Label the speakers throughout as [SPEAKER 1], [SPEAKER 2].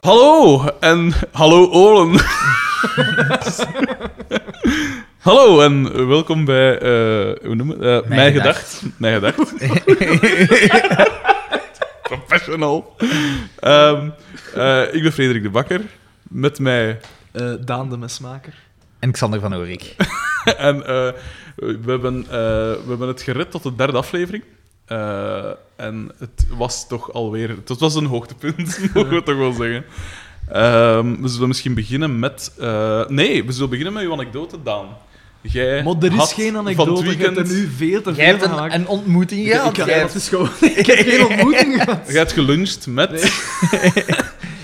[SPEAKER 1] Hallo en hallo Olen. hallo en welkom bij, eh, hoe noemen we het? Eh,
[SPEAKER 2] Mijn
[SPEAKER 1] Mijn
[SPEAKER 2] Gedacht.
[SPEAKER 1] Gedacht. Mijn Gedacht. Professional. Ehm, eh, ik ben Frederik de Bakker. Met mij.
[SPEAKER 3] Eh, Daan de Mesmaker.
[SPEAKER 2] En Xander van Oorik.
[SPEAKER 1] En eh, we, hebben, eh, we hebben het gered tot de derde aflevering. Eh, en het was toch alweer... Het was een hoogtepunt, mogen we toch wel zeggen. Ehm, we zullen misschien beginnen met... eh, nee, we zullen beginnen met uw anekdote, Daan. Jij
[SPEAKER 3] Maar er
[SPEAKER 1] Eh, had
[SPEAKER 3] is geen
[SPEAKER 1] Van
[SPEAKER 3] anekdote,
[SPEAKER 1] het
[SPEAKER 3] je hebt er
[SPEAKER 1] weekend...
[SPEAKER 3] nu veel te
[SPEAKER 2] Jij
[SPEAKER 3] veel
[SPEAKER 2] hebt
[SPEAKER 3] van
[SPEAKER 2] een,
[SPEAKER 3] gemaakt.
[SPEAKER 2] een ontmoeting
[SPEAKER 3] ja,
[SPEAKER 2] gehad.
[SPEAKER 3] ik,
[SPEAKER 2] jij
[SPEAKER 3] dat is gewoon... ik heb geen ontmoeting gehad.
[SPEAKER 1] Jij hebt geluncht met...
[SPEAKER 3] Nee.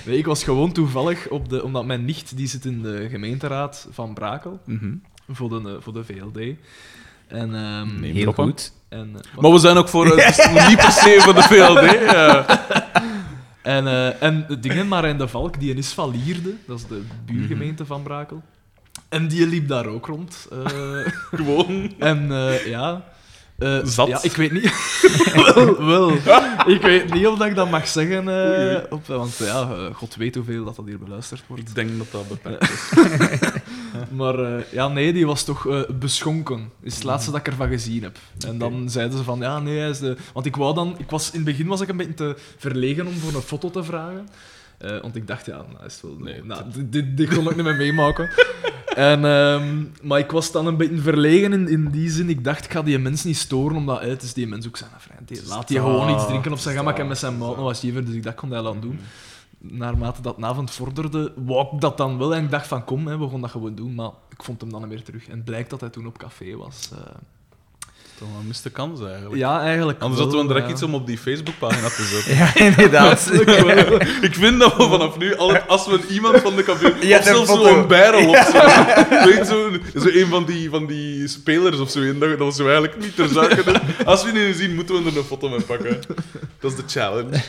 [SPEAKER 3] Nee, ik was gewoon toevallig, op de, omdat mijn nicht die zit in de gemeenteraad van Brakel,
[SPEAKER 1] Mhm.
[SPEAKER 3] voor de, eh, voor de VLD. En, ehm,
[SPEAKER 1] Nee.
[SPEAKER 2] heel
[SPEAKER 1] Proppen.
[SPEAKER 2] goed.
[SPEAKER 3] en, eh,
[SPEAKER 1] Maar we zijn ook voor... Het is niet per se voor de VLD. eh.
[SPEAKER 3] en, eh, en de dingen, maar en de Valk, die is van Lierde, dat is de buurgemeente van Brakel. En die liep daar ook rond. eh,
[SPEAKER 1] gewoon...
[SPEAKER 3] En eh, ja. eh,
[SPEAKER 1] Zat.
[SPEAKER 3] Ja, ik weet niet. wel, wel. Ik weet niet of dat ik dat mag zeggen. eh,
[SPEAKER 1] Oei, oei.
[SPEAKER 3] op, want ja, eh, god weet hoeveel dat, dat hier beluisterd wordt.
[SPEAKER 1] Ik denk dat dat beperkt is.
[SPEAKER 3] Maar eh, ja, nee, die was toch eh, beschonken. Is het laatste dat ik ervan gezien heb. En dan zeiden ze van ja, nee, hij is de. Want ik wou dan. Ik was, in het begin was ik een beetje te verlegen om voor een foto te vragen. Eh, want ik dacht, ja, nou, dat is wel,
[SPEAKER 1] Nee,
[SPEAKER 3] nou, dit, dit, dit kon ik niet meer meemaken. En, ehm, maar ik was dan een beetje verlegen in, in die zin. Ik dacht, ik ga die mens niet storen, omdat eh, het is die mens ook zijn vriend. Die, laat die gewoon
[SPEAKER 1] Ah,
[SPEAKER 3] iets drinken op zijn gemak en met zijn maat nog wat jever. Dus ik dacht, ik kon dat aan doen.
[SPEAKER 1] Mm.
[SPEAKER 3] Naarmate dat de avond vorderde, wou ik dat dan wel. En ik dacht van, kom, hè, we gaan dat gewoon doen. Maar ik vond hem dan niet meer terug. En het blijkt dat hij toen op café was. eh.
[SPEAKER 1] Dan een miste kans, eigenlijk.
[SPEAKER 3] ja, eigenlijk
[SPEAKER 1] Anders
[SPEAKER 3] wel,
[SPEAKER 1] hadden we direct
[SPEAKER 3] ja.
[SPEAKER 1] iets om op die Facebookpagina te zetten.
[SPEAKER 2] Ja, inderdaad.
[SPEAKER 1] Ik vind dat we vanaf nu, altijd, als we iemand van de kampioen...
[SPEAKER 2] Ja,
[SPEAKER 1] of zelfs
[SPEAKER 2] dat vond
[SPEAKER 1] zo'n
[SPEAKER 2] ik-
[SPEAKER 1] bijrol of zo. Weet, zo, zo een van die, van die spelers of zo. En dat, dat we zo eigenlijk niet ter zake doen. Als we die nu zien, moeten we er een foto mee pakken. Dat is de challenge.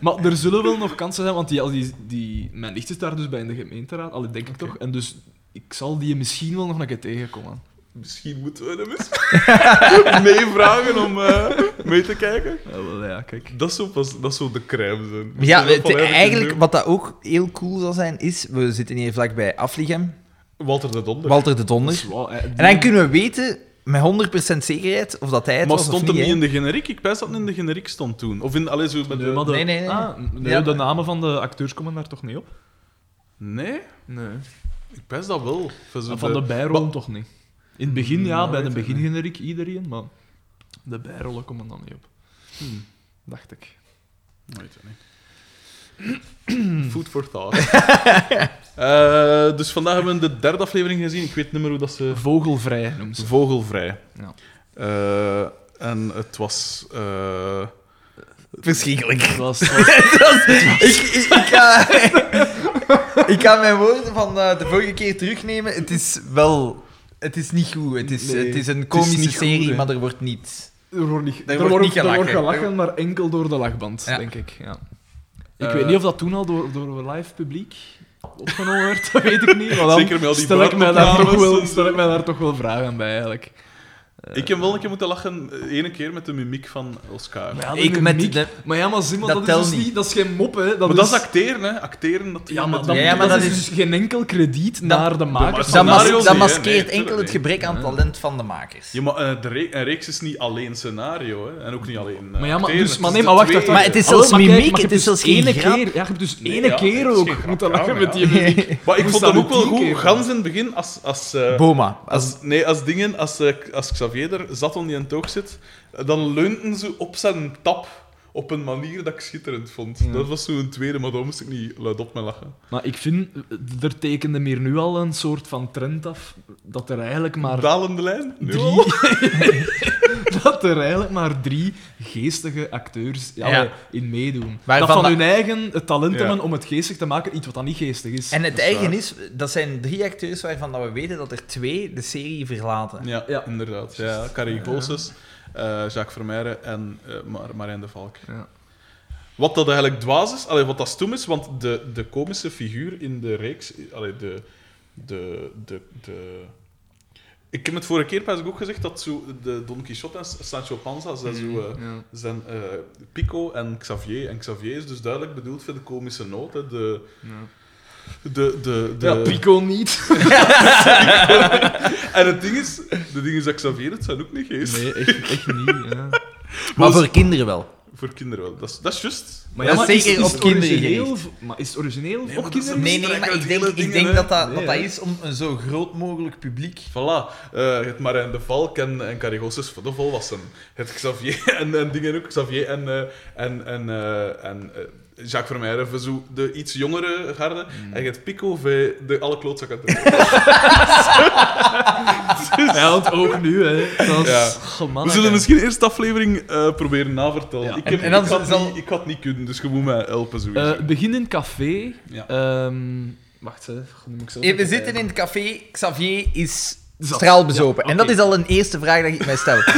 [SPEAKER 3] Maar er zullen wel nog kansen zijn, want die, als die, die, mijn nicht is daar dus bij in de gemeenteraad, allee, denk ik toch. En dus ik zal die misschien wel nog een keer tegenkomen.
[SPEAKER 1] Misschien moeten we hem eens meevragen om eh, mee te kijken.
[SPEAKER 3] Ja, wel, ja, kijk.
[SPEAKER 1] Dat zou, pas, dat zou de crème zijn. Dat
[SPEAKER 2] ja,
[SPEAKER 1] zou wel
[SPEAKER 2] het-
[SPEAKER 1] van
[SPEAKER 2] eigenlijk
[SPEAKER 1] doen.
[SPEAKER 2] wat dat ook heel cool zal zijn, is... We zitten hier vlakbij Afligem,
[SPEAKER 1] Walter de Donder.
[SPEAKER 2] Walter de Donder.
[SPEAKER 3] Dat is wel, eh, die-
[SPEAKER 2] En dan kunnen we weten, met 100% zekerheid, of dat hij het
[SPEAKER 1] maar
[SPEAKER 2] was
[SPEAKER 1] stond
[SPEAKER 2] of
[SPEAKER 1] hem
[SPEAKER 2] niet.
[SPEAKER 1] niet in
[SPEAKER 2] hè.
[SPEAKER 1] de generiek? Ik pijs dat het in de generiek stond toen. Of in... Allee, zo met
[SPEAKER 3] Nee,
[SPEAKER 1] de-
[SPEAKER 3] maar de,
[SPEAKER 2] Nee, nee, nee.
[SPEAKER 3] Ah, n- nee,
[SPEAKER 2] Ja.
[SPEAKER 3] de namen van de acteurs komen daar toch niet op?
[SPEAKER 1] Nee?
[SPEAKER 3] Nee.
[SPEAKER 1] Ik pijs dat wel. Van zo
[SPEAKER 3] Van
[SPEAKER 1] de-
[SPEAKER 3] de Mm, bijrollen toch niet? In het begin, ja,
[SPEAKER 1] Nou,
[SPEAKER 3] bij de
[SPEAKER 1] weet ik
[SPEAKER 3] begingeneriek iedereen, maar de bijrollen komen dan niet op,
[SPEAKER 1] Hmm.
[SPEAKER 3] dacht ik.
[SPEAKER 1] Weet het niet. Food for thought. Eh, dus vandaag hebben we de derde aflevering gezien. Ik weet niet meer hoe dat ze...
[SPEAKER 3] Vogelvrij noemt ze.
[SPEAKER 1] Vogelvrij.
[SPEAKER 3] Ja.
[SPEAKER 1] Eh, en het was... eh,
[SPEAKER 2] Verschrikkelijk.
[SPEAKER 3] Dat was- was-
[SPEAKER 2] ik, ik, ik, ga, ik ga mijn woorden van eh, de vorige keer terugnemen. Het is wel... Het is niet goed. Het is,
[SPEAKER 3] Nee,
[SPEAKER 2] het is
[SPEAKER 3] het
[SPEAKER 2] een
[SPEAKER 3] is
[SPEAKER 2] komische
[SPEAKER 3] niet goed,
[SPEAKER 2] serie,
[SPEAKER 3] hè.
[SPEAKER 2] maar er wordt niet...
[SPEAKER 3] Er wordt niet,
[SPEAKER 2] Er
[SPEAKER 3] er
[SPEAKER 2] wordt
[SPEAKER 3] wordt
[SPEAKER 2] niet
[SPEAKER 3] er wordt
[SPEAKER 2] gelachen.
[SPEAKER 3] gelachen, maar enkel door de lachband,
[SPEAKER 2] Ja.
[SPEAKER 3] denk ik. Ja. Ik
[SPEAKER 1] Eh,
[SPEAKER 3] weet niet of dat toen al door, door een live publiek opgenomen werd, dat weet ik niet. Maar dan
[SPEAKER 1] Zeker met al die
[SPEAKER 3] stel ik mij daar toch
[SPEAKER 1] buitenopnames en
[SPEAKER 3] wel,
[SPEAKER 1] zo.
[SPEAKER 3] stel ik mij daar toch wel vragen bij, eigenlijk.
[SPEAKER 1] ik heb wel een keer moeten lachen. eh, ene keer met de mimiek van Oscar. Maar,
[SPEAKER 3] Maar ja, de
[SPEAKER 2] Ik met
[SPEAKER 3] mimiek-
[SPEAKER 2] de-
[SPEAKER 3] Maar ja, maar Simon,
[SPEAKER 2] Dat
[SPEAKER 3] dat, is
[SPEAKER 2] telt
[SPEAKER 3] dus
[SPEAKER 2] niet.
[SPEAKER 3] niet... Dat is geen mop, hè. Dat is...
[SPEAKER 1] dat is acteren, hè. Acteren, dat...
[SPEAKER 3] Ja, maar,
[SPEAKER 1] dat...
[SPEAKER 3] dat,
[SPEAKER 2] Ja, maar
[SPEAKER 3] dat,
[SPEAKER 2] dat
[SPEAKER 3] is
[SPEAKER 2] is-
[SPEAKER 3] dus geen enkel krediet naar de makers.
[SPEAKER 1] maar
[SPEAKER 2] Dat, mas-
[SPEAKER 1] Scenario's
[SPEAKER 2] dat
[SPEAKER 1] niet, hè?
[SPEAKER 2] maskeert
[SPEAKER 1] Nee,
[SPEAKER 2] enkel het
[SPEAKER 1] tuurlijk
[SPEAKER 2] gebrek aan talent van de makers.
[SPEAKER 1] Ja, maar een, eh, re- een reeks is niet alleen scenario, hè. En ook niet alleen eh,
[SPEAKER 3] Maar ja, maar,
[SPEAKER 1] acteren,
[SPEAKER 3] dus,
[SPEAKER 1] het
[SPEAKER 3] maar
[SPEAKER 1] is
[SPEAKER 3] nee,
[SPEAKER 1] de
[SPEAKER 3] maar wacht,
[SPEAKER 1] twee.
[SPEAKER 3] wacht, wacht.
[SPEAKER 2] Maar het is
[SPEAKER 3] Alhoewel,
[SPEAKER 2] zelfs
[SPEAKER 3] kijk,
[SPEAKER 2] mimiek,
[SPEAKER 3] maar je
[SPEAKER 2] het is
[SPEAKER 3] hebt
[SPEAKER 2] zelfs geen
[SPEAKER 3] ene
[SPEAKER 2] grap.
[SPEAKER 3] keer, Ja, je hebt dus
[SPEAKER 1] Nee,
[SPEAKER 3] ene
[SPEAKER 1] ja, het
[SPEAKER 3] keer
[SPEAKER 1] is geen
[SPEAKER 3] ook
[SPEAKER 1] grap,
[SPEAKER 3] moeten lachen
[SPEAKER 1] ja,
[SPEAKER 3] met die
[SPEAKER 1] ja.
[SPEAKER 3] mimiek.
[SPEAKER 1] Maar ik
[SPEAKER 3] Moest
[SPEAKER 1] vond dat
[SPEAKER 3] dat
[SPEAKER 1] ook wel
[SPEAKER 3] tien
[SPEAKER 1] goed.
[SPEAKER 3] keer
[SPEAKER 1] Gans in het begin, als... als eh,
[SPEAKER 2] Boma. Als,
[SPEAKER 1] Als, nee, als dingen, als, eh, als Xavier er zat om die in toog zit, eh, dan leunten ze op zijn tap op een manier dat ik schitterend vond. Dat was zo'n tweede, maar daar moest ik niet luidop mee lachen.
[SPEAKER 3] Maar ik vind, er tekende meer nu al een soort van trend af, dat er eigenlijk maar
[SPEAKER 1] Dalende lijn? Nu
[SPEAKER 3] drie...
[SPEAKER 1] al?
[SPEAKER 3] dat er eigenlijk maar drie geestige acteurs ja,
[SPEAKER 2] Ja.
[SPEAKER 3] in meedoen.
[SPEAKER 2] Waarvan
[SPEAKER 3] dat van
[SPEAKER 2] dat-
[SPEAKER 3] hun eigen het talent
[SPEAKER 1] Ja.
[SPEAKER 3] hebben om het geestig te maken, iets wat dan niet geestig is.
[SPEAKER 2] en het
[SPEAKER 1] dat is
[SPEAKER 2] eigen is, dat zijn drie acteurs waarvan dat we weten dat er twee de serie verlaten.
[SPEAKER 1] Ja,
[SPEAKER 3] Ja.
[SPEAKER 1] inderdaad. Ja, Carrie Goossens, eh, Jacques Vermeijren en eh, Mar- Marijn de Valk.
[SPEAKER 3] Ja.
[SPEAKER 1] Wat dat eigenlijk dwaas is, allee, wat dat stoem is, want de, de komische figuur in de reeks, allee, de, de, de, de, Ik heb het vorige keer pas ook gezegd dat zo de Don Quixote en Sancho Panza zijn, zo, eh,
[SPEAKER 3] Mhm. Ja.
[SPEAKER 1] zijn eh, Pico en Xavier. En Xavier is dus duidelijk bedoeld voor de komische noot. Hè. De, de, de, de,
[SPEAKER 3] ja, Pico niet.
[SPEAKER 1] En het ding is, de ding is dat Xavier het zijn ook niet geest.
[SPEAKER 3] Nee, echt, echt niet. Ja.
[SPEAKER 2] Maar voor kinderen wel.
[SPEAKER 1] Voor kinderen wel. Dat is, dat is juist.
[SPEAKER 3] Maar
[SPEAKER 2] Dat
[SPEAKER 3] ja, maar
[SPEAKER 2] is
[SPEAKER 3] is,
[SPEAKER 2] zeker
[SPEAKER 3] is
[SPEAKER 2] op
[SPEAKER 3] het
[SPEAKER 2] kinderen
[SPEAKER 3] origineel? v- Maar is het origineel
[SPEAKER 1] Nee,
[SPEAKER 3] voor
[SPEAKER 1] maar dat is
[SPEAKER 3] kinderen?
[SPEAKER 1] een-
[SPEAKER 2] Nee, nee, maar ik denk, ik denk dat dat, dat, dat is om een zo groot mogelijk publiek.
[SPEAKER 1] Voilà. Eh het Marijn de Valk en, en Carigosus voor de volwassenen. Het Xavier en, en dingen ook. Xavier en, eh, en, en, eh, en eh, Jacques Vermeijeren voor zo de iets jongere garde. En het Pico voor de alle klootzakken.
[SPEAKER 3] Ja, want ook nu, hè. Dat is...
[SPEAKER 1] Ja.
[SPEAKER 3] Goh, man,
[SPEAKER 1] We zullen
[SPEAKER 3] hè.
[SPEAKER 1] misschien eerst de aflevering eh, proberen navertellen.
[SPEAKER 3] Ah, Ja.
[SPEAKER 1] Ik,
[SPEAKER 2] En-
[SPEAKER 1] heb,
[SPEAKER 2] en dan
[SPEAKER 1] ik, had
[SPEAKER 2] zal-
[SPEAKER 1] niet, ik had niet kunnen, dus gewoon mij helpen. Sowieso.
[SPEAKER 3] Eh, begin in een café.
[SPEAKER 1] Ja.
[SPEAKER 3] Ehm, wacht, hè. Goh, nu moet ik zelf
[SPEAKER 2] Eh, We
[SPEAKER 3] even
[SPEAKER 2] zitten in
[SPEAKER 3] kijken.
[SPEAKER 2] het café, Xavier is
[SPEAKER 3] Zat.
[SPEAKER 2] straalbezopen.
[SPEAKER 3] Ja,
[SPEAKER 2] En dat
[SPEAKER 3] oké.
[SPEAKER 2] is al een eerste vraag dat ik mij stel.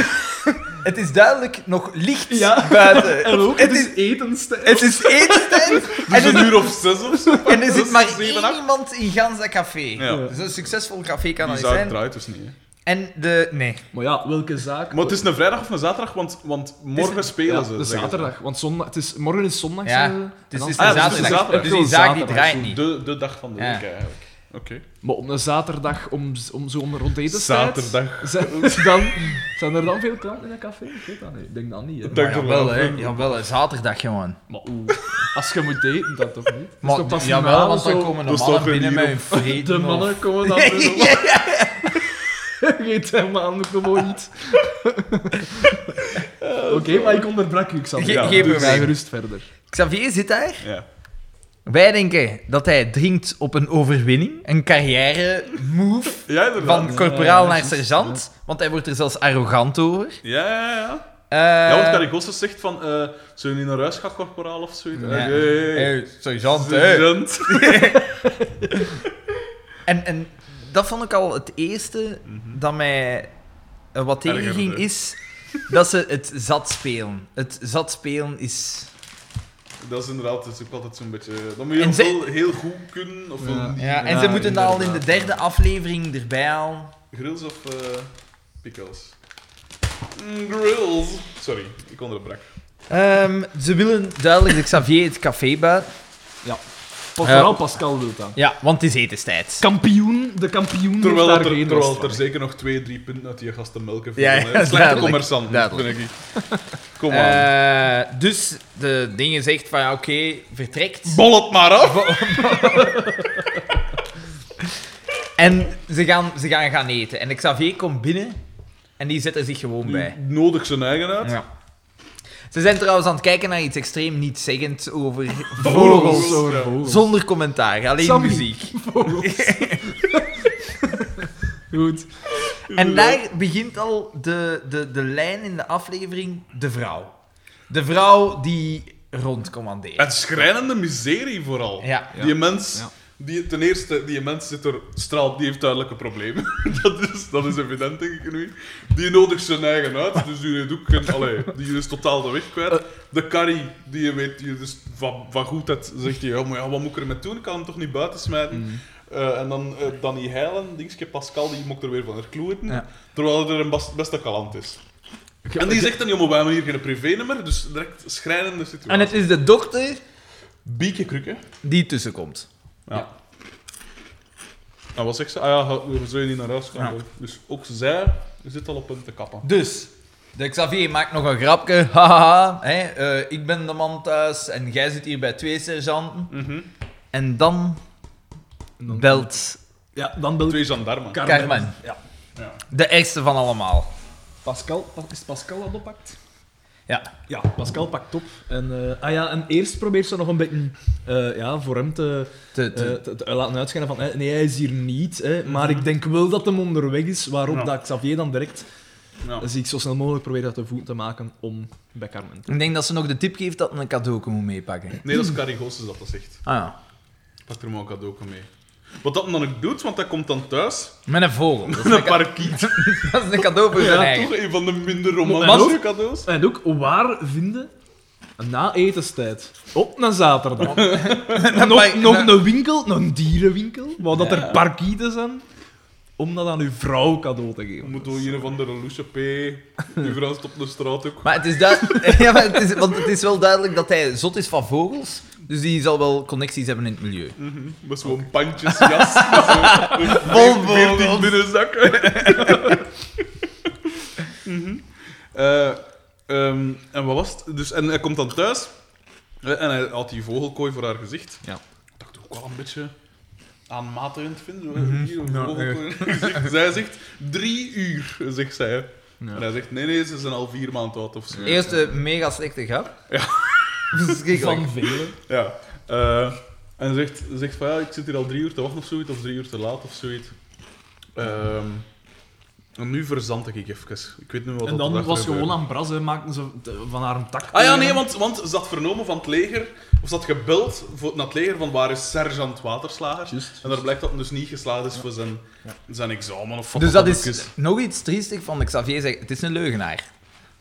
[SPEAKER 2] het is duidelijk nog licht
[SPEAKER 3] Ja.
[SPEAKER 2] buiten.
[SPEAKER 3] En ook,
[SPEAKER 2] het,
[SPEAKER 3] het
[SPEAKER 2] is,
[SPEAKER 3] is etenstijd.
[SPEAKER 2] het is etenstijd
[SPEAKER 1] dus
[SPEAKER 2] en,
[SPEAKER 1] een
[SPEAKER 2] er-
[SPEAKER 1] uur of zes of zo.
[SPEAKER 2] en er zit maar
[SPEAKER 1] Zes,
[SPEAKER 2] één
[SPEAKER 1] zeven, acht.
[SPEAKER 2] iemand in gans dat café.
[SPEAKER 1] Ja.
[SPEAKER 2] Dus een succesvol
[SPEAKER 1] Die
[SPEAKER 2] café kan dat niet
[SPEAKER 1] zaak
[SPEAKER 2] zijn.
[SPEAKER 1] draait dus niet. Hè.
[SPEAKER 2] En de... Nee.
[SPEAKER 3] Maar ja, welke zaak?
[SPEAKER 1] Maar het is een vrijdag of een zaterdag, want, want morgen
[SPEAKER 2] een-
[SPEAKER 1] spelen
[SPEAKER 3] ja,
[SPEAKER 1] ze.
[SPEAKER 3] de
[SPEAKER 1] zeggen ze.
[SPEAKER 3] zaterdag. Want zondag, het is, morgen is zondag.
[SPEAKER 2] Ja.
[SPEAKER 3] zeggen ze. En
[SPEAKER 2] Dus
[SPEAKER 3] dan-
[SPEAKER 2] het is
[SPEAKER 1] Ah,
[SPEAKER 2] een
[SPEAKER 1] ja, dus het is
[SPEAKER 2] zaterdag.
[SPEAKER 1] zaterdag.
[SPEAKER 2] Dus die zaak die
[SPEAKER 3] Zaterdag,
[SPEAKER 2] draait
[SPEAKER 3] zo.
[SPEAKER 2] niet.
[SPEAKER 1] De, de dag van de
[SPEAKER 2] Ja.
[SPEAKER 1] week eigenlijk. Oké.
[SPEAKER 3] Maar op een zaterdag om, om zo om rond etenstijd...
[SPEAKER 1] Zaterdag.
[SPEAKER 3] Zijn, dan, zijn er dan veel klanten in een café? Ik weet dat niet. Ik denk dat niet, hè.
[SPEAKER 1] Dat-
[SPEAKER 2] Maar Jawel, hè. Jawel, hè. zaterdag gewoon.
[SPEAKER 3] Maar oeh, als je moet eten, dat toch niet? Het is
[SPEAKER 2] Maar,
[SPEAKER 3] toch pas
[SPEAKER 2] jawel,
[SPEAKER 3] normaal
[SPEAKER 2] want dan
[SPEAKER 3] zo-
[SPEAKER 2] komen de
[SPEAKER 1] Dus
[SPEAKER 2] mannen
[SPEAKER 1] toch
[SPEAKER 2] binnen
[SPEAKER 1] hier
[SPEAKER 2] met
[SPEAKER 1] op-
[SPEAKER 2] hun vreten.
[SPEAKER 3] De
[SPEAKER 2] of-
[SPEAKER 3] mannen komen dan weer op. Geet hem aan, gewoon niet. Oké, maar ik onderbrak u, Xander.
[SPEAKER 2] Oh, Ge-
[SPEAKER 1] Ja,
[SPEAKER 2] geef
[SPEAKER 1] doe
[SPEAKER 2] hem
[SPEAKER 3] Ga
[SPEAKER 2] mij.
[SPEAKER 3] gerust verder.
[SPEAKER 2] Xavier zit daar.
[SPEAKER 1] Ja.
[SPEAKER 2] Wij denken dat hij drinkt op een overwinning, een carrière-move
[SPEAKER 1] Ja, inderdaad.
[SPEAKER 2] van corporaal
[SPEAKER 3] ja,
[SPEAKER 2] naar
[SPEAKER 3] precies,
[SPEAKER 2] sergeant, want hij wordt er zelfs arrogant over.
[SPEAKER 1] Ja, ja, ja.
[SPEAKER 2] Eh,
[SPEAKER 1] ja, want Carigossus zegt van... eh Zullen we niet naar huis gaan, corporaal, of zoiets? Eh,
[SPEAKER 2] Ja. Eh,
[SPEAKER 1] Ja. Hey, hey,
[SPEAKER 2] hey, sergeant,
[SPEAKER 1] Eh.
[SPEAKER 2] eh. hey.
[SPEAKER 1] sergeant.
[SPEAKER 2] En, en dat vond ik al het eerste dat mij eh, wat tegenging,
[SPEAKER 1] Ergerde.
[SPEAKER 2] is dat ze het zat spelen. Het zat spelen is...
[SPEAKER 1] Dat is inderdaad dus ook altijd zo'n beetje... Dan moet je
[SPEAKER 2] En
[SPEAKER 1] ook
[SPEAKER 2] ze-
[SPEAKER 1] wel heel goed kunnen, of wel
[SPEAKER 2] Ja, en ze moeten dat al in de
[SPEAKER 3] inderdaad.
[SPEAKER 2] derde aflevering erbij halen.
[SPEAKER 1] grills of eh pickles. Mm, grills. Sorry, ik
[SPEAKER 2] Hm,
[SPEAKER 1] onderbrak.
[SPEAKER 2] Ehm, ze willen duidelijk dat Xavier het café buiten.
[SPEAKER 3] Pas,
[SPEAKER 2] Ja.
[SPEAKER 3] vooral Pascal wil dat.
[SPEAKER 2] Ja, want het is etenstijd.
[SPEAKER 3] Kampioen, de kampioen
[SPEAKER 1] Terwijl, dat
[SPEAKER 3] heeft daar
[SPEAKER 1] er,
[SPEAKER 3] geen
[SPEAKER 1] terwijl
[SPEAKER 3] last
[SPEAKER 1] er
[SPEAKER 3] van.
[SPEAKER 1] zeker nog twee, drie punten uit die gasten melken.
[SPEAKER 2] Ja, ja,
[SPEAKER 1] vallen, hè. Slechte
[SPEAKER 2] duidelijk,
[SPEAKER 1] commerçant,
[SPEAKER 2] duidelijk.
[SPEAKER 1] vind ik. Kom aan.
[SPEAKER 2] Eh, dus de dingen zegt van ja, oké, vertrekt.
[SPEAKER 1] Bol het maar af!
[SPEAKER 2] En ze gaan, ze gaan gaan eten. En Xavier komt binnen en die zet er zich gewoon
[SPEAKER 1] Die
[SPEAKER 2] bij.
[SPEAKER 1] nodig zijn eigen uit.
[SPEAKER 2] Ja. Ze zijn trouwens aan het kijken naar iets extreem nietzeggend over
[SPEAKER 3] Vogels.
[SPEAKER 2] vogels.
[SPEAKER 3] over vogels.
[SPEAKER 2] Zonder commentaar, alleen
[SPEAKER 3] Sammy.
[SPEAKER 2] muziek.
[SPEAKER 3] Vogels. Goed.
[SPEAKER 2] En daar begint al de, de, de lijn in de aflevering, de vrouw. De vrouw die rondcommandeert.
[SPEAKER 1] En schrijnende miserie vooral.
[SPEAKER 2] Ja.
[SPEAKER 1] Die mens,
[SPEAKER 3] Ja.
[SPEAKER 1] die, ten eerste, die mens zit er straalt, die heeft duidelijke problemen. dat, is, dat is evident, denk ik nu. Die nodigt zijn eigen uit, dus die heeft ook geen, allee, die is totaal de weg
[SPEAKER 2] Eh.
[SPEAKER 1] kwijt. De carry, die weet die dus van, van goedheid, zegt hij, ja, maar ja, wat moet ik ermee doen? Ik kan hem toch niet buiten smijten?
[SPEAKER 2] Mm.
[SPEAKER 1] Eh, en dan eh Danny Heilen, dingetje Pascal, die mokt er weer van herkloeten.
[SPEAKER 2] Ja.
[SPEAKER 1] Terwijl er een bas- beste kalant is. En die zegt dan, joh, maar wij hebben hier geen privé-nummer, dus direct schrijnende situatie.
[SPEAKER 2] En het is de dokter
[SPEAKER 1] Bieke krukken.
[SPEAKER 2] die tussenkomt.
[SPEAKER 1] Ja. En wat zegt ze? Ah ja, we zullen niet naar huis gaan.
[SPEAKER 2] Ja.
[SPEAKER 1] Dus ook zij zit al op punt te kappen.
[SPEAKER 2] Dus, de Xavier maakt nog een grapje. Haha, hè, eh, ik ben de man thuis en jij zit hier bij twee sergeanten. En dan
[SPEAKER 3] En dan-
[SPEAKER 2] belt
[SPEAKER 3] Ja, dan belt
[SPEAKER 1] Twee gendarmen.
[SPEAKER 3] Carmen.
[SPEAKER 2] Carmen.
[SPEAKER 3] Ja.
[SPEAKER 1] Ja.
[SPEAKER 2] de ergste van allemaal.
[SPEAKER 3] Pascal, Pas- is Pascal dat oppakt?
[SPEAKER 2] Ja.
[SPEAKER 3] Ja, Pascal pakt op. En, eh, ah ja, en eerst probeert ze nog een beetje eh, ja, voor hem te,
[SPEAKER 2] Te- te-
[SPEAKER 3] eh, Mhm. te- te laten uitschijnen van eh, nee, hij is hier niet. Hè, maar ik denk wel dat hem onderweg is, waarop
[SPEAKER 1] Ja.
[SPEAKER 3] dat Xavier dan direct
[SPEAKER 1] Ja.
[SPEAKER 3] zie ik zo snel mogelijk probeer dat de voet te maken om bij Carmen te
[SPEAKER 2] Ik denk dat ze nog de tip geeft dat een cadeau moet meepakken.
[SPEAKER 1] Nee, dat is Carrie Goossens dat dat zegt.
[SPEAKER 2] Ah ja.
[SPEAKER 1] Pak er maar een cadeau mee. Wat dat dan ook doet, want hij komt dan thuis
[SPEAKER 2] Met een vogel. Dat
[SPEAKER 1] met
[SPEAKER 2] is een,
[SPEAKER 1] een
[SPEAKER 2] ca-
[SPEAKER 1] parkiet.
[SPEAKER 2] dat is een cadeau voor
[SPEAKER 1] Ja,
[SPEAKER 2] zijn eigen.
[SPEAKER 1] toch een van de minder
[SPEAKER 3] Maar
[SPEAKER 1] romantische
[SPEAKER 3] ook-
[SPEAKER 1] cadeaus.
[SPEAKER 3] En ook waar vinden na etenstijd, op naar zaterdag, nog,
[SPEAKER 2] Bij-
[SPEAKER 3] nog
[SPEAKER 2] na-
[SPEAKER 3] een winkel, een dierenwinkel, waar dat
[SPEAKER 1] Ja.
[SPEAKER 3] er parkieten zijn. om dat aan uw vrouw cadeau te geven.
[SPEAKER 1] Moet wel een of andere loesje P. Die verrast op de straat ook.
[SPEAKER 2] Maar het is, duid- ja, maar het is, want het is wel duidelijk dat hij zot is van vogels. Dus die zal wel connecties hebben in het milieu.
[SPEAKER 1] Mhm. Met zo'n pandjesjas. met zo'n
[SPEAKER 2] Vol
[SPEAKER 1] 14
[SPEAKER 2] vogels.
[SPEAKER 1] binnenzakken. Mhm. Eh, ehm, en wat was het? Dus, en hij komt dan thuis. eh, En hij had die vogelkooi voor haar gezicht.
[SPEAKER 2] Ja.
[SPEAKER 1] Dat ik toch ook wel een beetje aanmatigend vind. zo, hè,
[SPEAKER 2] Mhm.
[SPEAKER 1] Hier, een vogelkooi in het gezicht. Zij zegt drie uur, zegt zij. En hij zegt, nee, nee, ze zijn al vier maanden oud of zo.
[SPEAKER 2] Eerste mega slechte grap. Ja. Verschrikkelijk.
[SPEAKER 3] Van velen.
[SPEAKER 1] Ja. eh, en zegt, zegt van ja, ik zit hier al drie uur te wachten of zoiets, of drie uur te laat of zoiets. Ehm, en nu verzand ik even. Ik weet niet wat dat
[SPEAKER 3] En dan
[SPEAKER 1] erachter
[SPEAKER 3] was gewoon
[SPEAKER 1] gebeurde.
[SPEAKER 3] aan bras, hè, maakten ze te- van haar een tak.
[SPEAKER 1] Ah ja, nee, want, want ze had vernomen van het leger, of ze had gebeld voor, naar het leger van waar is sergeant Waterslager.
[SPEAKER 3] Juist.
[SPEAKER 1] En daar blijkt dat hij dus niet geslaagd is voor zijn, zijn examen of wat
[SPEAKER 2] Dus dat
[SPEAKER 1] dan ook
[SPEAKER 2] is nog iets triestig van Xavier zeggen. Het is een leugenaar.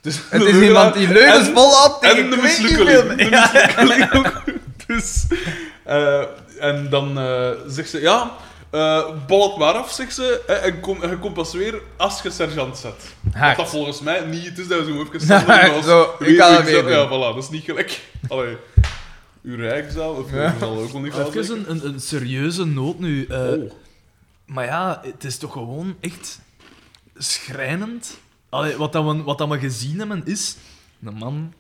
[SPEAKER 1] Dus
[SPEAKER 2] Het is iemand die leugens
[SPEAKER 1] En-
[SPEAKER 2] volhoudt tegen
[SPEAKER 1] En de
[SPEAKER 2] twee
[SPEAKER 1] mislukkeling.
[SPEAKER 2] keer
[SPEAKER 1] De
[SPEAKER 2] veel-
[SPEAKER 1] mislukkeling ook. Dus, eh, en dan eh, zegt ze, ja, eh bal het maar af, zegt ze, eh, en kom, en je komt pas weer als je sergeant zet. Wat
[SPEAKER 2] Hard.
[SPEAKER 1] dat volgens mij niet het is, dat we zo even
[SPEAKER 2] Nee,
[SPEAKER 1] als
[SPEAKER 2] zo, ik
[SPEAKER 1] wie
[SPEAKER 2] kan
[SPEAKER 1] ik
[SPEAKER 2] het
[SPEAKER 1] zet.
[SPEAKER 2] meedoen.
[SPEAKER 1] Ja, voilà, dat is niet gelijk. Allee, uw rijkzaal, of zal ook nog niet wel
[SPEAKER 3] Even
[SPEAKER 1] zeggen.
[SPEAKER 3] een, een, een serieuze nood nu. eh,
[SPEAKER 1] Oh.
[SPEAKER 3] Maar ja, het is toch gewoon echt schrijnend. Allee, wat, dat we, wat dat we gezien hebben is een man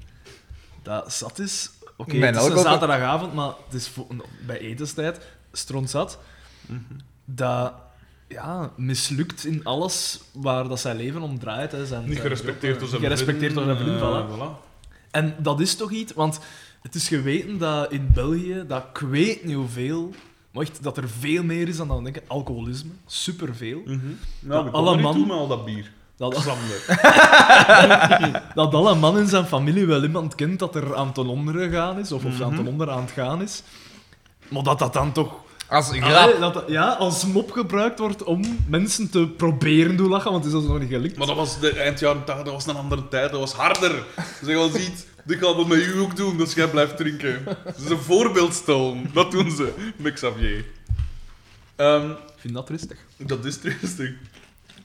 [SPEAKER 3] dat zat is. Oké,
[SPEAKER 2] Ik ben
[SPEAKER 3] het is een
[SPEAKER 2] ook wel-
[SPEAKER 3] zaterdagavond, maar het is vo- bij etenstijd strontzat. Dat ja, mislukt in alles waar dat zijn leven om draait. Hè. Zijn,
[SPEAKER 1] Niet
[SPEAKER 3] zijn
[SPEAKER 1] gerespecteerd door zijn
[SPEAKER 3] Niet gerespecteerd door zijn vriend,
[SPEAKER 1] eh,
[SPEAKER 3] voilà. En dat is toch iets, want het is geweten dat in België, dat ik weet niet hoeveel, maar echt dat er veel meer is dan dat we denken. Alcoholisme, superveel.
[SPEAKER 1] Mhm.
[SPEAKER 3] Dat
[SPEAKER 1] Nou, ik
[SPEAKER 3] alle
[SPEAKER 1] kom er niet
[SPEAKER 3] man-
[SPEAKER 1] toe met al dat bier.
[SPEAKER 3] Dat,
[SPEAKER 1] Xander.
[SPEAKER 3] dat alle man in zijn familie wel iemand kent dat er aan ten onder gaan is, of, of aan ten
[SPEAKER 1] Mhm.
[SPEAKER 3] onder aan het gaan is. Maar dat dat dan toch
[SPEAKER 2] Als een
[SPEAKER 3] Allee,
[SPEAKER 2] grap.
[SPEAKER 3] dat, dat- ja, als mop gebruikt wordt om mensen te proberen doen lachen, want het is dat nog niet gelukt.
[SPEAKER 1] Maar dat was de eind jaren 80, dat was een andere tijd, dat was harder. Zeg als iets, dit gaan we met u ook doen, dus jij blijft drinken. Het is een voorbeeldstelling, dat doen ze met Xavier. Ehm,
[SPEAKER 3] Ik vind dat rustig.
[SPEAKER 1] dat is triestig.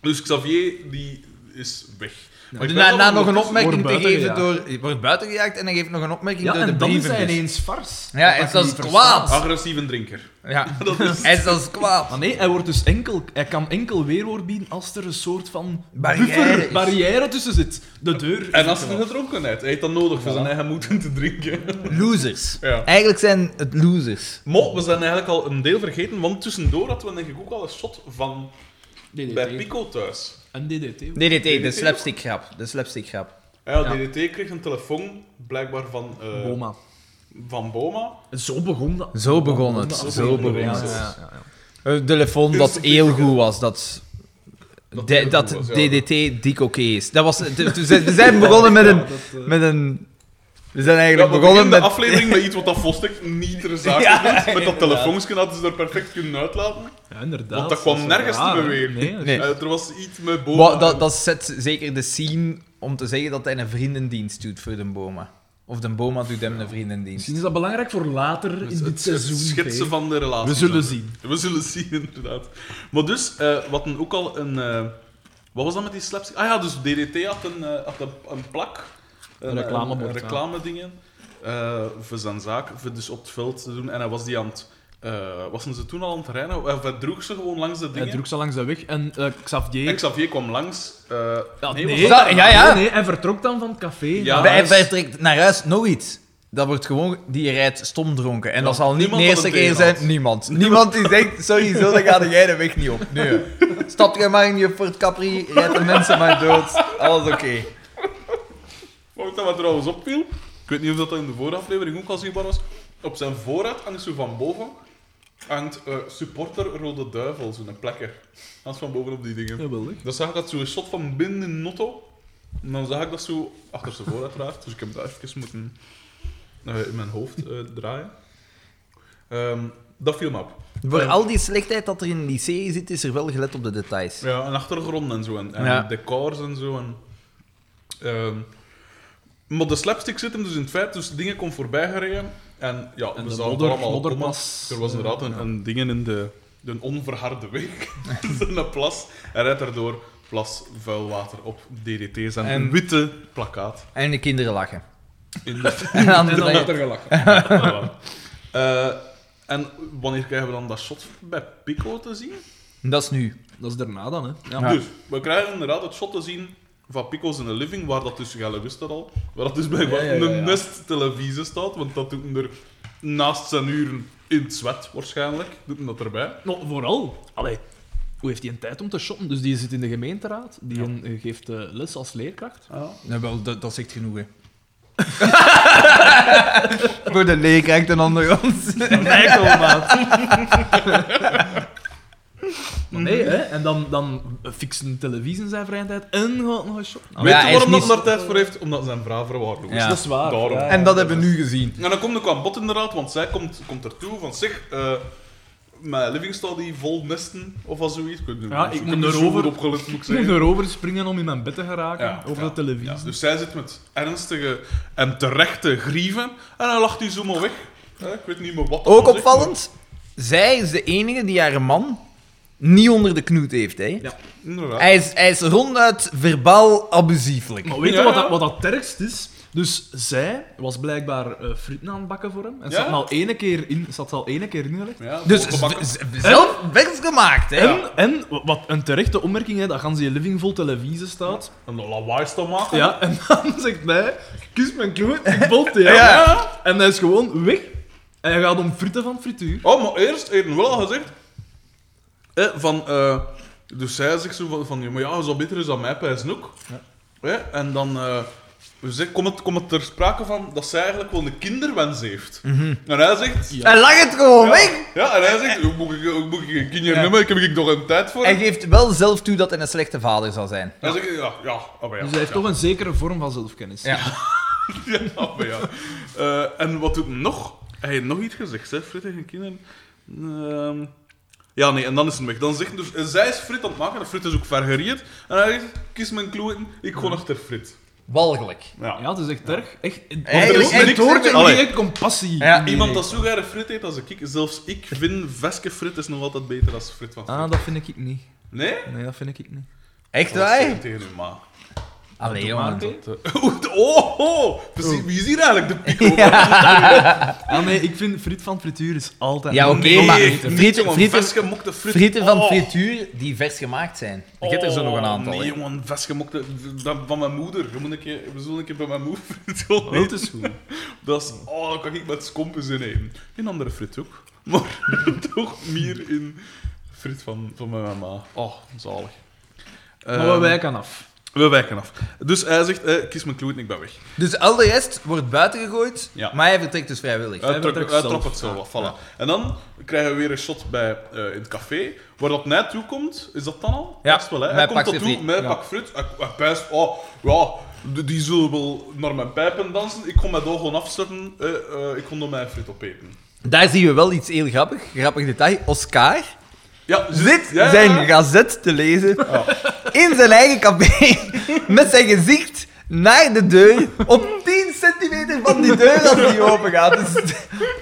[SPEAKER 1] Dus Xavier, die is weg. Maar ik ben
[SPEAKER 2] Daarna
[SPEAKER 1] wel
[SPEAKER 2] nog een
[SPEAKER 1] ondertussen-
[SPEAKER 2] opmerking te
[SPEAKER 3] wordt
[SPEAKER 2] geven
[SPEAKER 3] buitengejaagd.
[SPEAKER 2] door... je Wordt buitengejaagd en hij geeft nog een opmerking
[SPEAKER 3] Ja,
[SPEAKER 2] door de dus.
[SPEAKER 3] en dan is hij
[SPEAKER 2] brievenbus.
[SPEAKER 3] ineens fars.
[SPEAKER 2] Ja, en
[SPEAKER 3] ik
[SPEAKER 2] dat
[SPEAKER 3] niet
[SPEAKER 2] is
[SPEAKER 3] verstaan.
[SPEAKER 2] kwaad.
[SPEAKER 1] Agressieve drinker.
[SPEAKER 2] Ja,
[SPEAKER 1] Dat is...
[SPEAKER 2] hij is zelfs kwaad.
[SPEAKER 3] Maar nee, hij, wordt dus enkel, hij kan enkel weerwoord bieden als er een soort van
[SPEAKER 2] Barrière
[SPEAKER 3] buffer,
[SPEAKER 2] is.
[SPEAKER 3] barrière tussen zit. De deur. is
[SPEAKER 1] En als hij
[SPEAKER 3] open.
[SPEAKER 1] gedronkenheid, hij heeft dat nodig voor zijn eigen moed om te drinken.
[SPEAKER 2] Losers.
[SPEAKER 1] Ja.
[SPEAKER 2] Eigenlijk zijn het losers.
[SPEAKER 1] Mo, we zijn eigenlijk al een deel vergeten, want tussendoor hadden we denk ik ook al een shot van bij
[SPEAKER 3] DDT.
[SPEAKER 1] Pico thuis.
[SPEAKER 3] En DDT. ook.
[SPEAKER 2] DDT, de slapstick grap. De slapstick grap.
[SPEAKER 1] Ah Ja,
[SPEAKER 3] Ja.
[SPEAKER 1] DDT kreeg een telefoon, blijkbaar van, eh,
[SPEAKER 3] Boma.
[SPEAKER 1] van Boma.
[SPEAKER 3] Eh, Zo begon dat.
[SPEAKER 2] Zo begon
[SPEAKER 3] begon
[SPEAKER 2] het.
[SPEAKER 3] dat.
[SPEAKER 2] Zo begon
[SPEAKER 3] Ja,
[SPEAKER 2] het.
[SPEAKER 3] ja, ja, ja.
[SPEAKER 2] Een telefoon dat heel goed was, dat...
[SPEAKER 1] Dat
[SPEAKER 2] de-
[SPEAKER 1] heel
[SPEAKER 2] dat
[SPEAKER 1] goed was, ja.
[SPEAKER 2] DDT dik oké is. Dat was, de- toen zijn- we zijn begonnen met een,
[SPEAKER 3] Ja, dat, eh,
[SPEAKER 2] met een... We zijn
[SPEAKER 1] Ja,
[SPEAKER 2] eigenlijk
[SPEAKER 1] we beginnen
[SPEAKER 2] begonnen
[SPEAKER 1] de
[SPEAKER 2] met...
[SPEAKER 1] aflevering met iets wat dat Vostek niet ter zake
[SPEAKER 2] Ja,
[SPEAKER 1] doet. Met dat
[SPEAKER 2] inderdaad.
[SPEAKER 1] telefoonsje hadden ze er perfect kunnen uitlaten.
[SPEAKER 3] ja, inderdaad.
[SPEAKER 1] Want dat kwam
[SPEAKER 3] is
[SPEAKER 1] nergens
[SPEAKER 3] raar,
[SPEAKER 1] te
[SPEAKER 3] hè.
[SPEAKER 1] beweren.
[SPEAKER 3] Nee, dat is-
[SPEAKER 2] Nee.
[SPEAKER 1] Eh, er was iets met Boma.
[SPEAKER 2] Wa- dat, dat zet zeker de scene om te zeggen dat hij een vriendendienst doet voor de Boma. Of de Boma doet hem een vriendendienst.
[SPEAKER 3] Misschien is dat belangrijk voor later
[SPEAKER 1] Het-
[SPEAKER 3] in
[SPEAKER 1] het-
[SPEAKER 3] dit seizoen.
[SPEAKER 1] Het schetsen
[SPEAKER 3] P.
[SPEAKER 1] van de relatie.
[SPEAKER 3] We zullen
[SPEAKER 1] Xander.
[SPEAKER 3] zien.
[SPEAKER 1] We zullen zien, inderdaad. Maar dus, eh, wat een, ook al een... eh, wat was dat met die slapstick? Ah ja, dus DDT had een, eh, had een, een plak.
[SPEAKER 3] Een reclamebord,
[SPEAKER 1] Een,
[SPEAKER 3] ja.
[SPEAKER 1] reclamedingen. eh, voor zijn zaak, voor dus op het veld te doen. En hij was die aan het... eh wassen ze toen al aan het rijden? Of hij droeg ze gewoon langs de dingen?
[SPEAKER 3] Hij droeg ze langs de weg en eh, Xavier...
[SPEAKER 1] En Xavier kwam langs. eh,
[SPEAKER 3] Ja,
[SPEAKER 1] nee, was
[SPEAKER 3] nee,
[SPEAKER 1] dat-
[SPEAKER 2] dat- ja, ja.
[SPEAKER 3] nee, nee, hij vertrok dan van het café.
[SPEAKER 1] Ja.
[SPEAKER 3] naar
[SPEAKER 2] Bij,
[SPEAKER 3] huis.
[SPEAKER 2] bij trekt naar huis nog iets. Dat wordt gewoon, die rijdt stomdronken. En dat zal niet de
[SPEAKER 1] niemand
[SPEAKER 2] eerste
[SPEAKER 1] dat het
[SPEAKER 2] keer
[SPEAKER 1] tegen
[SPEAKER 2] zijn.
[SPEAKER 1] had.
[SPEAKER 2] Niemand. Niemand die zegt, sorry, zo, dan ga jij de weg niet op. Nee. Stap jij maar in je Ford Capri, rijd de mensen maar dood. Alles oké.
[SPEAKER 1] Wat dat wat trouwens opviel, ik weet niet of dat in de vorige aflevering ook al zichtbaar was, op zijn voorraad hangt zo van boven hangt eh, supporter Rode Duivel, zo'n plekker. Dat is van boven op die dingen.
[SPEAKER 3] Geweldig.
[SPEAKER 1] Dan zag ik dat zo'n shot van binnen in Notto. En dan zag ik dat zo achter zijn voorraad uiteraard, dus ik heb dat even moeten eh, in mijn hoofd eh, draaien. Ehm, dat viel me op.
[SPEAKER 2] Voor al die slechtheid dat er in die serie zit, is er wel gelet op de details.
[SPEAKER 1] Ja, en achtergrond en zo. En, en
[SPEAKER 2] Ja.
[SPEAKER 1] decors en zo. En, ehm, maar de slapstick zit hem dus in het feit, dus dingen komen voorbij gereden. En ja,
[SPEAKER 3] En
[SPEAKER 1] we zagen
[SPEAKER 3] de
[SPEAKER 1] het
[SPEAKER 3] modder-
[SPEAKER 1] allemaal
[SPEAKER 3] modderplas.
[SPEAKER 1] komen. Er was inderdaad een,
[SPEAKER 3] Ja.
[SPEAKER 1] een dingen in de, de onverharde weg. Dus een plas. Hij rijdt daardoor plas vuil water op DDT's en,
[SPEAKER 2] En-
[SPEAKER 1] een witte plakkaat.
[SPEAKER 2] En de kinderen lachen.
[SPEAKER 1] In de...
[SPEAKER 2] En dan,
[SPEAKER 3] En dan wordt er gelachen.
[SPEAKER 1] Voilà. Eh, en wanneer krijgen we dan dat shot bij Pico te zien?
[SPEAKER 2] Dat is nu.
[SPEAKER 3] Dat is daarna dan, hè. Ja.
[SPEAKER 1] Dus, we krijgen inderdaad het shot te zien van Pico's in the Living, waar dat dus, Gelle wist dat al, waar dat dus blijkbaar
[SPEAKER 3] Ja, ja, ja, ja.
[SPEAKER 1] een nest televisie staat, want dat doet hem er naast zijn uren in het zwet waarschijnlijk, doet hem dat erbij.
[SPEAKER 3] Nou, vooral, allee, hoe heeft hij een tijd om te shoppen? Dus die zit in de gemeenteraad, die een- eh, geeft eh, les als leerkracht.
[SPEAKER 2] Nou, wel, dat, dat zegt genoeg, hè. Voor de leerkracht en onder ons.
[SPEAKER 3] Eikelmaat. nee,
[SPEAKER 1] Mhm.
[SPEAKER 3] hè? En dan, dan fixen televisie zijn vrije tijd en gaat nog eens shoppen.
[SPEAKER 2] Maar
[SPEAKER 1] Weet
[SPEAKER 2] ja,
[SPEAKER 1] je
[SPEAKER 2] hij is
[SPEAKER 1] waarom dat
[SPEAKER 2] niet-
[SPEAKER 1] hem daar tijd voor heeft? Omdat zijn vrouw verwaarloosd is.
[SPEAKER 2] Ja.
[SPEAKER 3] Dat is waar.
[SPEAKER 1] Daarom.
[SPEAKER 3] ja, ja.
[SPEAKER 2] En dat hebben we nu gezien.
[SPEAKER 1] En dan komt ook aan bod inderdaad, want zij komt, komt ertoe van zeg, eh, mijn living staat die vol nesten of al zoiets. Ik, weet niet,
[SPEAKER 3] Ja, ik
[SPEAKER 1] heb
[SPEAKER 3] moet
[SPEAKER 1] niet zo
[SPEAKER 3] erover.
[SPEAKER 1] goed opgelet, moet ik
[SPEAKER 3] Ik moet
[SPEAKER 1] zeggen.
[SPEAKER 3] erover springen om in mijn bed te geraken
[SPEAKER 1] Ja,
[SPEAKER 3] over
[SPEAKER 1] ja,
[SPEAKER 3] de televisie.
[SPEAKER 1] Ja, dus zij zit met ernstige en terechte grieven en hij lacht die zo maar weg. Eh, ik weet niet meer wat. dat
[SPEAKER 2] Ook
[SPEAKER 1] was, echt,
[SPEAKER 2] opvallend, zij is de enige die haar man niet onder de knoet heeft, hè.
[SPEAKER 3] Ja.
[SPEAKER 1] maar Inderdaad.
[SPEAKER 2] Hij is, hij is ronduit verbaal abusieflijk.
[SPEAKER 3] Maar weet je
[SPEAKER 1] Ja,
[SPEAKER 3] wat,
[SPEAKER 1] ja.
[SPEAKER 3] dat, wat dat het ergst is? Dus zij was blijkbaar eh frieten aan het bakken voor hem. En
[SPEAKER 1] Ja.
[SPEAKER 3] zat al ene keer in, zat al ene keer ingelegd.
[SPEAKER 1] Ja,
[SPEAKER 2] Dus
[SPEAKER 1] volgebakken.
[SPEAKER 2] z- z- zelf vers gemaakt, hè.
[SPEAKER 3] En, en wa- wat een terechte opmerking, hè, dat gans je living vol televisie staat.
[SPEAKER 1] een lawaai te maken.
[SPEAKER 3] Ja, en dan zegt hij, kus mijn kloot, ik bolt die. hè."
[SPEAKER 1] Ja.
[SPEAKER 3] En hij is gewoon weg. En hij gaat om fritten van frituur.
[SPEAKER 1] Oh, maar eerst even wel al gezegd. Eh, van, eh, dus zij zegt zo van, van ja, maar ja, je zou beter eens aan mij pijzen ook. Eh, en dan eh, zeg, komt het, kom het ter sprake van dat zij eigenlijk wel een kinderwens heeft.
[SPEAKER 3] Mhm.
[SPEAKER 1] En hij zegt... Ja.
[SPEAKER 2] Hij lag het gewoon weg.
[SPEAKER 1] Ja, en hij zegt, "Hoe moet ik, hoe moet ik een kinder nemen? Ik heb ik toch een tijd voor.
[SPEAKER 2] Hij geeft wel zelf toe dat hij een slechte vader zal zijn.
[SPEAKER 1] Hij zegt, ja, ja, ah, maar ja.
[SPEAKER 3] Dus hij heeft
[SPEAKER 1] ja.
[SPEAKER 3] toch een zekere vorm van zelfkennis.
[SPEAKER 2] Ja.
[SPEAKER 1] Ja, oh, maar ja. Eh, en wat doet hem nog? Hij heeft nog iets gezegd, hè? Frit tegen kinderen. Ehm, ja, nee, en dan is hij weg. Dan zegt dus, eh, zij is Frit aan het maken, en Frit is ook vergeriet. En hij zegt, kies mijn kloeten, ik ga achter Frit.
[SPEAKER 2] Walgelijk.
[SPEAKER 1] Ja.
[SPEAKER 3] Ja, het is echt erg. Echt,
[SPEAKER 2] Eigenlijk
[SPEAKER 3] er is
[SPEAKER 2] echt
[SPEAKER 3] een toortje
[SPEAKER 1] Allee.
[SPEAKER 3] tegen compassie.
[SPEAKER 2] Ja,
[SPEAKER 3] in die
[SPEAKER 1] Iemand
[SPEAKER 3] reeks.
[SPEAKER 1] dat zo graag Frit eet als ik, zelfs ik vind Veske Frit is nog altijd beter dan Frit van Frit.
[SPEAKER 3] Ah, dat vind ik niet.
[SPEAKER 1] Nee?
[SPEAKER 3] Nee, dat vind ik niet.
[SPEAKER 2] Echt
[SPEAKER 1] Dat eh, zeg
[SPEAKER 2] waar?
[SPEAKER 1] ik tegen uw ma.
[SPEAKER 2] Allee,
[SPEAKER 3] Maar,
[SPEAKER 2] jongen.
[SPEAKER 3] oké.
[SPEAKER 1] Oeh, Oh, oh, precies, wie is hier eigenlijk de pico?
[SPEAKER 3] Ah nee, ik vind friet van frituur is altijd...
[SPEAKER 2] Ja, oké,
[SPEAKER 1] Nee,
[SPEAKER 2] maar
[SPEAKER 1] niet,
[SPEAKER 2] frieten-
[SPEAKER 1] jongen,
[SPEAKER 2] frieten-
[SPEAKER 1] versgemokte Frit.
[SPEAKER 2] Frieten van
[SPEAKER 1] Oh.
[SPEAKER 2] frituur die vers gemaakt zijn. Ik heb er zo nog een aantal.
[SPEAKER 1] Nee,
[SPEAKER 2] hè.
[SPEAKER 1] jongen, vastgemokte eh, van, van mijn moeder. Je moet een keer, we zullen een keer bij mijn moeder friet
[SPEAKER 3] Oh, het is goed.
[SPEAKER 1] Dat is, oh, dat kan ik met scompus in eten. Geen andere frit ook, maar toch meer in frit van, van mijn mama. Oh, zalig.
[SPEAKER 3] Maar we
[SPEAKER 1] Ehm,
[SPEAKER 3] wijken af.
[SPEAKER 1] we wijken af. Dus hij zegt, eh, kies mijn kloot en ik ben weg.
[SPEAKER 2] Dus al de rest wordt buiten gegooid,
[SPEAKER 1] Ja.
[SPEAKER 2] maar hij vertrekt dus vrijwillig.
[SPEAKER 1] Hij
[SPEAKER 3] vertrekt
[SPEAKER 1] trok- hij
[SPEAKER 3] zelf.
[SPEAKER 1] trok het zo af, voilà. En dan krijgen we weer een shot bij, eh, in het café, waar dat net toe komt. Is dat dan al?
[SPEAKER 2] Ja,
[SPEAKER 1] Best wel, hè?
[SPEAKER 2] mij
[SPEAKER 1] Hij komt
[SPEAKER 2] pakt
[SPEAKER 1] dat
[SPEAKER 2] zijn
[SPEAKER 1] toe,
[SPEAKER 2] friet.
[SPEAKER 1] mij
[SPEAKER 3] Ja.
[SPEAKER 1] pak fruit. Hij, hij pijst, oh, ja, die, die zullen wel naar mijn pijpen dansen. Ik kon mijn ogen gewoon afzetten, eh, eh, ik kon door mijn fruit opeten.
[SPEAKER 2] Daar zien we wel iets heel grappig, grappig detail. Oscar
[SPEAKER 1] Ja,
[SPEAKER 2] zit
[SPEAKER 1] ja, ja,
[SPEAKER 2] zijn
[SPEAKER 1] ja.
[SPEAKER 2] gazet te lezen in zijn eigen café met zijn gezicht naar de deur op 10 centimeter van die deur als die open gaat. Dus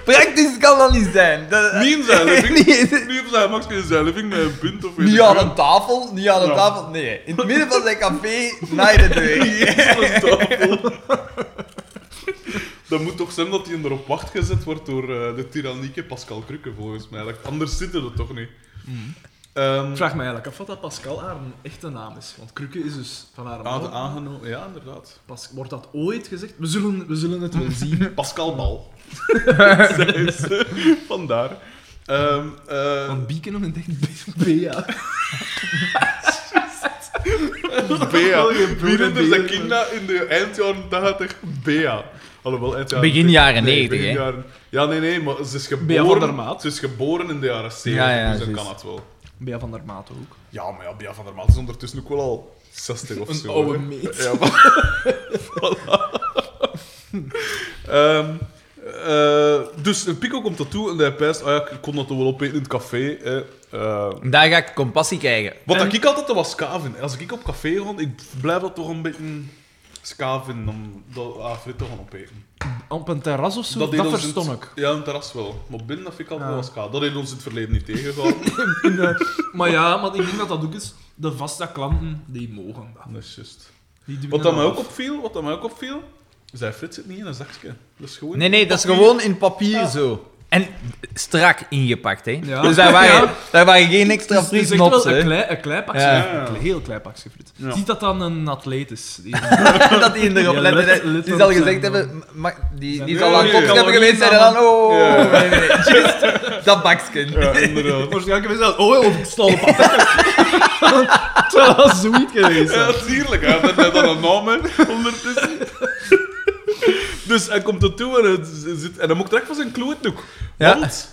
[SPEAKER 2] praktisch kan dat niet zijn. Dat,
[SPEAKER 1] Niet in zijn living.
[SPEAKER 2] Niet-
[SPEAKER 1] Niet op zijn gemak, in zijn living met een punt of weet
[SPEAKER 2] niet
[SPEAKER 1] ik
[SPEAKER 2] aan
[SPEAKER 1] veel.
[SPEAKER 2] een tafel, niet aan een
[SPEAKER 1] Ja.
[SPEAKER 2] tafel, nee. In het midden van zijn café naar de deur.
[SPEAKER 1] Jezus, een tafel. Dat moet toch zijn dat hij erop wacht gezet wordt door eh, de tyrannieke Pascal Krukke, volgens mij. Like, anders zitten we toch niet.
[SPEAKER 3] Hmm.
[SPEAKER 1] Ehm,
[SPEAKER 3] Ik vraag me eigenlijk af wat dat Pascal haar echte naam is. Want Krukke is dus van haar
[SPEAKER 1] aan-
[SPEAKER 3] man.
[SPEAKER 1] aangenomen, ah, ja, inderdaad.
[SPEAKER 3] Pas- wordt dat ooit gezegd? We zullen, we zullen het wel zien.
[SPEAKER 1] Pascal Bal. Zij is, eh, Vandaar. Ehm, eh,
[SPEAKER 3] Van Beacon en denkt Bea.
[SPEAKER 1] Bea.
[SPEAKER 3] Oh, je broer
[SPEAKER 1] Wie
[SPEAKER 3] en
[SPEAKER 1] noemde zijn
[SPEAKER 3] Bea.
[SPEAKER 1] kinderen in de eind jaren 80 Bea? Alhoewel, eind jaren
[SPEAKER 2] Begin jaren
[SPEAKER 1] 90, nee,
[SPEAKER 2] 90,
[SPEAKER 1] begin
[SPEAKER 2] hè?
[SPEAKER 1] jaren- Ja, nee, nee, maar ze is
[SPEAKER 3] Bea van der
[SPEAKER 1] geboren,
[SPEAKER 3] Maat.
[SPEAKER 1] ze is geboren in de jaren 70,
[SPEAKER 2] Ja, ja,
[SPEAKER 1] dus dan
[SPEAKER 2] juist.
[SPEAKER 1] kan het wel.
[SPEAKER 3] Bea van der Maat ook.
[SPEAKER 1] Ja, maar ja, Bea van der Maat is ondertussen ook wel al 60 of
[SPEAKER 3] Een
[SPEAKER 1] zo.
[SPEAKER 3] oude
[SPEAKER 1] hè.
[SPEAKER 3] meid.
[SPEAKER 1] Ja, maar... Voilà. Ehm, eh, dus eh, Pico komt dat toe en hij pijst, ah ja, ik kon dat toch wel opeten in het café. hè. Eh,
[SPEAKER 2] Daar ga ik compassie krijgen.
[SPEAKER 1] wat
[SPEAKER 3] En-
[SPEAKER 1] dat ik altijd was skaven. Als ik op café ga, ik blijf dat toch een beetje skaven om dat ah, frit te gaan opeten.
[SPEAKER 3] op een terras of zo, dat,
[SPEAKER 1] deed ons in
[SPEAKER 3] verstond
[SPEAKER 1] het-
[SPEAKER 3] ik.
[SPEAKER 1] Ja, een terras wel. Maar binnen dat vind ik altijd
[SPEAKER 3] Ja.
[SPEAKER 1] wel ska. Dat heeft ons in het verleden niet tegengehouden.
[SPEAKER 3] In de- maar ja, maar ik denk dat dat ook is. De vaste klanten, die mogen dat.
[SPEAKER 1] dat is juist.
[SPEAKER 3] Die doen
[SPEAKER 1] Wat dat mij
[SPEAKER 3] dat
[SPEAKER 1] ook opviel, wat dat mij ook opviel, zij Frits zit niet in een zakje. Dat is gewoon...
[SPEAKER 2] Nee, nee, dat is
[SPEAKER 1] papier.
[SPEAKER 2] gewoon in papier zo. En strak ingepakt, hè.
[SPEAKER 3] Ja.
[SPEAKER 2] Dus daar waren,
[SPEAKER 3] Ja.
[SPEAKER 2] daar waren geen extra
[SPEAKER 3] Het is- het is echt
[SPEAKER 2] friesnops,
[SPEAKER 3] wel een
[SPEAKER 2] hè.
[SPEAKER 3] klein, een klein pakje,
[SPEAKER 1] Ja.
[SPEAKER 3] een heel klein pakje friet.
[SPEAKER 1] Ja.
[SPEAKER 3] Ziet dat dan een atleet is? Die-
[SPEAKER 2] dat die erop
[SPEAKER 3] Ja,
[SPEAKER 2] letten.
[SPEAKER 3] let-
[SPEAKER 2] hè.
[SPEAKER 3] let
[SPEAKER 2] die
[SPEAKER 3] erop
[SPEAKER 2] zal gezegd
[SPEAKER 3] zijn,
[SPEAKER 2] hebben... ma- Die, die
[SPEAKER 3] Ja,
[SPEAKER 2] zal aan
[SPEAKER 1] ja,
[SPEAKER 2] het
[SPEAKER 1] ja.
[SPEAKER 2] geweest zijn en dan... Oh,
[SPEAKER 1] Ja.
[SPEAKER 2] nee, nee, nee. Juist, dat bakje.
[SPEAKER 1] Ja, inderdaad.
[SPEAKER 3] Waarschijnlijk hebben ze dat... Oh, ik stal op Het zou wel zoiets geweest zijn.
[SPEAKER 1] Ja, tuurlijk. Hij heeft net al een naam hè, ondertussen. Dus hij komt er toe en, het zit, en hij moet direct van zijn klootdoek.
[SPEAKER 2] Ja.
[SPEAKER 1] Want...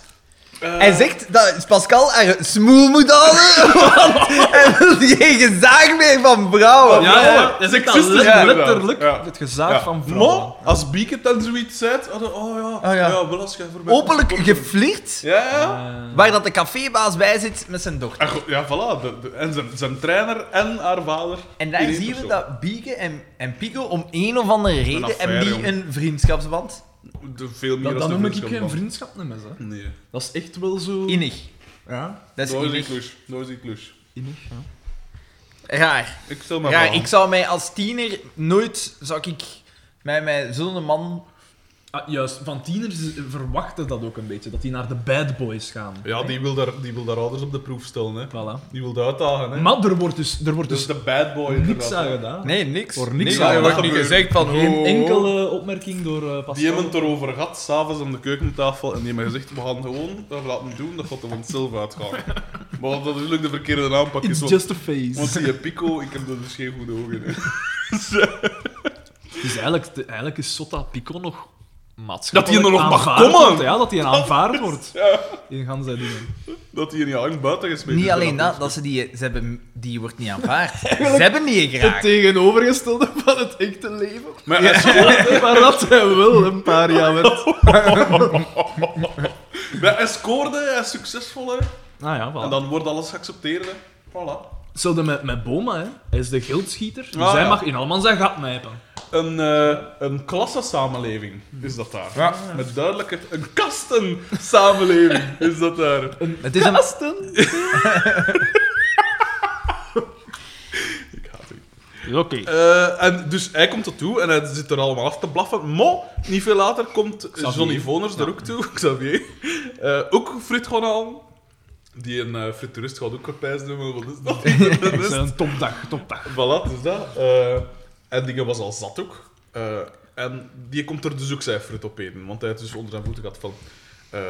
[SPEAKER 1] eh,
[SPEAKER 2] Hij zegt dat Pascal haar smoel moet halen, want hij wil geen gezaag meer van vrouwen.
[SPEAKER 3] Ja, ja,
[SPEAKER 1] ja.
[SPEAKER 3] ja. Dat is echt al
[SPEAKER 1] Seksistisch
[SPEAKER 3] letterlijk,
[SPEAKER 1] inderdaad.
[SPEAKER 3] letterlijk
[SPEAKER 1] Ja.
[SPEAKER 3] het gezaag
[SPEAKER 1] ja.
[SPEAKER 3] van vrouwen.
[SPEAKER 1] Maar, als Beacon dan zoiets zei, hadden oh ja,
[SPEAKER 2] ja.
[SPEAKER 1] ja. ja wel als jij voor mij
[SPEAKER 2] Openlijk
[SPEAKER 1] komt,
[SPEAKER 2] geflirt,
[SPEAKER 1] Ja, ja.
[SPEAKER 3] Eh,
[SPEAKER 2] waar dat de cafébaas bij zit met zijn dochter.
[SPEAKER 1] En goed, ja, voilà. de- de- en zijn, zijn trainer en haar vader.
[SPEAKER 2] En daar
[SPEAKER 1] in één
[SPEAKER 2] zien we
[SPEAKER 1] persoon.
[SPEAKER 2] dat Bieke en, en Pico om een of andere reden
[SPEAKER 1] affaire,
[SPEAKER 2] hebben die
[SPEAKER 1] jongen.
[SPEAKER 2] een vriendschapsband.
[SPEAKER 1] De, veel meer
[SPEAKER 3] dat,
[SPEAKER 1] als
[SPEAKER 3] dat
[SPEAKER 1] de
[SPEAKER 3] noem ik
[SPEAKER 1] vriendschap
[SPEAKER 3] geen
[SPEAKER 1] van-
[SPEAKER 3] vriendschap meer, hè.
[SPEAKER 1] Nee.
[SPEAKER 3] Dat is echt wel zo...
[SPEAKER 2] Innig.
[SPEAKER 3] Ja,
[SPEAKER 2] Dat is
[SPEAKER 1] Dat is die
[SPEAKER 2] innig.
[SPEAKER 1] klus. Dat is die klus.
[SPEAKER 3] innig. Ja.
[SPEAKER 2] Raar.
[SPEAKER 1] Ik stel maar
[SPEAKER 2] Raar.
[SPEAKER 1] voor.
[SPEAKER 2] Ik zou mij als tiener nooit, zou ik mij met zo'n man...
[SPEAKER 3] Ah, juist, van tieners verwachten dat ook een beetje, dat die naar de bad boys gaan.
[SPEAKER 1] Ja, die wil, daar, die wil daar ouders op de proef stellen. Hè.
[SPEAKER 3] Voilà.
[SPEAKER 1] Die wil daar uitdagen. Hè.
[SPEAKER 3] Maar er wordt dus, er wordt
[SPEAKER 1] dus
[SPEAKER 3] dus
[SPEAKER 1] de bad boy.
[SPEAKER 3] niks
[SPEAKER 1] inderdaad.
[SPEAKER 3] aan gedaan.
[SPEAKER 2] Nee, niks.
[SPEAKER 3] Voor niks
[SPEAKER 2] Nee,
[SPEAKER 3] aan
[SPEAKER 2] er wordt
[SPEAKER 1] dat
[SPEAKER 2] niet
[SPEAKER 1] gebeurt.
[SPEAKER 2] gezegd van...
[SPEAKER 3] Geen
[SPEAKER 2] oh, oh, oh.
[SPEAKER 3] enkele opmerking door eh Pascal.
[SPEAKER 1] Die hebben het erover gehad, s'avonds aan de keukentafel. En die hebben gezegd: we gaan gewoon dat laten doen, dat gaat er vanzelf uitgaan. maar dat natuurlijk de verkeerde aanpak is.
[SPEAKER 3] It's
[SPEAKER 1] Want,
[SPEAKER 3] just a face.
[SPEAKER 1] want die Pico, ik heb er dus geen goede ogen in.
[SPEAKER 3] Dus eigenlijk, de- eigenlijk is Sota Pico nog maatschappelijk
[SPEAKER 1] Dat die er nog mag
[SPEAKER 3] aanvaard
[SPEAKER 1] komen.
[SPEAKER 3] wordt, Ja, dat hij aanvaard wordt. In gaan zij dingen.
[SPEAKER 1] Dat die in je hang buiten gesmeten
[SPEAKER 2] Niet
[SPEAKER 1] is. Dus
[SPEAKER 2] alleen dat, dat ze die, ze hebben, die wordt niet aanvaard. ze hebben die
[SPEAKER 3] Het
[SPEAKER 2] graag.
[SPEAKER 3] tegenovergestelde van het echte leven.
[SPEAKER 1] Maar hij is
[SPEAKER 3] Maar dat hij wel een paar jaar werd.
[SPEAKER 1] Ja, hij scoorde, hij is succesvol, hè.
[SPEAKER 3] Nou ja,
[SPEAKER 1] En
[SPEAKER 3] voilà.
[SPEAKER 1] dan wordt alles geaccepteerd, hè. Voilà.
[SPEAKER 3] Hetzelfde met, met Boma, hè. Hij is de geldschieter. Dus
[SPEAKER 1] Ah,
[SPEAKER 3] hij
[SPEAKER 1] ja.
[SPEAKER 3] mag in allemaal zijn gat mijpen.
[SPEAKER 1] Een, eh, een klassensamenleving is dat daar.
[SPEAKER 2] Ja.
[SPEAKER 1] Met duidelijke... Een kastensamenleving is dat daar.
[SPEAKER 2] Het is een,
[SPEAKER 1] Ik haat u.
[SPEAKER 3] Oké.
[SPEAKER 1] Eh, en dus hij komt ertoe en hij zit er allemaal af te blaffen. Maar niet veel later komt
[SPEAKER 3] Xavier.
[SPEAKER 1] Johnny Voners er ook toe, Xavier. Eh, ook Frit gewoon al. Die een eh friturist gaat ook een pijs doen, maar wat is dat?
[SPEAKER 3] Het is een topdag, topdag.
[SPEAKER 1] Voilà, dus dat. Eh, en dingen was al zat ook. Eh, en die komt er dus ook zijn fruit op eten. Want hij heeft dus onder zijn voeten gehad van... eh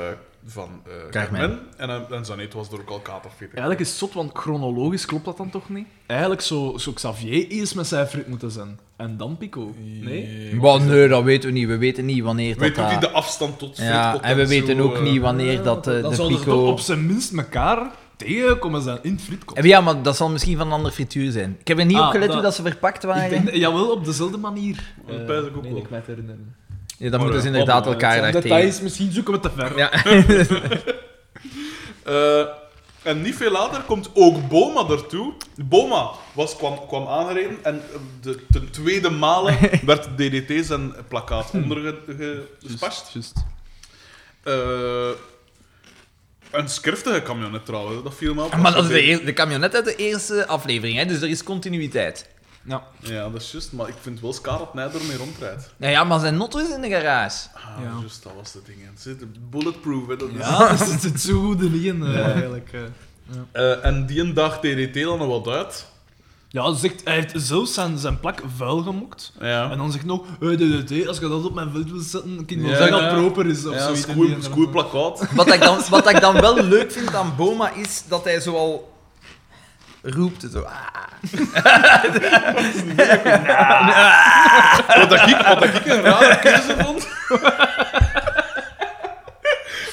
[SPEAKER 1] van eh,
[SPEAKER 2] Carmen.
[SPEAKER 1] Carmen. En, hij- en zijn eten was door ook al katerfit.
[SPEAKER 3] Eigenlijk is het zot, want chronologisch klopt dat dan toch niet? Eigenlijk zou, zou Xavier eerst met zijn frit moeten zijn. En dan Pico. Nee?
[SPEAKER 2] Maar nee, dat weten we niet. We weten niet wanneer
[SPEAKER 1] Weet
[SPEAKER 2] dat...
[SPEAKER 1] ook niet
[SPEAKER 2] dat-
[SPEAKER 1] de afstand tot
[SPEAKER 2] ja, en we weten ook niet
[SPEAKER 3] Ah,
[SPEAKER 2] wanneer dat eh,
[SPEAKER 3] dan
[SPEAKER 2] de
[SPEAKER 3] zouden ze toch
[SPEAKER 2] Pico...
[SPEAKER 3] op zijn minst elkaar tegenkomen zijn in het fritkot.
[SPEAKER 2] Eh, Ja, maar dat zal misschien van een ander frituur zijn. Ik heb er niet
[SPEAKER 3] Ah,
[SPEAKER 2] op gelet
[SPEAKER 3] dat-
[SPEAKER 2] hoe dat ze verpakt
[SPEAKER 3] Ik
[SPEAKER 2] waren.
[SPEAKER 3] denk, jawel, op dezelfde manier.
[SPEAKER 1] Dat
[SPEAKER 3] Eh,
[SPEAKER 1] pijs ik ook
[SPEAKER 3] meen
[SPEAKER 1] wel.
[SPEAKER 3] ik mij te herinneren.
[SPEAKER 2] Ja, dan
[SPEAKER 1] Maar
[SPEAKER 2] moeten
[SPEAKER 1] ja,
[SPEAKER 2] ze inderdaad
[SPEAKER 3] Oh, maar
[SPEAKER 2] elkaar
[SPEAKER 3] het zijn
[SPEAKER 2] daar tegen.
[SPEAKER 3] Details, misschien zoeken we te ver.
[SPEAKER 2] Ja.
[SPEAKER 1] Eh, en niet veel later komt ook Boma ertoe. Boma was, kwam, kwam aangereden en eh, de, ten tweede malen werd DDT zijn plakkaat
[SPEAKER 2] Dus
[SPEAKER 1] ondergespast.
[SPEAKER 3] Juist.
[SPEAKER 1] Eh, een skriftige camionet trouwens, dat viel me
[SPEAKER 3] Ah,
[SPEAKER 1] op.
[SPEAKER 2] Ah, Maar dat is de, eer- de camionet uit de eerste aflevering, hè, dus er is continuïteit.
[SPEAKER 3] Ja.
[SPEAKER 1] Ja, dat is juist, maar ik vind wel skaar dat Nijder mee rondrijdt.
[SPEAKER 2] Nou ja, maar zijn notto is in de garage.
[SPEAKER 1] Ah,
[SPEAKER 3] Ja.
[SPEAKER 1] juist, dat was de ding. hè. Het zit bulletproof, hè, dat is...
[SPEAKER 3] Ja, dat zit het zo goed in, in, eh, eigenlijk. eh.
[SPEAKER 1] Eh, en die een dag DDT dan nog wat uit.
[SPEAKER 3] Ja, zegt, hij heeft zelfs zijn, zijn plak vuil gemokt. En
[SPEAKER 1] Ja.
[SPEAKER 3] dan zegt "Eh, nog, hey, DDT, als je dat op mijn veld wil zetten, kan je wel
[SPEAKER 1] Ja,
[SPEAKER 3] zeggen dat
[SPEAKER 1] ja.
[SPEAKER 3] het proper is of
[SPEAKER 1] Ja,
[SPEAKER 3] zoiets.
[SPEAKER 1] een goeie- een goeie plakkaat.
[SPEAKER 2] Wat ik, dan, wat ik dan wel leuk vind aan Boma is dat hij zoal roept. Zo. ah.
[SPEAKER 1] Wat dat ik, wat dat ik een rare keuze vond.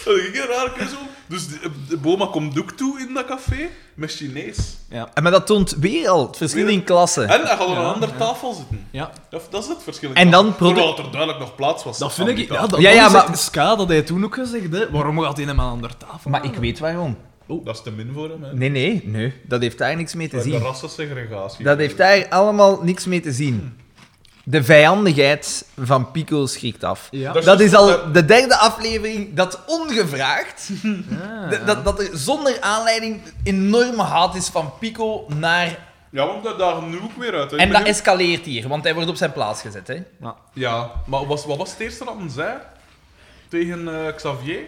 [SPEAKER 1] Wat ik een rare keuze vond. Dus de, de Boma komt ook toe in dat café met Chinees.
[SPEAKER 2] En maar dat toont weer al het verschil in klassen.
[SPEAKER 1] En hij gaat aan
[SPEAKER 3] Ja,
[SPEAKER 1] een andere
[SPEAKER 3] ja.
[SPEAKER 1] tafel zitten.
[SPEAKER 3] Ja,
[SPEAKER 1] Dat, dat is het verschil.
[SPEAKER 2] En dan produ-
[SPEAKER 1] Terwijl er duidelijk nog plaats was.
[SPEAKER 3] dat vind ik...
[SPEAKER 1] die
[SPEAKER 3] Ja,
[SPEAKER 1] tafel.
[SPEAKER 3] dat,
[SPEAKER 2] Ja, ja,
[SPEAKER 3] dat is
[SPEAKER 2] maar-
[SPEAKER 3] echt Ska, dat hij toen ook gezegd hè. Waarom gaat hij hem aan een andere tafel?
[SPEAKER 2] Maar ik weet waarom.
[SPEAKER 1] Dat is te min voor hem. Hè.
[SPEAKER 2] Nee, nee, nee. Dat heeft daar niks mee te
[SPEAKER 1] Bij de
[SPEAKER 2] zien.
[SPEAKER 1] rassensegregatie.
[SPEAKER 2] Dat heeft daar allemaal niks mee te zien. De vijandigheid van Pico schrikt af.
[SPEAKER 3] Ja.
[SPEAKER 1] Dat
[SPEAKER 2] Dat is al de derde aflevering dat ongevraagd, d- dat, dat er zonder aanleiding enorme haat is van Pico naar...
[SPEAKER 1] Ja, want dat daar nu ook weer uit. hè. Ik
[SPEAKER 2] En
[SPEAKER 1] ben
[SPEAKER 2] dat
[SPEAKER 1] nu-
[SPEAKER 2] escaleert hier, want hij wordt op zijn plaats gezet. Hè?
[SPEAKER 1] Ja, maar was, wat was het eerste dat men zei tegen eh, Xavier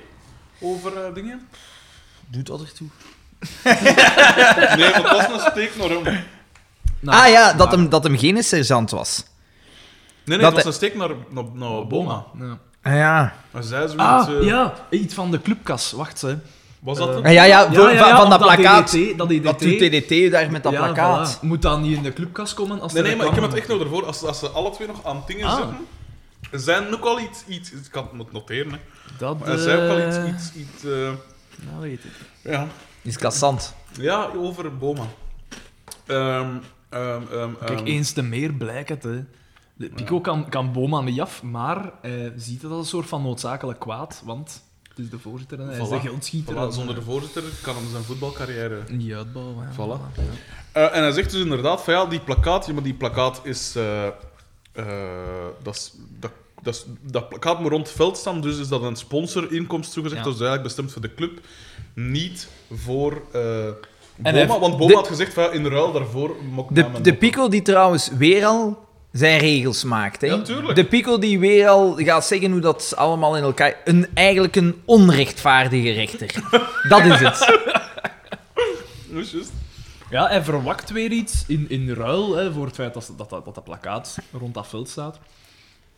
[SPEAKER 1] over eh, dingen?
[SPEAKER 2] Doet dat ertoe?
[SPEAKER 1] Nee, dat was een steek naar hem. Nee,
[SPEAKER 3] Nou,
[SPEAKER 2] ah ja, dat
[SPEAKER 3] maar-
[SPEAKER 2] hem, dat hem geen sergeant was.
[SPEAKER 1] nee,
[SPEAKER 2] Dat
[SPEAKER 1] dat was
[SPEAKER 2] hij-
[SPEAKER 1] een steek naar, naar, naar Boma.
[SPEAKER 3] Boma. Ja.
[SPEAKER 2] Ah ja.
[SPEAKER 1] Maar zij zoiets...
[SPEAKER 3] Ah,
[SPEAKER 1] eh,
[SPEAKER 3] ja. Eh, Iets van de clubkas. Wacht, hè.
[SPEAKER 1] Was dat het?
[SPEAKER 2] Ah, ja, ja,
[SPEAKER 3] Ja,
[SPEAKER 2] door-
[SPEAKER 3] ja,
[SPEAKER 2] van,
[SPEAKER 3] ja,
[SPEAKER 2] van dat,
[SPEAKER 3] want
[SPEAKER 2] plakkaat.
[SPEAKER 3] DDT, dat DDT.
[SPEAKER 2] Dat doet TDT daar met dat
[SPEAKER 3] Ja,
[SPEAKER 2] plakkaat.
[SPEAKER 3] voilà. Moet dat niet in de clubkas komen? Als
[SPEAKER 1] Nee,
[SPEAKER 3] de
[SPEAKER 1] nee, maar ik heb
[SPEAKER 3] reclame
[SPEAKER 1] het echt nodig ervoor. Als, als ze alle twee nog aan dingen
[SPEAKER 3] Ah.
[SPEAKER 1] zitten, zijn ook al iets... iets ik kan het moeten noteren, hè.
[SPEAKER 3] Dat,
[SPEAKER 1] Maar er zijn ook al
[SPEAKER 3] eh,
[SPEAKER 1] iets... iets, iets eh,
[SPEAKER 3] Dat weet ik.
[SPEAKER 1] ja.
[SPEAKER 2] Is kassant.
[SPEAKER 1] ja, over Boma. Ehm, ehm, ehm,
[SPEAKER 3] Kijk,
[SPEAKER 1] ehm.
[SPEAKER 3] eens te meer blijkt het. Hè. De Pico kan, kan Boma niet af, maar eh, ziet het als een soort van noodzakelijk kwaad, want het is de voorzitter en hij is
[SPEAKER 1] Voilà.
[SPEAKER 3] de geldschieter.
[SPEAKER 1] Voilà, zonder de voorzitter kan hem zijn voetbalcarrière...
[SPEAKER 3] Niet uitbouwen. ja.
[SPEAKER 1] Voilà. Eh, en hij zegt dus inderdaad van ja, die plakkaat, ja, maar die plakkaat is. eh, eh, dat, is dat, dat, is- dat plakkaat moet rond het veld staan, dus is dat een sponsorinkomst toegezegd.
[SPEAKER 3] Ja.
[SPEAKER 1] Dat is eigenlijk bestemd voor de club, niet voor eh, Boma.
[SPEAKER 2] En hij-
[SPEAKER 1] want Boma
[SPEAKER 2] de-
[SPEAKER 1] had gezegd van ja, in ruil daarvoor. mok mij
[SPEAKER 2] De,
[SPEAKER 1] mijn
[SPEAKER 2] de
[SPEAKER 1] mop.
[SPEAKER 2] Pico die trouwens weer al zijn regels maakt. Hè?
[SPEAKER 1] Ja, tuurlijk.
[SPEAKER 2] De Pico die weer al gaat zeggen hoe dat allemaal in elkaar... Een, eigenlijk een onrechtvaardige rechter. dat is het.
[SPEAKER 1] Dat is juist.
[SPEAKER 3] Ja, hij verwakt weer iets in, in ruil hè, voor het feit dat dat, dat, dat dat plakkaat rond dat veld staat.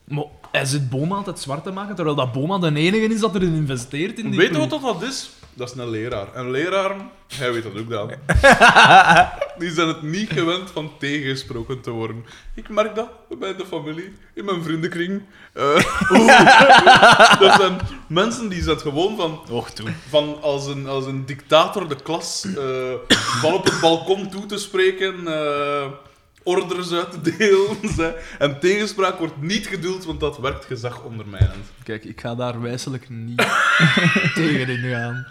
[SPEAKER 3] Maar hij zit Boma altijd zwart te maken, terwijl dat Boma de enige is dat erin investeert in die
[SPEAKER 1] Weet je
[SPEAKER 3] ploeg.
[SPEAKER 1] wat dat wat is? Dat is een leraar. Een leraar, hij weet dat ook dan. Die zijn het niet gewend van tegengesproken te worden. Ik merk dat bij de familie, in mijn vriendenkring. Eh, dat zijn mensen die zijn gewoon van,
[SPEAKER 3] Och, toe.
[SPEAKER 1] van als, een, als een dictator de klas eh, van op het balkon toe te spreken, eh, orders uit te delen. ze- En tegenspraak wordt niet geduld, want dat werkt gezag ondermijnend.
[SPEAKER 3] Kijk, ik ga daar wijselijk niet tegenin gaan.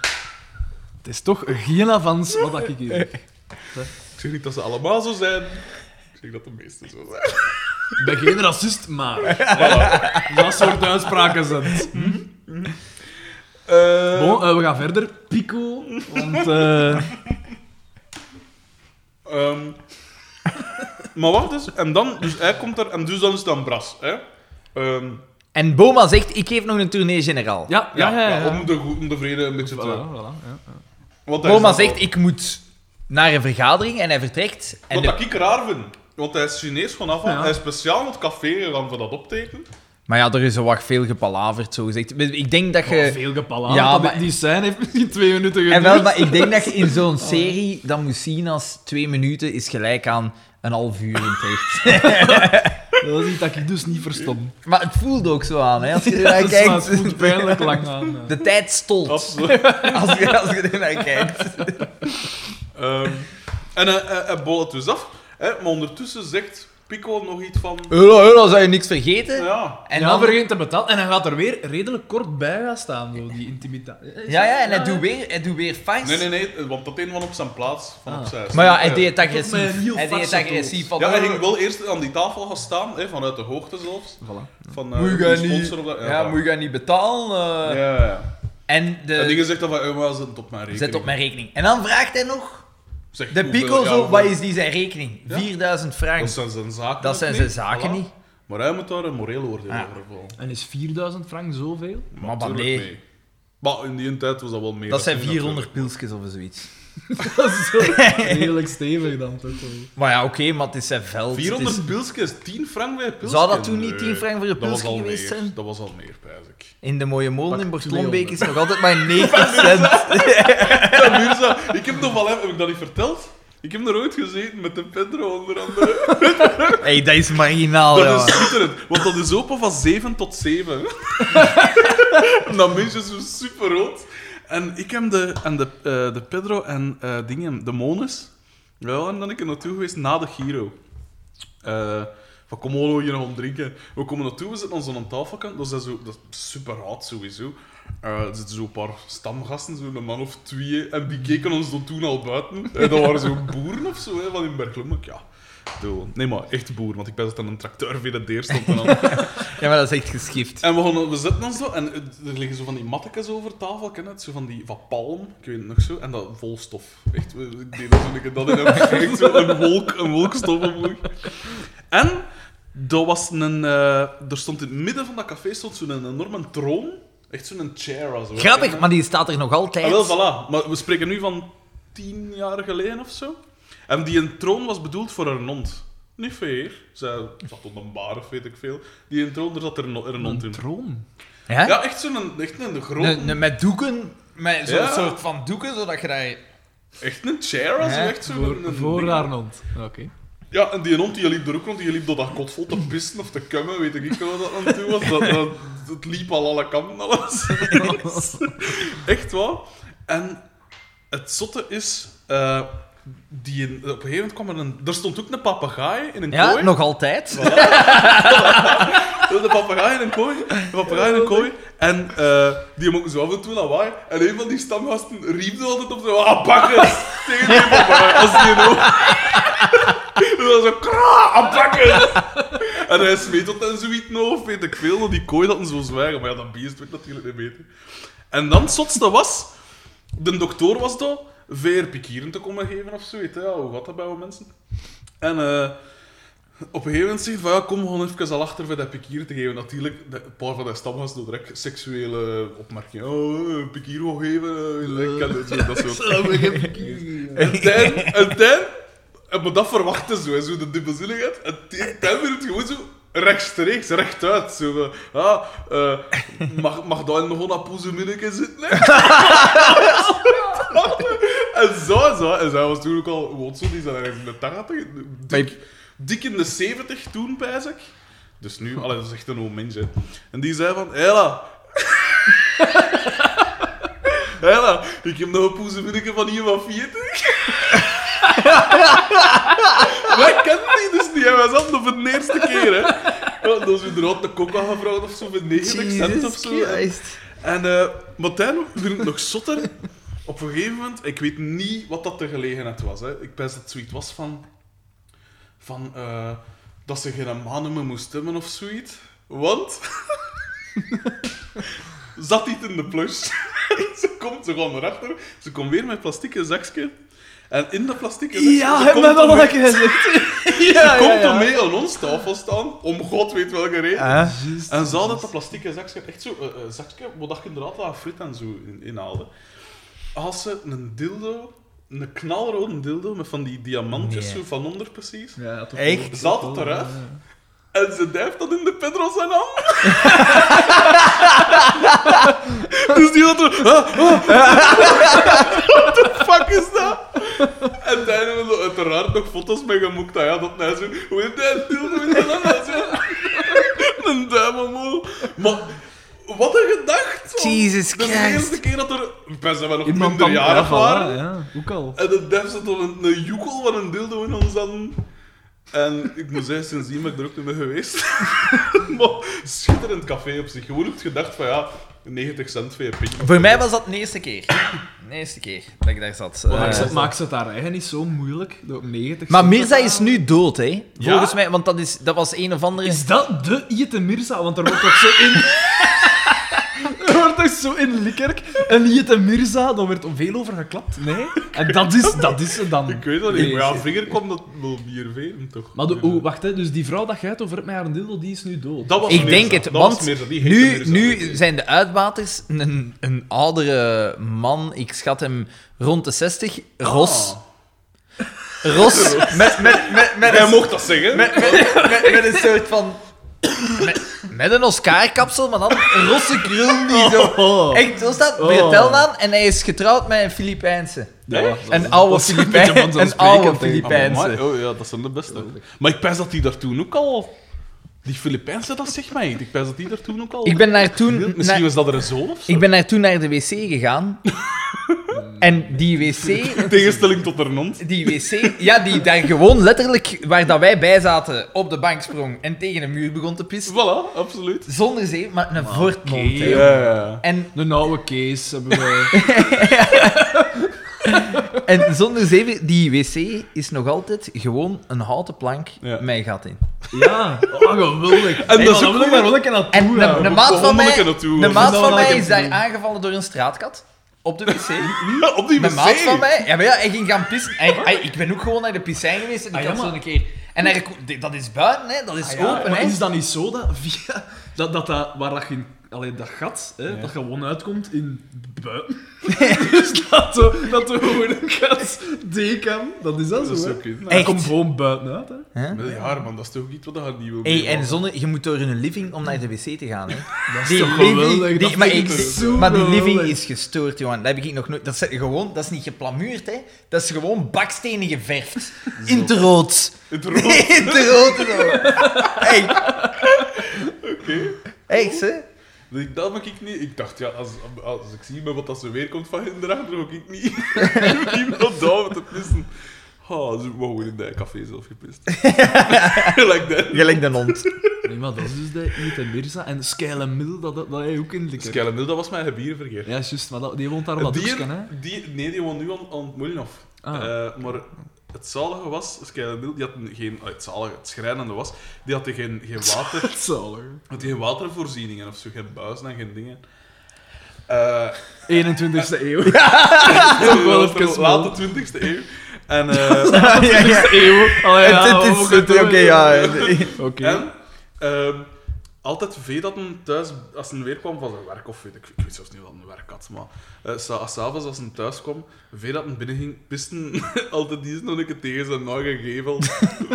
[SPEAKER 3] Het is toch geen avans wat ik hier heb.
[SPEAKER 1] Ik zeg niet dat ze allemaal zo zijn. Ik zeg dat de meesten zo zijn.
[SPEAKER 3] Ik ben geen racist, maar... Dat soort uitspraken zijn het.
[SPEAKER 1] Eh,
[SPEAKER 3] Bon, eh, we gaan verder. Pico, want... eh,
[SPEAKER 1] ehm, maar wacht eens. En dan, dus hij komt er en dus dan is het dan Bras. Hè? Ehm,
[SPEAKER 2] En Boma zegt, ik geef nog een tournee generaal.
[SPEAKER 3] ja, ja,
[SPEAKER 1] ja,
[SPEAKER 3] ja. ja,
[SPEAKER 1] maar Om, de, go- om de vrede een beetje te...
[SPEAKER 3] Voilà, voilà, ja, ja.
[SPEAKER 1] Want hij is
[SPEAKER 2] Boma
[SPEAKER 1] dan-
[SPEAKER 2] zegt, ik moet naar een vergadering en hij vertrekt. En
[SPEAKER 1] Wat
[SPEAKER 2] de-
[SPEAKER 1] dat ik raar vind. Want hij is Chinees vanaf aan.
[SPEAKER 3] Ja.
[SPEAKER 1] Hij is speciaal naar het café gegaan voor dat optekenen.
[SPEAKER 2] Maar ja, er is wat veel gepalaverd, zo gezegd. Ik denk dat je...
[SPEAKER 3] Oh, veel gepalaat.
[SPEAKER 2] Ja,
[SPEAKER 3] Ja,
[SPEAKER 2] maar-
[SPEAKER 3] Die scène heeft misschien twee minuten Oh.
[SPEAKER 2] En
[SPEAKER 3] geduurd.
[SPEAKER 2] wel, maar ik denk dat je in zo'n serie dat moet zien als twee minuten is gelijk aan een half uur in het echt.
[SPEAKER 3] Dat is iets dat ik dus niet verstond.
[SPEAKER 2] Maar het voelt ook zo aan, hè? Als je
[SPEAKER 3] Ja,
[SPEAKER 2] ernaar
[SPEAKER 3] dat is waar, het
[SPEAKER 2] kijkt.
[SPEAKER 3] voelt pijnlijk lang aan. eh. ja.
[SPEAKER 2] De tijd stolt als
[SPEAKER 1] Absoluut.
[SPEAKER 2] je, als je ernaar kijkt.
[SPEAKER 1] Ehm, en hij, hij, hij bol het dus af. Hè? Maar ondertussen zegt Pico nog iets van...
[SPEAKER 2] Hullo, hullo, zou je niks vergeten?
[SPEAKER 1] Ja,
[SPEAKER 2] En
[SPEAKER 3] ja,
[SPEAKER 2] dan
[SPEAKER 3] begint te betalen. En hij gaat er weer redelijk kort bij gaan staan, zo, die intimidatie.
[SPEAKER 2] Ja, ja, en hij doet weer, hij doet weer fijn.
[SPEAKER 1] nee, nee, nee. Want dat een was op zijn plaats. Van
[SPEAKER 3] Ah.
[SPEAKER 1] op zijn
[SPEAKER 2] Maar ja, hij
[SPEAKER 1] Eh,
[SPEAKER 2] deed het agressief.
[SPEAKER 3] Volgens mij een heel
[SPEAKER 2] Hij deed het
[SPEAKER 3] farse
[SPEAKER 2] agressief. Van,
[SPEAKER 1] Ja, hij ging wel eerst aan die tafel gaan staan, hè, vanuit de hoogte zelfs. Van, eh,
[SPEAKER 2] Moet je
[SPEAKER 1] die
[SPEAKER 2] gaan
[SPEAKER 1] sponsor
[SPEAKER 2] niet-
[SPEAKER 1] op dat-
[SPEAKER 2] Ja,
[SPEAKER 1] voilà.
[SPEAKER 2] moet je gaan niet betalen.
[SPEAKER 1] Ja,
[SPEAKER 2] eh.
[SPEAKER 1] ja, ja.
[SPEAKER 2] En
[SPEAKER 1] En die
[SPEAKER 2] de...
[SPEAKER 1] gezegd dan van, eh, maar zet het op mijn rekening.
[SPEAKER 2] Zet op mijn rekening. En dan vraagt hij nog...
[SPEAKER 1] Zeg,
[SPEAKER 2] De
[SPEAKER 1] hoeveel-
[SPEAKER 2] pico,
[SPEAKER 1] ja,
[SPEAKER 2] zo,
[SPEAKER 1] hoeveel-
[SPEAKER 2] wat is die zijn rekening?
[SPEAKER 1] Ja.
[SPEAKER 2] 4000
[SPEAKER 1] Dat
[SPEAKER 2] francs.
[SPEAKER 1] zijn zijn zaken
[SPEAKER 2] Dat
[SPEAKER 1] ook
[SPEAKER 2] zijn
[SPEAKER 1] niet,
[SPEAKER 2] zijn zaken
[SPEAKER 1] voilà.
[SPEAKER 2] niet.
[SPEAKER 1] Maar hij moet daar een moreel oordeel
[SPEAKER 2] Ah.
[SPEAKER 1] over vallen.
[SPEAKER 3] En is 4000 frank zoveel?
[SPEAKER 2] Maar wat
[SPEAKER 1] Tuurlijk
[SPEAKER 2] Ah, nee.
[SPEAKER 1] mee. Maar in die tijd was dat wel meer.
[SPEAKER 2] Dat zijn
[SPEAKER 1] toen
[SPEAKER 2] 400 pilsjes of zoiets.
[SPEAKER 3] Dat is zo redelijk stevig dan toch wel.
[SPEAKER 2] Maar ja, oké, maar het is zijn veld.
[SPEAKER 1] natuurlijk.
[SPEAKER 2] het is-
[SPEAKER 1] 400 pilsjes, 10 frank bij pilsje.
[SPEAKER 2] Zou dat toen niet
[SPEAKER 1] Nee,
[SPEAKER 2] 10 frank voor je
[SPEAKER 1] dat was
[SPEAKER 2] pilsje
[SPEAKER 1] al
[SPEAKER 2] geweest
[SPEAKER 1] meer.
[SPEAKER 2] zijn?
[SPEAKER 1] Dat was al meer, pijs ik.
[SPEAKER 2] In de mooie molen in
[SPEAKER 3] Pak
[SPEAKER 2] Bortlombeek is
[SPEAKER 3] 200.
[SPEAKER 2] nog altijd maar 90 cent.
[SPEAKER 1] Ja, Mirza, ik heb nog wel even, heb ik dat niet verteld? Ik heb er ooit gezeten met de Pedro onder andere.
[SPEAKER 2] hey, dat is marginaal,
[SPEAKER 1] Dat
[SPEAKER 2] ja.
[SPEAKER 1] is schitterend, want dat is open van 7 tot 7. en dat mensje is zo super rood. En ik heb de, en de, eh, de Pedro en eh, dingen, de Mones. Wel, en dan ik er naartoe geweest na de Giro. Eh, van kom Olo hier nog om drinken. We komen naartoe, we zitten aan zo'n tafelkant. Dat is, dat zo, dat is super raad sowieso. Eh, er zitten zo'n paar stamgasten, zo'n man of twee. En die keken ons dan toen al buiten. Eh, dat waren zo'n boeren of zo, hè, van in Berglum. Ik, Ja, Doel. Nee, maar echt boer, want ik ben dat aan een tracteur via de deur stond. En, dan-
[SPEAKER 2] Ja, maar dat is echt geschift.
[SPEAKER 1] en we, gaan, we zitten dan zo, en het- er liggen zo van die mattekes over tafel, ken je het? Zo van die van palm, ik weet het nog zo, en dat vol stof. Echt, we- ik deed dat zo een keer dat in een, echt zo een wolk, een wolk stof omhoog. En dat was een, eh, er stond in het midden van dat café stond zo'n enorme troon, echt zo'n chair. als het ware.
[SPEAKER 2] Grappig, maar die staat er nog
[SPEAKER 1] Ah,
[SPEAKER 2] altijd.
[SPEAKER 1] wel, voilà. Maar we spreken nu van tien jaar geleden of zo. En die een troon was bedoeld voor een hond. Niet fair. Zij zat op een bar of weet ik veel. Die een troon, daar zat er een, er een hond in.
[SPEAKER 3] troon.
[SPEAKER 2] Ja?
[SPEAKER 1] Ja, echt zo'n echt een grote...
[SPEAKER 2] Ne- ne- met doeken, met zo'n
[SPEAKER 1] Ja.
[SPEAKER 2] soort van doeken, zodat je daar...
[SPEAKER 1] Echt een chair, als
[SPEAKER 2] Ja,
[SPEAKER 1] echt zo'n...
[SPEAKER 3] Voor,
[SPEAKER 1] een-
[SPEAKER 3] voor
[SPEAKER 1] ding.
[SPEAKER 3] haar hond. Oké.
[SPEAKER 1] Ja, en die hond die liep er ook rond. Die liep door dat kot vol te pissen of te kummen. Weet ik niet wat dat aan toe was. Dat, dat, het liep al alle kanten, alles. Echt waar. En het zotte is... eh, die op een gegeven moment kwam er een... Er stond ook een papegaai in een
[SPEAKER 2] Ja,
[SPEAKER 1] kooi.
[SPEAKER 2] nog altijd.
[SPEAKER 1] De papegaai in een kooi. De papegaai in een kooi. En eh, die hem ook zo af en toe lawaai. En een van die stamgasten riep er altijd op zo... Ah, bakkers! Tegen die papegaai. Als die hem ook... En dan zo... Kraa, ah, bakkers! En hij smeet dat en zoiets nou, of weet ik veel. Dat die kooi dat en zo zwijgen. Maar ja, dat beest werd natuurlijk niet beter. En dan het zotste was... De dokter was daar... Veer pikieren te komen geven of zoiets. hè. Ja, hoe gaat dat bij wat mensen? En... eh, op een gegeven moment zegt van ja, kom gewoon even al achter voor dat pikier te geven. Natuurlijk, de- een paar van de stamgast doen direct seksuele opmerkingen. Oh, eh, pikier wil geven, eh, ik ken het, zo, dat soort. En dan, en dan, en maar dat verwachten zo, hè, zo de dubbelzinnigheid. En dan- dan werd het gewoon zo rechtstreeks, rechtuit. Zo van, ah, eh, mag, mag daar nog een poeze minneke zitten? hè? en zo, zo. En zij was toen ook al, hoe oud zo, die zijn ergens in de 80, dik, dik in de 70 toen, pijs ik. Dus nu, allee, dat is echt een oom mens, hè. En die zei van, Hela. Hela, ik heb nog een poezeminneke van hier van 40. Wij kennen die dus niet, hè. Wij zaten nog voor de eerste keer, hè. Ja, Dat is inderdaad de kok aangevraagd of zo, voor 90 cent of zo.
[SPEAKER 2] Christ.
[SPEAKER 1] En eh Martijn vindt het nog zotter. Op een gegeven moment, ik weet niet wat dat de gelegenheid was. Hè. Ik pens dat het zoiets was van. van eh, dat ze geen mannen meer moest stemmen of zoiets. Want. zat niet in de plush. ze komt, ze gaan erachter. Ze komt weer met plastieke zakje. En in dat plastieke zakje.
[SPEAKER 2] Ja,
[SPEAKER 1] ze
[SPEAKER 2] heb
[SPEAKER 1] komt
[SPEAKER 2] me wel
[SPEAKER 1] ermee-
[SPEAKER 2] lekker gezegd.
[SPEAKER 1] Ze
[SPEAKER 2] ja,
[SPEAKER 1] komt
[SPEAKER 2] ja.
[SPEAKER 1] ermee aan ons tafel staan. Om god weet welke reden. En ze hadden dat plastieke zakje, echt zo, eh, eh, zakje, waar dat je inderdaad aan frit en zo in, inhaalde. Als ze een dildo, een knalrode dildo met van die diamantjes
[SPEAKER 2] Nee.
[SPEAKER 1] zo van onder precies,
[SPEAKER 3] Ja, toch
[SPEAKER 2] Echt?
[SPEAKER 1] zat het eruit en ze duift dat in de Pedro zijn hand. dus die had er, ah, ah. What the fuck is dat? En daar hebben we uiteraard nog foto's mee gemoekt. Ah ja, dat hij zo, hoe heet hij, dildo in zijn hand? Hij zo- Een duim omhoog. Maar... Wat een gedacht! man.
[SPEAKER 2] Jesus
[SPEAKER 1] Dat is de
[SPEAKER 2] Christ.
[SPEAKER 1] eerste keer dat er... Best wel nog
[SPEAKER 3] Iemand dan
[SPEAKER 1] minderjarig waren.
[SPEAKER 3] Ja, ook al.
[SPEAKER 1] En de def zat op een, een joekel van een dildo in ons handen. En ik moet zeggen, sindsdien ben ik er ook niet meer geweest. maar schitterend café op zich. Gewoon heb gedacht van ja, 90 cent voor je pintje.
[SPEAKER 2] Voor mij was dat de eerste keer. De eerste keer dat ik daar zat. Eh,
[SPEAKER 3] Maakt ze, maakt ze het haar eigen niet zo moeilijk? Door 90
[SPEAKER 2] maar
[SPEAKER 3] cent te
[SPEAKER 2] Mirza is
[SPEAKER 3] betalen?
[SPEAKER 2] nu dood, hè?
[SPEAKER 1] Ja?
[SPEAKER 2] Volgens mij, want dat, is, dat was een of andere.
[SPEAKER 3] Is dat de Iete Mirza? Want er wordt toch zo in... er wordt toch zo in Likkerk een Iete Mirza, daar werd veel over geklapt. Nee? En dat is, dat is ze dan.
[SPEAKER 1] Ik weet dat niet, maar ja,
[SPEAKER 3] Nee.
[SPEAKER 1] vinger kwam dat wel bier velen toch.
[SPEAKER 3] Maar de, oh, wacht, hè, dus die vrouw dat jij het over hebt met haar dildo, die is nu dood.
[SPEAKER 1] dat was
[SPEAKER 2] Ik
[SPEAKER 1] Mirza.
[SPEAKER 2] denk het,
[SPEAKER 1] dat
[SPEAKER 2] want
[SPEAKER 1] was Mirza, die heette
[SPEAKER 2] nu,
[SPEAKER 1] Mirza.
[SPEAKER 2] nu zijn de uitbaters een, een oudere man, ik schat hem rond de 60, Ros.
[SPEAKER 1] Ah.
[SPEAKER 2] Ros, met, met, met, met,
[SPEAKER 1] Jij
[SPEAKER 2] een,
[SPEAKER 1] mocht dat zeggen. Ah,
[SPEAKER 2] met, met een soort van... Met, met een Oscar-kapsel, maar dan een rosse krul die zo...
[SPEAKER 3] Oh.
[SPEAKER 2] Echt, zo staat
[SPEAKER 3] Oh.
[SPEAKER 2] Bertel aan en hij is getrouwd met een Filipijnse.
[SPEAKER 1] Nee?
[SPEAKER 2] Een oude Filipijn, een oude Filipijnse.
[SPEAKER 1] Amai, Oh ja, dat zijn de beste. Maar ik pijs dat die daar toen ook al... Die Filipijnse, dat zegt mij niet. Ik pijs dat die daar toen ook al...
[SPEAKER 2] Ik ben daar toen...
[SPEAKER 1] Misschien
[SPEAKER 2] naar-
[SPEAKER 1] was dat er een zoon of zo?
[SPEAKER 2] Ik ben daar toen naar de wc gegaan. en die wc...
[SPEAKER 1] In tegenstelling tot haar hond.
[SPEAKER 2] Die wc, ja, die daar gewoon letterlijk, waar dat wij bij zaten, op de bank sprong en tegen een muur begon te pissen.
[SPEAKER 1] Voilà, absoluut.
[SPEAKER 2] Zonder zeep, maar een voortmond. hè.
[SPEAKER 1] Ja, ja.
[SPEAKER 2] En
[SPEAKER 3] Een oude case hebben we.
[SPEAKER 2] En zonder zeven, die wc is nog altijd gewoon een houten plank
[SPEAKER 1] Ja.
[SPEAKER 2] met een gat in.
[SPEAKER 3] Ja, oh, geweldig.
[SPEAKER 1] En dat is ook
[SPEAKER 3] maar wel een keer naartoe.
[SPEAKER 2] En de, de maat
[SPEAKER 1] wel
[SPEAKER 2] van mij,
[SPEAKER 1] honderd naartoe,
[SPEAKER 2] de
[SPEAKER 1] hoor.
[SPEAKER 2] maat
[SPEAKER 3] Dat
[SPEAKER 2] van
[SPEAKER 3] wil
[SPEAKER 2] mij is
[SPEAKER 3] ik even
[SPEAKER 2] daar
[SPEAKER 3] doen.
[SPEAKER 2] aangevallen door een straatkat op de wc.
[SPEAKER 1] Op die
[SPEAKER 2] Mijn maat van
[SPEAKER 1] wc.
[SPEAKER 2] mij, ja, maar ja, hij ging gaan pissen. Hij- hij- ik ben ook gewoon naar de piscijn geweest en ik
[SPEAKER 3] Oh. Ah, ja,
[SPEAKER 2] had
[SPEAKER 3] maar-
[SPEAKER 2] zo'n keer. En hij, reko- dat is buiten, hè, dat is
[SPEAKER 3] Ah ja,
[SPEAKER 2] open.
[SPEAKER 3] maar
[SPEAKER 2] Hè.
[SPEAKER 3] is dat niet zo dat via dat, dat, dat waar dat, je, allee, dat gat, hè, dat gewoon uitkomt in buiten? dus dat de, dat de gewoon een gat D kan, dat is dat,
[SPEAKER 1] Dat is Nou,
[SPEAKER 3] zo. hè?
[SPEAKER 1] ook iets.
[SPEAKER 3] Dat
[SPEAKER 2] Echt?
[SPEAKER 3] komt gewoon buiten uit. Hè.
[SPEAKER 2] Hè?
[SPEAKER 1] Maar Ja, man, dat is toch ook iets wat je niet wil
[SPEAKER 2] Hey, en
[SPEAKER 1] meemaken.
[SPEAKER 2] zonne, je moet door een living om naar de wc te gaan. Hè.
[SPEAKER 3] Dat
[SPEAKER 2] Die
[SPEAKER 3] is toch geweldig,
[SPEAKER 2] living,
[SPEAKER 3] dat
[SPEAKER 2] die, maar,
[SPEAKER 3] vind ik
[SPEAKER 2] ik-
[SPEAKER 3] toch zo
[SPEAKER 2] maar die living
[SPEAKER 3] geweldig.
[SPEAKER 2] is gestoord, jongen. Dat heb ik nog nooit. Dat is gewoon, dat is niet geplamuurd, hè? Dat is gewoon bakstenen geverfd. In het rood.
[SPEAKER 1] Het rood.
[SPEAKER 2] In het rood. zo. Hey. Oké. Echt, hè?
[SPEAKER 1] Ik- Dat mag ik niet. Ik dacht, ja, als, als ik zie met wat dat ze weer komt van Hinderhaag, dan mag ik niet. Niemand op duimen te pissen. Oh, ze mogen in de café zelf gepist. like that.
[SPEAKER 2] Gelijk de hond.
[SPEAKER 3] Nee, maar dat is dus de Eet en Mirza en Skyle Mill, dat, dat, dat hij ook in de kerk.
[SPEAKER 1] Skelle Mil, dat was mijn gebiervergeer.
[SPEAKER 3] Ja, juist, maar dat, die woont daar op dat
[SPEAKER 1] die,
[SPEAKER 3] hoekje, hè.
[SPEAKER 1] die, nee, die woont nu aan, aan het Moelinhof.
[SPEAKER 3] Ah.
[SPEAKER 1] Eh, maar het zalige was, Skyle die had een- geen, ah, het zalige, het schrijnende was, die had geen, geen water.
[SPEAKER 3] Zalig.
[SPEAKER 1] had geen watervoorzieningen of zo, geen buizen en geen dingen. Eh
[SPEAKER 3] 21ste eeuw. Ja, toch wel
[SPEAKER 1] dat was
[SPEAKER 3] even
[SPEAKER 1] de late
[SPEAKER 3] later.
[SPEAKER 1] 20e eeuw. En, eh,
[SPEAKER 2] Ja, ja, ja.
[SPEAKER 3] Eeuw. Allee, ja, oh,
[SPEAKER 2] Het-
[SPEAKER 3] wat
[SPEAKER 2] het
[SPEAKER 3] moet
[SPEAKER 2] is-
[SPEAKER 3] ik
[SPEAKER 2] het-
[SPEAKER 3] doen?
[SPEAKER 2] Oké, ja.
[SPEAKER 3] Oké.
[SPEAKER 1] en ehm, altijd vee dat een thuis, als een weer kwam van zijn werk, of weet ik, ik weet zelfs niet wat een werk had, maar eh, sa- als s'avonds als een thuis kwam, vee dat een binnen ging, pisten altijd die nog een keer tegen zijn nage gevel,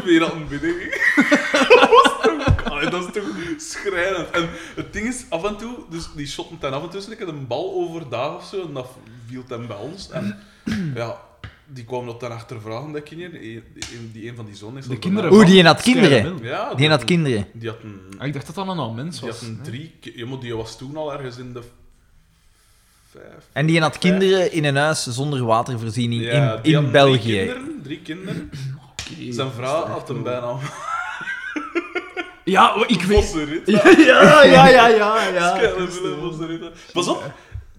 [SPEAKER 1] vee dat een binnen ging. dat, was toch, allee, dat is toch schrijnend. En het ding is, af en toe, dus die shotten ten af en toe eens een keer een bal overdag of zo, en dat viel ten bij ons. En ja, die kwamen dat dan achter vragen, dat kinderen, die, die een van die zonen is.
[SPEAKER 3] De
[SPEAKER 1] dat
[SPEAKER 3] kinderen Oh.
[SPEAKER 1] daarna-
[SPEAKER 2] Oeh, die had
[SPEAKER 3] Skyle
[SPEAKER 2] kinderen.
[SPEAKER 3] Mill.
[SPEAKER 1] Ja,
[SPEAKER 2] Die had
[SPEAKER 1] dat-
[SPEAKER 2] kinderen.
[SPEAKER 1] die had een,
[SPEAKER 3] Ah, ik dacht dat dat een al mens
[SPEAKER 1] die
[SPEAKER 3] was.
[SPEAKER 1] had een
[SPEAKER 3] hè.
[SPEAKER 1] drie... ki- Ja, maar die was toen al ergens in de... f- Vijf...
[SPEAKER 2] En die had kinderen in een huis zonder watervoorziening
[SPEAKER 1] Ja,
[SPEAKER 2] in,
[SPEAKER 1] die
[SPEAKER 2] in
[SPEAKER 1] had Drie
[SPEAKER 2] België.
[SPEAKER 1] kinderen. Drie kinderen.
[SPEAKER 3] Oké.
[SPEAKER 1] Zijn vrouw had hem bijna...
[SPEAKER 3] Ja, maar ik weet...
[SPEAKER 1] Vossenrit.
[SPEAKER 3] Ja, ja, ja, ja, ja. ja.
[SPEAKER 1] Vossenrit. Pas op.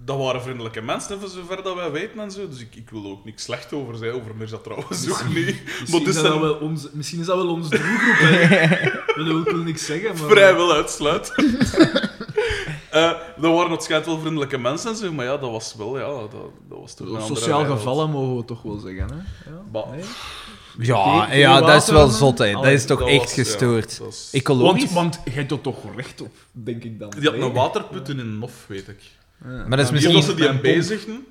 [SPEAKER 1] Dat waren vriendelijke mensen, voor zover dat wij weten en zo. Dus ik, ik wil ook niks slecht over zijn. Over Mirza trouwens ook niet. Maar
[SPEAKER 3] Misschien,
[SPEAKER 1] dus
[SPEAKER 3] is dat
[SPEAKER 1] zijn
[SPEAKER 3] wel ons, misschien is dat wel ons doelgroep, hè. Dat wil ik wel niks zeggen, maar...
[SPEAKER 1] vrijwel uitsluitend. Eh dat waren het schijnt wel vriendelijke mensen en zo. Maar ja, dat was wel... Ja, dat, dat was toen een andere
[SPEAKER 3] Sociaal
[SPEAKER 1] wereld.
[SPEAKER 3] gevallen mogen we toch wel zeggen, hè. Ja.
[SPEAKER 1] Bah.
[SPEAKER 3] Nee?
[SPEAKER 2] Ja,
[SPEAKER 3] Geen-
[SPEAKER 2] ja
[SPEAKER 3] geen
[SPEAKER 2] dat is wel
[SPEAKER 3] water,
[SPEAKER 2] zot, hè. Dat
[SPEAKER 3] Allee,
[SPEAKER 2] is toch
[SPEAKER 1] Oh, dat
[SPEAKER 2] echt
[SPEAKER 1] was- ja,
[SPEAKER 2] gestoord.
[SPEAKER 1] dat is-
[SPEAKER 2] Ecologisch.
[SPEAKER 3] Want, want jij doet toch recht op, denk ik dan.
[SPEAKER 1] Die had
[SPEAKER 3] Nee.
[SPEAKER 1] een waterput in een nof, weet ik.
[SPEAKER 2] maar dat is
[SPEAKER 1] En Hier was ze
[SPEAKER 2] misschien...
[SPEAKER 1] die aan
[SPEAKER 3] een
[SPEAKER 1] bezigden.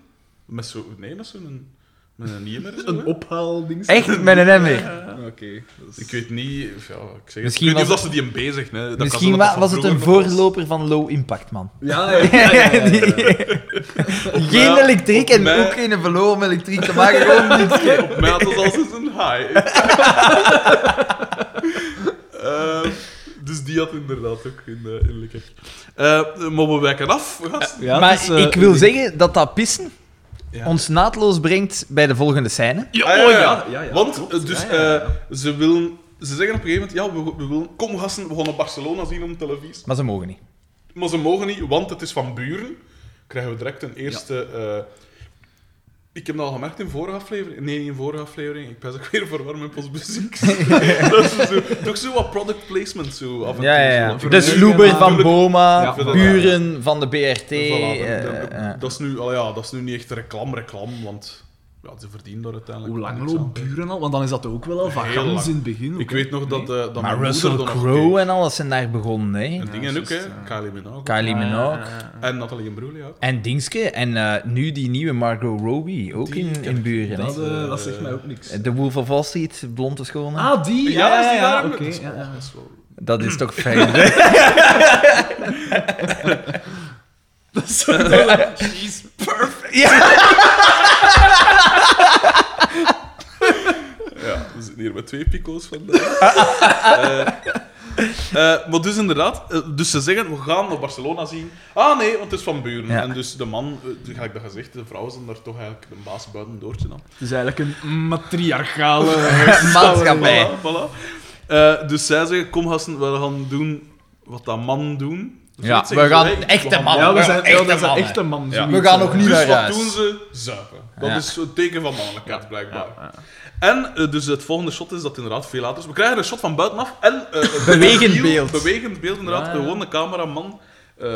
[SPEAKER 1] Met zo, nee, met zo'n... Met een niemer. zo,
[SPEAKER 3] Een
[SPEAKER 1] hè?
[SPEAKER 3] ophaalding.
[SPEAKER 2] Echt met een emmer.
[SPEAKER 1] Ja.
[SPEAKER 3] Oké. dat is-
[SPEAKER 1] Ik weet niet... of Ja, ik zeg het. Ik
[SPEAKER 2] Misschien
[SPEAKER 1] weet niet of dat
[SPEAKER 2] was
[SPEAKER 1] ze die aan bezigden. hè. Dat kan
[SPEAKER 2] Misschien
[SPEAKER 1] zijn
[SPEAKER 2] wa-
[SPEAKER 1] dat dat
[SPEAKER 2] was
[SPEAKER 1] van
[SPEAKER 2] het een
[SPEAKER 1] vroeger nog was.
[SPEAKER 2] voorloper van Low Impact, man.
[SPEAKER 3] Ja, ja, ja, ja, ja, ja.
[SPEAKER 2] Geen
[SPEAKER 1] mij-
[SPEAKER 2] elektriek
[SPEAKER 1] op
[SPEAKER 2] en
[SPEAKER 1] mij-
[SPEAKER 2] ook geen verloren om elektriek te maken. Gewoon niks.
[SPEAKER 1] Op mij had het als eens dus een high. Eh, dus die had inderdaad ook in, eh in Likkerk. Eh, maar we wijken af, gasten.
[SPEAKER 3] Ja,
[SPEAKER 2] maar
[SPEAKER 3] het is, eh,
[SPEAKER 2] ik wil
[SPEAKER 3] een-
[SPEAKER 2] zeggen dat dat pissen
[SPEAKER 1] Ja.
[SPEAKER 2] ons naadloos brengt bij de volgende scène.
[SPEAKER 1] Ja,
[SPEAKER 3] Ah,
[SPEAKER 1] oh
[SPEAKER 3] ja,
[SPEAKER 1] ja.
[SPEAKER 3] ja, ja,
[SPEAKER 1] Want
[SPEAKER 3] klopt.
[SPEAKER 1] eh, dus,
[SPEAKER 3] Ja, ja, ja.
[SPEAKER 1] eh, ze willen... Ze zeggen op een gegeven moment, ja, we, we willen... Kom, gasten, we gaan naar Barcelona zien om televisie.
[SPEAKER 2] Maar ze mogen niet.
[SPEAKER 1] Maar ze mogen niet, want het is van buren. Krijgen we direct een eerste. eh, ik heb dat al gemerkt in vorige aflevering. Nee, niet in vorige aflevering. Ik ben ook weer verwarmd met postmuziek. dat is zo, toch zo wat product placement zo af en
[SPEAKER 2] Ja,
[SPEAKER 1] toe.
[SPEAKER 2] ja,
[SPEAKER 1] zo
[SPEAKER 2] ja.
[SPEAKER 1] wat.
[SPEAKER 2] Dus Loeber van
[SPEAKER 1] Natuurlijk.
[SPEAKER 2] Boma,
[SPEAKER 3] Ja,
[SPEAKER 1] voilà.
[SPEAKER 2] buren van de BRT.
[SPEAKER 1] Voilà, dat- dat-
[SPEAKER 2] eh, eh.
[SPEAKER 1] dat, is nu, al ja, dat is nu niet echt reclame, reclame, want ja, ze verdienen daar uiteindelijk.
[SPEAKER 3] Hoe lang
[SPEAKER 1] niks aan.
[SPEAKER 3] loopt buren al? Want dan is dat ook wel al
[SPEAKER 1] Heel
[SPEAKER 3] vagans
[SPEAKER 1] lang.
[SPEAKER 3] in het begin.
[SPEAKER 1] Ik weet nog dat, eh dat
[SPEAKER 2] Maar
[SPEAKER 1] mijn moeder
[SPEAKER 2] Russell
[SPEAKER 1] dan nog
[SPEAKER 2] Crowe
[SPEAKER 1] keek.
[SPEAKER 2] en alles zijn daar begonnen, hè.
[SPEAKER 1] En dingen
[SPEAKER 3] Ja,
[SPEAKER 1] ook, hè.
[SPEAKER 3] juist, ja.
[SPEAKER 1] Kylie Minogue.
[SPEAKER 2] Kylie Minogue.
[SPEAKER 1] En Nathalie Imbruglia ook.
[SPEAKER 2] En Dingske. En eh, nu die nieuwe Margot Robbie, ook
[SPEAKER 1] Die
[SPEAKER 2] in,
[SPEAKER 1] ken
[SPEAKER 2] in
[SPEAKER 1] ik.
[SPEAKER 2] buren. hè.
[SPEAKER 3] Dat, eh, dat zegt mij ook niks.
[SPEAKER 2] De Wolf of Wall Street, blonde schone.
[SPEAKER 3] Ah, die?
[SPEAKER 1] Ja, is die daar ook?
[SPEAKER 3] oké.
[SPEAKER 1] Dat is
[SPEAKER 3] ja,
[SPEAKER 1] wel-
[SPEAKER 3] ja.
[SPEAKER 1] dat is wel-
[SPEAKER 2] Dat is toch fijn.
[SPEAKER 3] Dat is zo- dat- She's perfect.
[SPEAKER 2] ja.
[SPEAKER 1] Ja, we zitten hier met twee pico's vandaag. Eh, eh, maar dus inderdaad, eh, dus ze zeggen, we gaan naar Barcelona zien. Ah nee, want het is van buren.
[SPEAKER 2] Ja.
[SPEAKER 1] En dus de man, eh, toen ga ik dat gezegd, de vrouw is dan daar toch eigenlijk de baas buiten doortje dan.
[SPEAKER 3] Het is eigenlijk een matriarchale...
[SPEAKER 2] Maatschappij.
[SPEAKER 1] Eh, Voilà, voilà. Eh, dus zij zeggen, kom gasten, we gaan doen wat dat man doen.
[SPEAKER 2] Ja,
[SPEAKER 1] dat
[SPEAKER 2] we
[SPEAKER 1] zeggen ze,
[SPEAKER 2] gaan
[SPEAKER 1] hey,
[SPEAKER 2] echte
[SPEAKER 1] we gaan
[SPEAKER 2] mannen.
[SPEAKER 3] Ja, we
[SPEAKER 2] Ja,
[SPEAKER 3] zijn,
[SPEAKER 2] echte
[SPEAKER 3] ja, dat is een
[SPEAKER 2] mannen.
[SPEAKER 3] echte man.
[SPEAKER 1] Ja.
[SPEAKER 3] zoiets,
[SPEAKER 2] We gaan
[SPEAKER 3] ja.
[SPEAKER 2] ook niet-
[SPEAKER 1] Dus
[SPEAKER 2] naar
[SPEAKER 1] wat
[SPEAKER 2] huis.
[SPEAKER 1] doen ze? Zuipen. Dat
[SPEAKER 2] Ja.
[SPEAKER 1] is een teken van mannelijkheid, blijkbaar. En eh, dus het volgende shot is dat inderdaad veel later is. We krijgen een shot van buitenaf en... eh, een
[SPEAKER 2] Bewegend
[SPEAKER 1] heel
[SPEAKER 2] beeld.
[SPEAKER 1] Bewegend beeld, inderdaad.
[SPEAKER 3] Ja.
[SPEAKER 1] Gewoon de cameraman... eh,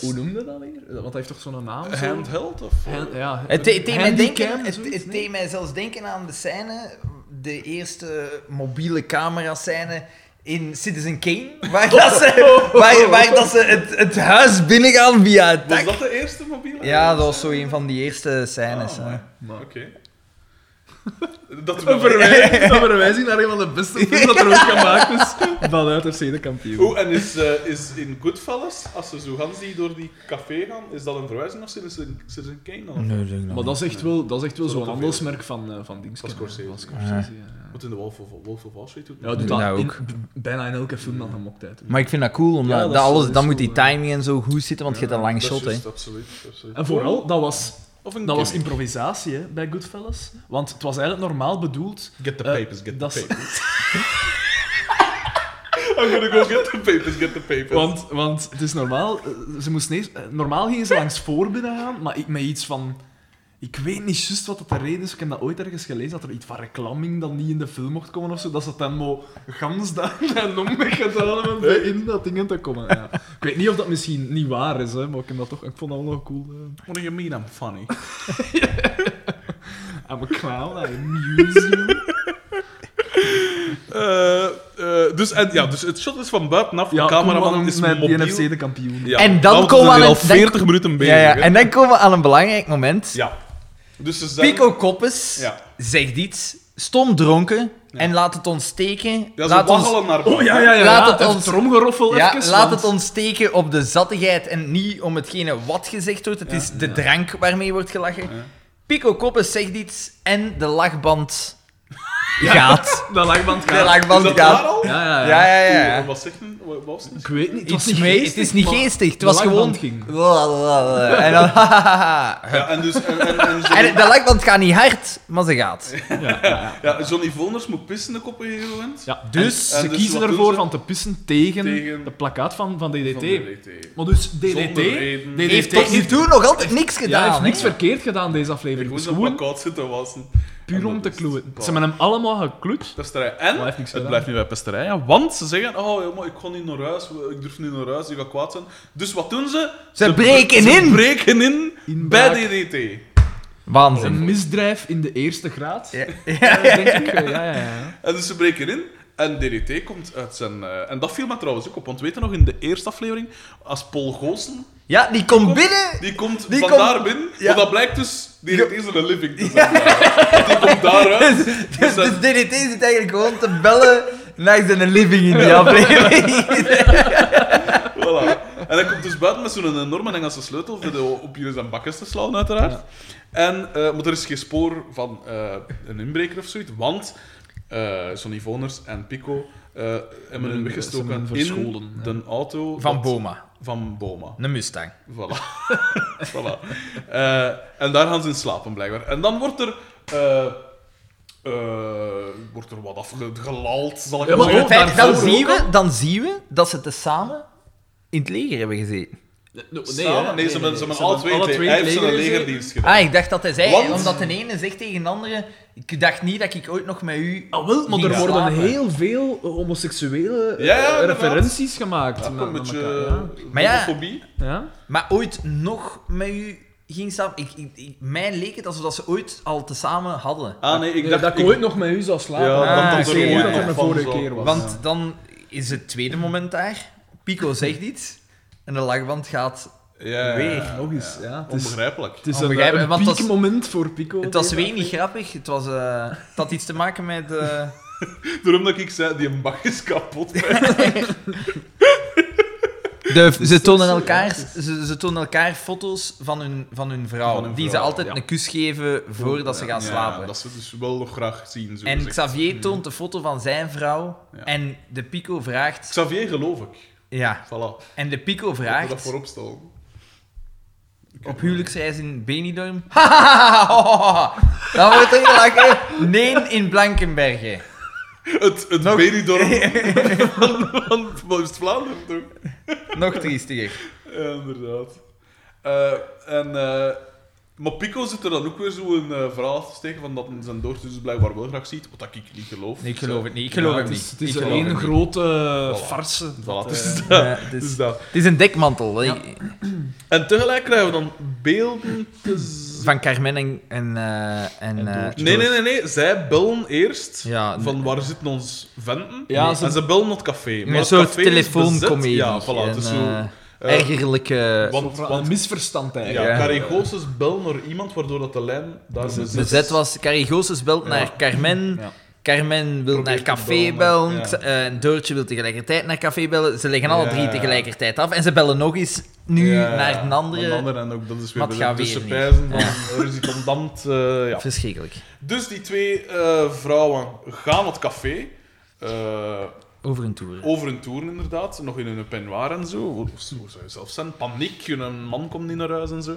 [SPEAKER 3] Hoe noemde dat weer? Want hij heeft toch zo'n naam? zo?
[SPEAKER 1] handheld? Of, eh,
[SPEAKER 3] Hand- ja.
[SPEAKER 2] Het, het, deed mij
[SPEAKER 3] Handycam,
[SPEAKER 2] denken, het,
[SPEAKER 3] zoiets,
[SPEAKER 2] het
[SPEAKER 3] nee?
[SPEAKER 2] deed mij zelfs denken aan de scène, de eerste mobiele camera scène in Citizen Kane, waar, dat ze, waar, waar dat ze het, het huis binnengaan via het
[SPEAKER 1] Was
[SPEAKER 2] dak.
[SPEAKER 1] dat de eerste mobiele?
[SPEAKER 2] Ja, dat was zo een van die eerste scènes.
[SPEAKER 1] Ah,
[SPEAKER 2] hè.
[SPEAKER 1] amai.
[SPEAKER 3] Maar-
[SPEAKER 1] Oké. Dat
[SPEAKER 3] Een
[SPEAKER 1] we
[SPEAKER 3] verwijzing, een verwijzing naar een van de beste films dat er ooit gemaakt is. Vanuit FC de kampioen.
[SPEAKER 1] Oeh, en is, eh, is in Goodfellas, als ze zo gans die door die café gaan, is dat een verwijzing of zit er een Kane dan?
[SPEAKER 3] Maar dat is echt wel, dat is echt wel
[SPEAKER 1] Zo
[SPEAKER 3] zo'n
[SPEAKER 1] te veel.
[SPEAKER 3] handelsmerk van, eh van Dings.
[SPEAKER 1] Van Scorsese.
[SPEAKER 3] ja. ja.
[SPEAKER 1] Wat in de Wolf of, Wolf of Wall Street doet.
[SPEAKER 3] Ja, doet
[SPEAKER 2] Ja,
[SPEAKER 3] dat in-
[SPEAKER 2] ook.
[SPEAKER 3] b- bijna in elke film dan gemokt uit.
[SPEAKER 2] Maar ik vind dat cool, omdat
[SPEAKER 3] Ja, dat
[SPEAKER 2] dat
[SPEAKER 3] is-
[SPEAKER 2] alles,
[SPEAKER 3] dat is
[SPEAKER 2] dan moet die
[SPEAKER 3] cool, ja.
[SPEAKER 2] timing en zo goed zitten, want je hebt een lang shot. hè.
[SPEAKER 1] is absoluut, absoluut.
[SPEAKER 3] En vooral, dat was,
[SPEAKER 1] Of een
[SPEAKER 3] dat was
[SPEAKER 1] gimmick.
[SPEAKER 3] improvisatie hè, bij Goodfellas. Want het was eigenlijk normaal bedoeld.
[SPEAKER 1] Get the
[SPEAKER 3] eh,
[SPEAKER 1] papers, get the
[SPEAKER 3] dat is-
[SPEAKER 1] papers. I'm gonna go get the papers, get the papers.
[SPEAKER 3] Want, want het is normaal, eh, ze moesten eerst, eh, normaal gingen ze langs voorbinnen gaan, maar ik, met iets van. Ik weet niet juist wat dat de reden is. Ik heb dat ooit ergens gelezen dat er iets van reclaming dan niet in de film mocht komen of zo. Dat ze het dan mo gans daar en om gedaan hebben bij in dat ding te komen. Ja. Ik weet niet of dat misschien niet waar is, hè, maar ik, heb dat toch, ik vond dat wel nog cool. eh.
[SPEAKER 1] What do you mean I'm funny?
[SPEAKER 3] I'm a clown, I amuse you.
[SPEAKER 1] Eh, eh, dus, en, ja, dus het shot is van buitenaf, de
[SPEAKER 3] Koeman
[SPEAKER 1] cameraman is
[SPEAKER 3] met
[SPEAKER 1] mobiel.
[SPEAKER 3] DNFC de kampioen.
[SPEAKER 1] Ja,
[SPEAKER 2] En dan
[SPEAKER 1] want we
[SPEAKER 2] komen we
[SPEAKER 1] zijn
[SPEAKER 2] aan
[SPEAKER 1] al
[SPEAKER 2] het- dan-
[SPEAKER 1] 40 minuten bezig.
[SPEAKER 2] Ja, ja.
[SPEAKER 1] hè.
[SPEAKER 2] En dan komen we aan een belangrijk moment.
[SPEAKER 1] Ja. Dus ze zijn...
[SPEAKER 2] Pico Koppes
[SPEAKER 1] Ja.
[SPEAKER 2] zegt iets, stom dronken, en laat het ons steken.
[SPEAKER 1] Ja, ze
[SPEAKER 2] laat ons,
[SPEAKER 1] waggelen naar
[SPEAKER 3] Oh ja, ja, ja.
[SPEAKER 2] Laat
[SPEAKER 3] ja,
[SPEAKER 2] het
[SPEAKER 3] even
[SPEAKER 2] ons-
[SPEAKER 3] tromgeroffel
[SPEAKER 2] ja,
[SPEAKER 3] even,
[SPEAKER 2] laat
[SPEAKER 3] want-
[SPEAKER 2] het ons steken op de zattigheid en niet om hetgene wat gezegd wordt. Het is de drank waarmee wordt gelachen. Pico Koppes zegt iets en de lachband gaat.
[SPEAKER 3] De lachband
[SPEAKER 2] De
[SPEAKER 3] gaat.
[SPEAKER 1] Is
[SPEAKER 2] lachband
[SPEAKER 1] dat daar
[SPEAKER 2] gaat.
[SPEAKER 1] al?
[SPEAKER 3] Ja, ja, ja.
[SPEAKER 2] Ja, ja, ja. ja.
[SPEAKER 1] Wat zegt men? Wat was het?
[SPEAKER 3] Ik weet niet. Het was
[SPEAKER 2] Iets
[SPEAKER 3] niet
[SPEAKER 2] mee,
[SPEAKER 3] geestig,
[SPEAKER 2] het is niet
[SPEAKER 3] maar
[SPEAKER 2] geestig. Het
[SPEAKER 3] de
[SPEAKER 2] was
[SPEAKER 3] lachband
[SPEAKER 2] gewoon.
[SPEAKER 3] ging.
[SPEAKER 2] En dan.
[SPEAKER 1] Ja, en dus... En, en, en Johnny,
[SPEAKER 2] En de lachband gaat niet hard, maar ze gaat.
[SPEAKER 1] ja, Johnny Voners moet pissen de kop in een gegeven moment.
[SPEAKER 3] Ja,
[SPEAKER 1] dus-
[SPEAKER 3] dus
[SPEAKER 1] en
[SPEAKER 3] ze
[SPEAKER 1] dus
[SPEAKER 3] kiezen
[SPEAKER 1] wat
[SPEAKER 3] ervoor
[SPEAKER 1] doen ze?
[SPEAKER 3] van te pissen tegen,
[SPEAKER 1] Tegen-
[SPEAKER 3] de plakkaat van, van DDT.
[SPEAKER 1] Van de DDT.
[SPEAKER 3] Maar dus DDT,
[SPEAKER 1] Zonder reden.
[SPEAKER 3] DDT
[SPEAKER 2] Heeft tot nu toe nog altijd niks
[SPEAKER 3] ja,
[SPEAKER 2] gedaan.
[SPEAKER 3] heeft niks
[SPEAKER 2] hè?
[SPEAKER 3] verkeerd gedaan deze
[SPEAKER 1] Ik
[SPEAKER 3] aflevering. Het
[SPEAKER 1] moest
[SPEAKER 3] is
[SPEAKER 1] een
[SPEAKER 3] gewoon
[SPEAKER 1] plakkaat zitten wassen. En
[SPEAKER 3] puur om
[SPEAKER 1] dat
[SPEAKER 3] te
[SPEAKER 1] is-
[SPEAKER 3] kloeien.
[SPEAKER 1] Voilà.
[SPEAKER 3] Ze hebben hem allemaal gekloet.
[SPEAKER 1] Pesterij. En
[SPEAKER 3] Maar hij heeft niks
[SPEAKER 1] het
[SPEAKER 3] gedaan.
[SPEAKER 1] blijft niet bij pesterij, ja, want ze zeggen: Oh, ja, maar ik kon niet naar huis, ik durf niet naar huis, ik ga kwaad zijn. Dus wat doen ze?
[SPEAKER 2] Ze breken
[SPEAKER 1] ze
[SPEAKER 2] in.
[SPEAKER 1] breken in
[SPEAKER 3] Inbraak.
[SPEAKER 1] bij DDT.
[SPEAKER 2] Waanzin.
[SPEAKER 3] Een misdrijf in de eerste graad.
[SPEAKER 2] Ja.
[SPEAKER 3] Ja, denk ik. eh, Ja, ja, ja.
[SPEAKER 1] En dus ze breken in. En DDT komt uit zijn. eh, en dat viel me trouwens ook op. Want weet je nog in de eerste aflevering, als Paul Goossen.
[SPEAKER 2] Ja, die komt binnen.
[SPEAKER 1] Die komt
[SPEAKER 2] Die
[SPEAKER 1] van
[SPEAKER 2] komt-
[SPEAKER 1] daar binnen.
[SPEAKER 2] ja.
[SPEAKER 1] Maar dat blijkt dus. DDT is een living. te zijn. Want Die komt daaruit.
[SPEAKER 2] Dus,
[SPEAKER 1] dat-
[SPEAKER 2] dus DDT zit eigenlijk gewoon te bellen naar zijn living in die aflevering.
[SPEAKER 1] Voilà. En hij komt dus buiten met zo'n enorme Engelse sleutel voor de, op jullie zijn bakjes te slaan, uiteraard. En, eh, maar er is geen spoor van eh, een inbreker of zoiets, want eh Sonny Voners en Pico eh, hebben hun
[SPEAKER 3] Hun-
[SPEAKER 1] weggestoken
[SPEAKER 3] ze hebben hun
[SPEAKER 1] in
[SPEAKER 3] verscholen, ja.
[SPEAKER 1] de auto dat-
[SPEAKER 2] Boma,
[SPEAKER 1] van Boma.
[SPEAKER 2] een Mustang.
[SPEAKER 1] Voilà. voilà. Eh, en daar gaan ze in slapen, blijkbaar. En dan wordt er... eh, eh, wordt er wat afgelald, zal ik
[SPEAKER 3] Ja,
[SPEAKER 1] maar
[SPEAKER 3] maar
[SPEAKER 1] zeggen.
[SPEAKER 3] ook
[SPEAKER 2] dan,
[SPEAKER 3] daar- daarvoor
[SPEAKER 2] zien we, dan zien we dat ze tezamen in het leger hebben gezeten.
[SPEAKER 3] Nee,
[SPEAKER 1] Samen? Nee, ze hebben, ze hebben alle twee, twee, hij heeft zijn legerdienst gedaan.
[SPEAKER 2] Ah, ik dacht dat hij zei,
[SPEAKER 1] Want-
[SPEAKER 2] omdat de ene zegt tegen de andere, ik dacht niet dat ik ooit nog met u...
[SPEAKER 3] Ah, wel, maar
[SPEAKER 2] ging
[SPEAKER 3] er worden
[SPEAKER 2] slapen."
[SPEAKER 3] heel veel eh, homoseksuele eh,
[SPEAKER 1] Ja, ja, inderdaad.
[SPEAKER 3] referenties gemaakt.
[SPEAKER 1] Ja,
[SPEAKER 3] met-
[SPEAKER 1] een
[SPEAKER 3] met
[SPEAKER 1] beetje eh,
[SPEAKER 3] elkaar,
[SPEAKER 2] Maar ja.
[SPEAKER 1] homofobie.
[SPEAKER 3] ja. Ja?
[SPEAKER 2] Maar ooit nog met u ging slapen? Ik, ik, ik- mij leek het alsof dat ze ooit al tezamen hadden.
[SPEAKER 1] Ah nee, ik
[SPEAKER 3] Nee,
[SPEAKER 1] dacht
[SPEAKER 3] dat ik ooit nog met u zou slapen.
[SPEAKER 1] Ja,
[SPEAKER 2] dat dat
[SPEAKER 3] Ah, ik
[SPEAKER 2] er
[SPEAKER 3] weet
[SPEAKER 2] ooit
[SPEAKER 3] niet
[SPEAKER 2] nog
[SPEAKER 3] dat dat de
[SPEAKER 1] van
[SPEAKER 3] vorige
[SPEAKER 1] zal-
[SPEAKER 3] keer was.
[SPEAKER 2] Want
[SPEAKER 3] ja.
[SPEAKER 2] dan is het tweede moment daar. Pico zegt iets en de lachband gaat.
[SPEAKER 1] Ja,
[SPEAKER 2] Weer,
[SPEAKER 1] ja, ja.
[SPEAKER 3] nog eens, ja. Het is-
[SPEAKER 1] Onbegrijpelijk.
[SPEAKER 3] Het is een,
[SPEAKER 2] Onbegrijpelijk,
[SPEAKER 3] een
[SPEAKER 2] want dat is-
[SPEAKER 3] piekmoment voor Pico.
[SPEAKER 2] Het was
[SPEAKER 3] deze
[SPEAKER 2] weer niet grappig. Het, was, eh, het had iets te maken met. eh,
[SPEAKER 1] Daarom dat ik zei, die bak is kapot.
[SPEAKER 2] ze, tonen elkaar, ze, ze tonen elkaar foto's van hun, van hun vrouw.
[SPEAKER 1] Van hun
[SPEAKER 2] die ze
[SPEAKER 1] vrouw,
[SPEAKER 2] altijd
[SPEAKER 3] ja.
[SPEAKER 2] een kus geven voordat ze gaan
[SPEAKER 1] Ja,
[SPEAKER 2] slapen.
[SPEAKER 1] dat ze dus wel nog graag zien. Zo
[SPEAKER 2] en
[SPEAKER 1] gezegd.
[SPEAKER 2] Xavier toont de foto van zijn vrouw.
[SPEAKER 1] Ja.
[SPEAKER 2] En de Pico vraagt.
[SPEAKER 1] Xavier geloof ik.
[SPEAKER 2] Ja.
[SPEAKER 1] Voilà.
[SPEAKER 2] En de Pico
[SPEAKER 1] Laten we dat
[SPEAKER 2] vraagt.
[SPEAKER 1] voorop stellen.
[SPEAKER 2] Op huwelijksreis in Benidorm. Dan wordt er gelachen. Nee, in Blankenbergen.
[SPEAKER 1] Het, het Benidorm van, van West-Vlaanderen, toch?
[SPEAKER 2] Nog triestiger.
[SPEAKER 1] Ja, inderdaad. Eh, en, eh, maar Pico zit er dan ook weer zo'n eh verhaal af te steken van dat hij zijn dochter dus blijkbaar wel graag ziet, wat ik niet geloof.
[SPEAKER 2] Nee, ik geloof het niet. Ik geloof
[SPEAKER 3] Ja,
[SPEAKER 2] het
[SPEAKER 3] het
[SPEAKER 2] niet.
[SPEAKER 3] is, het is
[SPEAKER 2] Ik geloof
[SPEAKER 3] één
[SPEAKER 2] het niet.
[SPEAKER 3] grote
[SPEAKER 1] Voilà.
[SPEAKER 3] farse.
[SPEAKER 1] Voilà,
[SPEAKER 3] dat,
[SPEAKER 1] het is
[SPEAKER 3] eh,
[SPEAKER 2] Ja, het
[SPEAKER 1] Dus
[SPEAKER 2] is-
[SPEAKER 1] dat.
[SPEAKER 2] Het is een dekmantel. hè.
[SPEAKER 1] En tegelijk krijgen we dan beelden te z-
[SPEAKER 2] Van Carmen en... en, eh, en eh,
[SPEAKER 1] Nee, nee, nee, nee. Zij bellen eerst
[SPEAKER 2] Ja,
[SPEAKER 1] van
[SPEAKER 2] nee.
[SPEAKER 1] waar zitten ons venten.
[SPEAKER 3] Ja,
[SPEAKER 1] En
[SPEAKER 3] ze,
[SPEAKER 1] ze bellen naar het café. Maar
[SPEAKER 2] Een
[SPEAKER 1] het
[SPEAKER 2] soort
[SPEAKER 1] café is
[SPEAKER 2] telefooncomedie.
[SPEAKER 1] bezet. Ja, voilà. het is
[SPEAKER 2] en,
[SPEAKER 1] zo,
[SPEAKER 2] eh,
[SPEAKER 1] eh,
[SPEAKER 2] ergerlijke...
[SPEAKER 1] want- want-
[SPEAKER 3] een misverstand
[SPEAKER 1] ja,
[SPEAKER 3] eigenlijk.
[SPEAKER 2] ja.
[SPEAKER 1] Carigoses bel naar iemand waardoor dat de lijn daar bezet,
[SPEAKER 2] Bezet
[SPEAKER 1] is.
[SPEAKER 2] was... Carigoses belt
[SPEAKER 1] Ja.
[SPEAKER 2] naar Carmen.
[SPEAKER 1] Ja.
[SPEAKER 2] Carmen wil
[SPEAKER 1] Probeert
[SPEAKER 2] naar
[SPEAKER 1] te
[SPEAKER 2] café
[SPEAKER 1] bellen,
[SPEAKER 2] bellen.
[SPEAKER 1] ja.
[SPEAKER 2] X- eh, en Doortje wil tegelijkertijd naar café bellen. Ze leggen alle
[SPEAKER 1] Ja,
[SPEAKER 2] drie
[SPEAKER 1] ja.
[SPEAKER 2] tegelijkertijd af. En ze bellen nog eens nu
[SPEAKER 1] Ja,
[SPEAKER 2] naar een
[SPEAKER 1] naar een
[SPEAKER 2] andere.
[SPEAKER 1] ander en ook dat is weer
[SPEAKER 2] Maar het gaat
[SPEAKER 1] de
[SPEAKER 2] weer
[SPEAKER 1] tussenpijzen
[SPEAKER 2] niet.
[SPEAKER 1] van ruzikondant. eh ja.
[SPEAKER 2] Verschrikkelijk.
[SPEAKER 1] Dus die twee eh, vrouwen gaan het café. eh,
[SPEAKER 2] Over een tour.
[SPEAKER 1] over een toer inderdaad, nog in een peignoir en zo. Hoe hoe zou je zelf zijn? Paniek, een man komt niet naar huis en zo.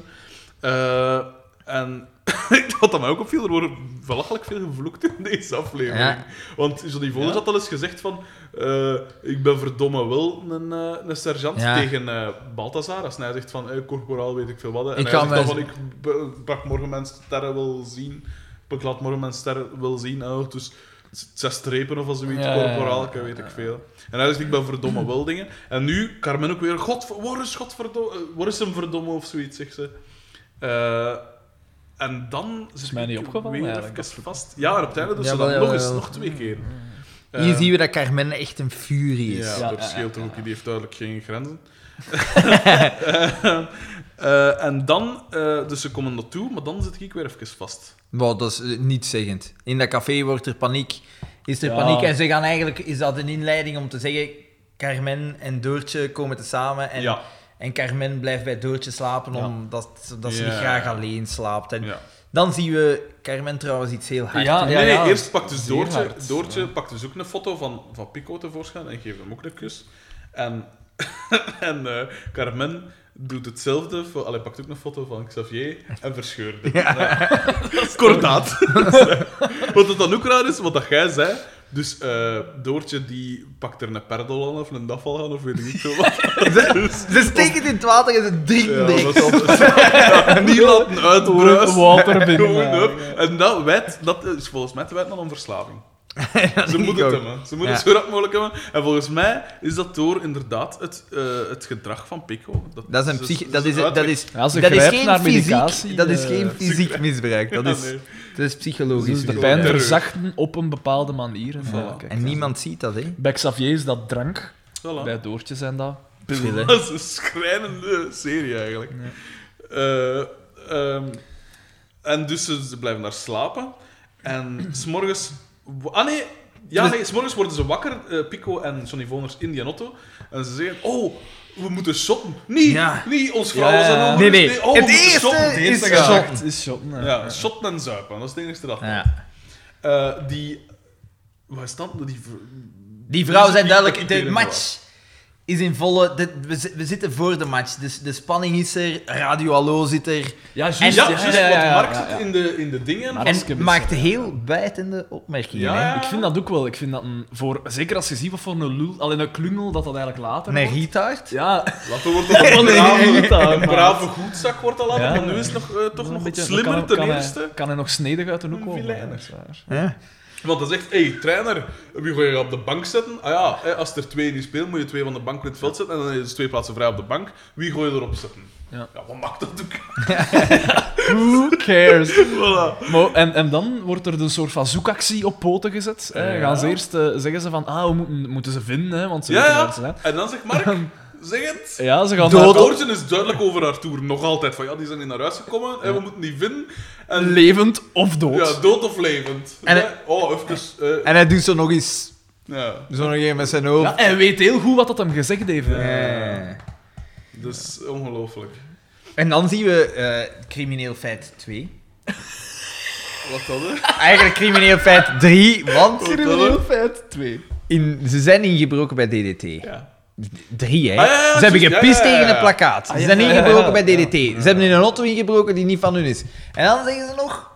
[SPEAKER 1] Eh, en wat dat mij ook opviel, er wordt belachelijk veel gevloekt in deze aflevering.
[SPEAKER 2] Ja.
[SPEAKER 1] Want Johnny Volders
[SPEAKER 3] Ja.
[SPEAKER 1] had al eens gezegd van... eh, ik ben verdomme wel een, eh, een sergeant
[SPEAKER 2] Ja.
[SPEAKER 1] tegen eh Balthazar. Als hij zegt van, eh, corporaal weet ik veel wat. hè. En
[SPEAKER 2] Ik
[SPEAKER 1] hij
[SPEAKER 2] kan
[SPEAKER 1] zegt dan
[SPEAKER 2] mij-
[SPEAKER 1] van, ik be- brak morgen mijn sterren wel zien. Ik laat morgen mijn sterren wel zien. Oh, dus zes strepen of zo zoiets,
[SPEAKER 3] Ja, ja, ja.
[SPEAKER 1] corporaal, ik weet ik veel. En hij zegt, ik ben verdomme wel dingen. En nu, Carmen ook weer, god, waar is godverdomme, eh, waar is hem verdomme of zoiets, zegt ze. Eh, en dan zit
[SPEAKER 3] mij
[SPEAKER 1] ik
[SPEAKER 3] niet opgevallen,
[SPEAKER 1] weer
[SPEAKER 3] eigenlijk, Mm.
[SPEAKER 1] even vast. Ja, en op het einde dus ze
[SPEAKER 2] Jawel,
[SPEAKER 1] dan nog
[SPEAKER 2] jawel.
[SPEAKER 1] eens, nog twee keer.
[SPEAKER 2] Hier
[SPEAKER 1] Eh,
[SPEAKER 2] zien we dat Carmen echt een furie is.
[SPEAKER 1] ja,
[SPEAKER 3] Ja,
[SPEAKER 1] dat
[SPEAKER 3] ja,
[SPEAKER 1] scheelt
[SPEAKER 3] ja,
[SPEAKER 1] ook.
[SPEAKER 3] ja.
[SPEAKER 1] Die heeft duidelijk geen grenzen. Eh, en dan, eh, dus ze komen naartoe, maar dan zit ik weer even vast.
[SPEAKER 2] Maar dat is eh, niet zeggend. In dat café wordt er paniek. Is er
[SPEAKER 3] Ja.
[SPEAKER 2] paniek en ze gaan eigenlijk... Is dat een inleiding om te zeggen... Carmen en Doortje komen te samen en,
[SPEAKER 1] ja,
[SPEAKER 2] en Carmen blijft bij Doortje slapen
[SPEAKER 3] Ja.
[SPEAKER 2] omdat dat ze
[SPEAKER 1] Ja.
[SPEAKER 2] niet graag alleen slaapt. En
[SPEAKER 1] ja.
[SPEAKER 2] Dan zien we Carmen trouwens iets heel hard.
[SPEAKER 3] Ja,
[SPEAKER 2] doen.
[SPEAKER 3] Ah, ja.
[SPEAKER 1] nee, nee, eerst pakt dus
[SPEAKER 3] zeer
[SPEAKER 1] Doortje,
[SPEAKER 3] hard,
[SPEAKER 1] Doortje pakt dus ook een foto van, van Pico tevoorschijn en geeft hem ook een kus. En, en eh, Carmen doet hetzelfde. Voor, allee, pakt ook een foto van Xavier en verscheurt hem. Kordaat. wat het dan ook raar is, wat dat jij zei. Dus eh, Doortje die pakt er een perdel aan of een dafval aan of weet ik niet veel wat.
[SPEAKER 2] Ze, ze steken het in het water en ze drinken
[SPEAKER 1] Ja,
[SPEAKER 2] er
[SPEAKER 1] dat
[SPEAKER 2] echt op.
[SPEAKER 1] is- ja, niet laten uitbruisen.
[SPEAKER 3] Water binnen,
[SPEAKER 1] Gewoon,
[SPEAKER 3] ja.
[SPEAKER 1] hup. En dat, wijt, dat is volgens mij te wijten aan verslaving. Ze
[SPEAKER 2] denk
[SPEAKER 1] moeten
[SPEAKER 2] ik
[SPEAKER 1] het
[SPEAKER 2] ook.
[SPEAKER 1] hebben. Ze moeten het
[SPEAKER 2] Ja.
[SPEAKER 1] zo rap mogelijk hebben. En volgens mij is dat door inderdaad het, eh, het gedrag van Pico.
[SPEAKER 2] Dat is, een
[SPEAKER 1] ze-
[SPEAKER 2] psychi-
[SPEAKER 1] ze-
[SPEAKER 2] dat
[SPEAKER 1] ze
[SPEAKER 2] is, dat
[SPEAKER 1] uitwekt-
[SPEAKER 2] is,
[SPEAKER 3] Ja, ze
[SPEAKER 2] dat is
[SPEAKER 3] grijpen
[SPEAKER 2] geen
[SPEAKER 3] naar
[SPEAKER 2] fysiek,
[SPEAKER 3] medicatie,
[SPEAKER 2] dat is
[SPEAKER 3] eh,
[SPEAKER 2] geen fysiek misbruik. Dat
[SPEAKER 1] Ja,
[SPEAKER 2] is,
[SPEAKER 1] nee.
[SPEAKER 2] dat is psychologisch.
[SPEAKER 3] dus
[SPEAKER 1] is
[SPEAKER 3] de
[SPEAKER 2] misbruik.
[SPEAKER 3] pijn
[SPEAKER 1] terreur.
[SPEAKER 3] verzachten op een bepaalde manier. En, voilà, kijk,
[SPEAKER 2] En
[SPEAKER 3] dat-
[SPEAKER 2] niemand ziet dat, hè?
[SPEAKER 3] Bij Xavier is dat drank,
[SPEAKER 1] Voilà.
[SPEAKER 3] bij Doortje zijn dat pillen.
[SPEAKER 1] Dat is een schrijnende serie eigenlijk. Eh, ehm, en dus ze, ze blijven daar slapen. En s'morgens. wa- Ah nee, ja,
[SPEAKER 2] Dus-
[SPEAKER 1] nee, s'morgens worden ze wakker, eh, Pico en Johnny Voners in die auto. En ze zeggen: Oh, we moeten shotten. Nee,
[SPEAKER 2] Ja.
[SPEAKER 1] nee, ons vrouw
[SPEAKER 3] Ja,
[SPEAKER 1] is
[SPEAKER 3] ja, ja.
[SPEAKER 1] aan
[SPEAKER 2] Nee, nee.
[SPEAKER 1] oh, we
[SPEAKER 2] Het
[SPEAKER 1] moeten
[SPEAKER 2] eerste
[SPEAKER 1] shotten. Het
[SPEAKER 2] is
[SPEAKER 1] eerste
[SPEAKER 2] shotten.
[SPEAKER 1] gaat.
[SPEAKER 3] Shot is shot. nee.
[SPEAKER 1] Ja, shotten en zuipen, dat is het enige dat.
[SPEAKER 2] Ja.
[SPEAKER 1] Eh, die. Waar is dat? Die. v-
[SPEAKER 2] Die vrouwen zijn
[SPEAKER 1] die-
[SPEAKER 2] duidelijk.
[SPEAKER 1] die-
[SPEAKER 2] De
[SPEAKER 1] die-
[SPEAKER 2] match is in volle. de- we, zi- we zitten voor de match. Dus de spanning is er. Radio Hallo zit er.
[SPEAKER 3] Ja, juist.
[SPEAKER 2] En-
[SPEAKER 1] Ja,
[SPEAKER 3] ja,
[SPEAKER 1] juist,
[SPEAKER 3] ja, ja,
[SPEAKER 1] want
[SPEAKER 3] ja,
[SPEAKER 1] Mark
[SPEAKER 3] ja, ja.
[SPEAKER 1] zit in de, in de dingen.
[SPEAKER 3] Maar- Hartstikke
[SPEAKER 2] En maakt heel bijtende opmerkingen.
[SPEAKER 1] Ja,
[SPEAKER 2] hè.
[SPEAKER 1] ja.
[SPEAKER 3] Ik vind dat ook wel. Ik vind dat een, voor, zeker als je ziet wat voor een lul, alleen een klungel dat dat eigenlijk later
[SPEAKER 2] Een
[SPEAKER 3] wordt.
[SPEAKER 2] retard.
[SPEAKER 3] Ja,
[SPEAKER 1] Later wordt dat een
[SPEAKER 3] Nee,
[SPEAKER 1] brave,
[SPEAKER 3] niet aan,
[SPEAKER 1] een
[SPEAKER 3] maar-
[SPEAKER 1] brave goedzak wordt al later,
[SPEAKER 3] Ja.
[SPEAKER 1] maar nu is het nog, eh, toch
[SPEAKER 3] Een
[SPEAKER 1] nog
[SPEAKER 3] beetje-
[SPEAKER 1] slimmer
[SPEAKER 3] kan-
[SPEAKER 1] ten
[SPEAKER 3] kan hij-
[SPEAKER 1] eerste.
[SPEAKER 3] kan hij nog snedig uit de hoek
[SPEAKER 1] Een
[SPEAKER 3] komen?
[SPEAKER 1] vilainer.
[SPEAKER 3] dat is waar.
[SPEAKER 2] Ja.
[SPEAKER 1] Want dan zegt, hé, hey, trainer, wie ga je op de bank zetten? Ah ja, hè, als er twee niet spelen, moet je twee van de bank in het veld zetten en dan is er twee plaatsen vrij op de bank. Wie gooi je erop zetten? Ja,
[SPEAKER 3] Ja.
[SPEAKER 1] wat maakt dat ook?
[SPEAKER 3] Who cares?
[SPEAKER 1] voilà.
[SPEAKER 3] Maar, en, en dan wordt er een soort van zoekactie op poten gezet. Hè.
[SPEAKER 1] Ja.
[SPEAKER 3] Gaan ze eerst eh, zeggen ze van, ah, we moeten, moeten ze vinden, hè, want ze
[SPEAKER 1] Ja,
[SPEAKER 3] weten waar
[SPEAKER 1] ja.
[SPEAKER 3] ze zijn.
[SPEAKER 1] En dan zegt Mark, zeg het.
[SPEAKER 3] Ja, ze gaan
[SPEAKER 1] Maar
[SPEAKER 3] naar-
[SPEAKER 1] Doortje is duidelijk over haar toer nog altijd. Van ja, die zijn niet naar huis gekomen en we moeten die vinden. En
[SPEAKER 3] levend of dood.
[SPEAKER 1] ja, dood of levend.
[SPEAKER 2] En-
[SPEAKER 1] Nee, oh, even. eh,
[SPEAKER 2] En hij doet zo nog eens.
[SPEAKER 1] ja.
[SPEAKER 2] Zo nog een met zijn hoofd.
[SPEAKER 3] Ja, hij weet heel goed wat dat hem gezegd heeft. hè.
[SPEAKER 2] Eh.
[SPEAKER 1] Dus ongelooflijk.
[SPEAKER 2] En dan zien we eh, crimineel feit 2.
[SPEAKER 1] Wat dat, hè?
[SPEAKER 2] Eigenlijk crimineel feit 3, want
[SPEAKER 1] Crimineel
[SPEAKER 2] feit 2. In, ze zijn ingebroken bij DDT.
[SPEAKER 1] Ja.
[SPEAKER 2] Drie, hè?
[SPEAKER 1] Ah, ja, ja,
[SPEAKER 2] ze hebben
[SPEAKER 1] juist, ja,
[SPEAKER 2] gepist
[SPEAKER 1] ja, ja,
[SPEAKER 2] tegen
[SPEAKER 1] ja.
[SPEAKER 2] een plakkaat. Ze
[SPEAKER 3] ja,
[SPEAKER 2] zijn
[SPEAKER 3] ja, ja,
[SPEAKER 2] ingebroken bij
[SPEAKER 3] ja,
[SPEAKER 2] DDT. Ze hebben in een auto ingebroken die niet van hun is. En dan zeggen ze nog,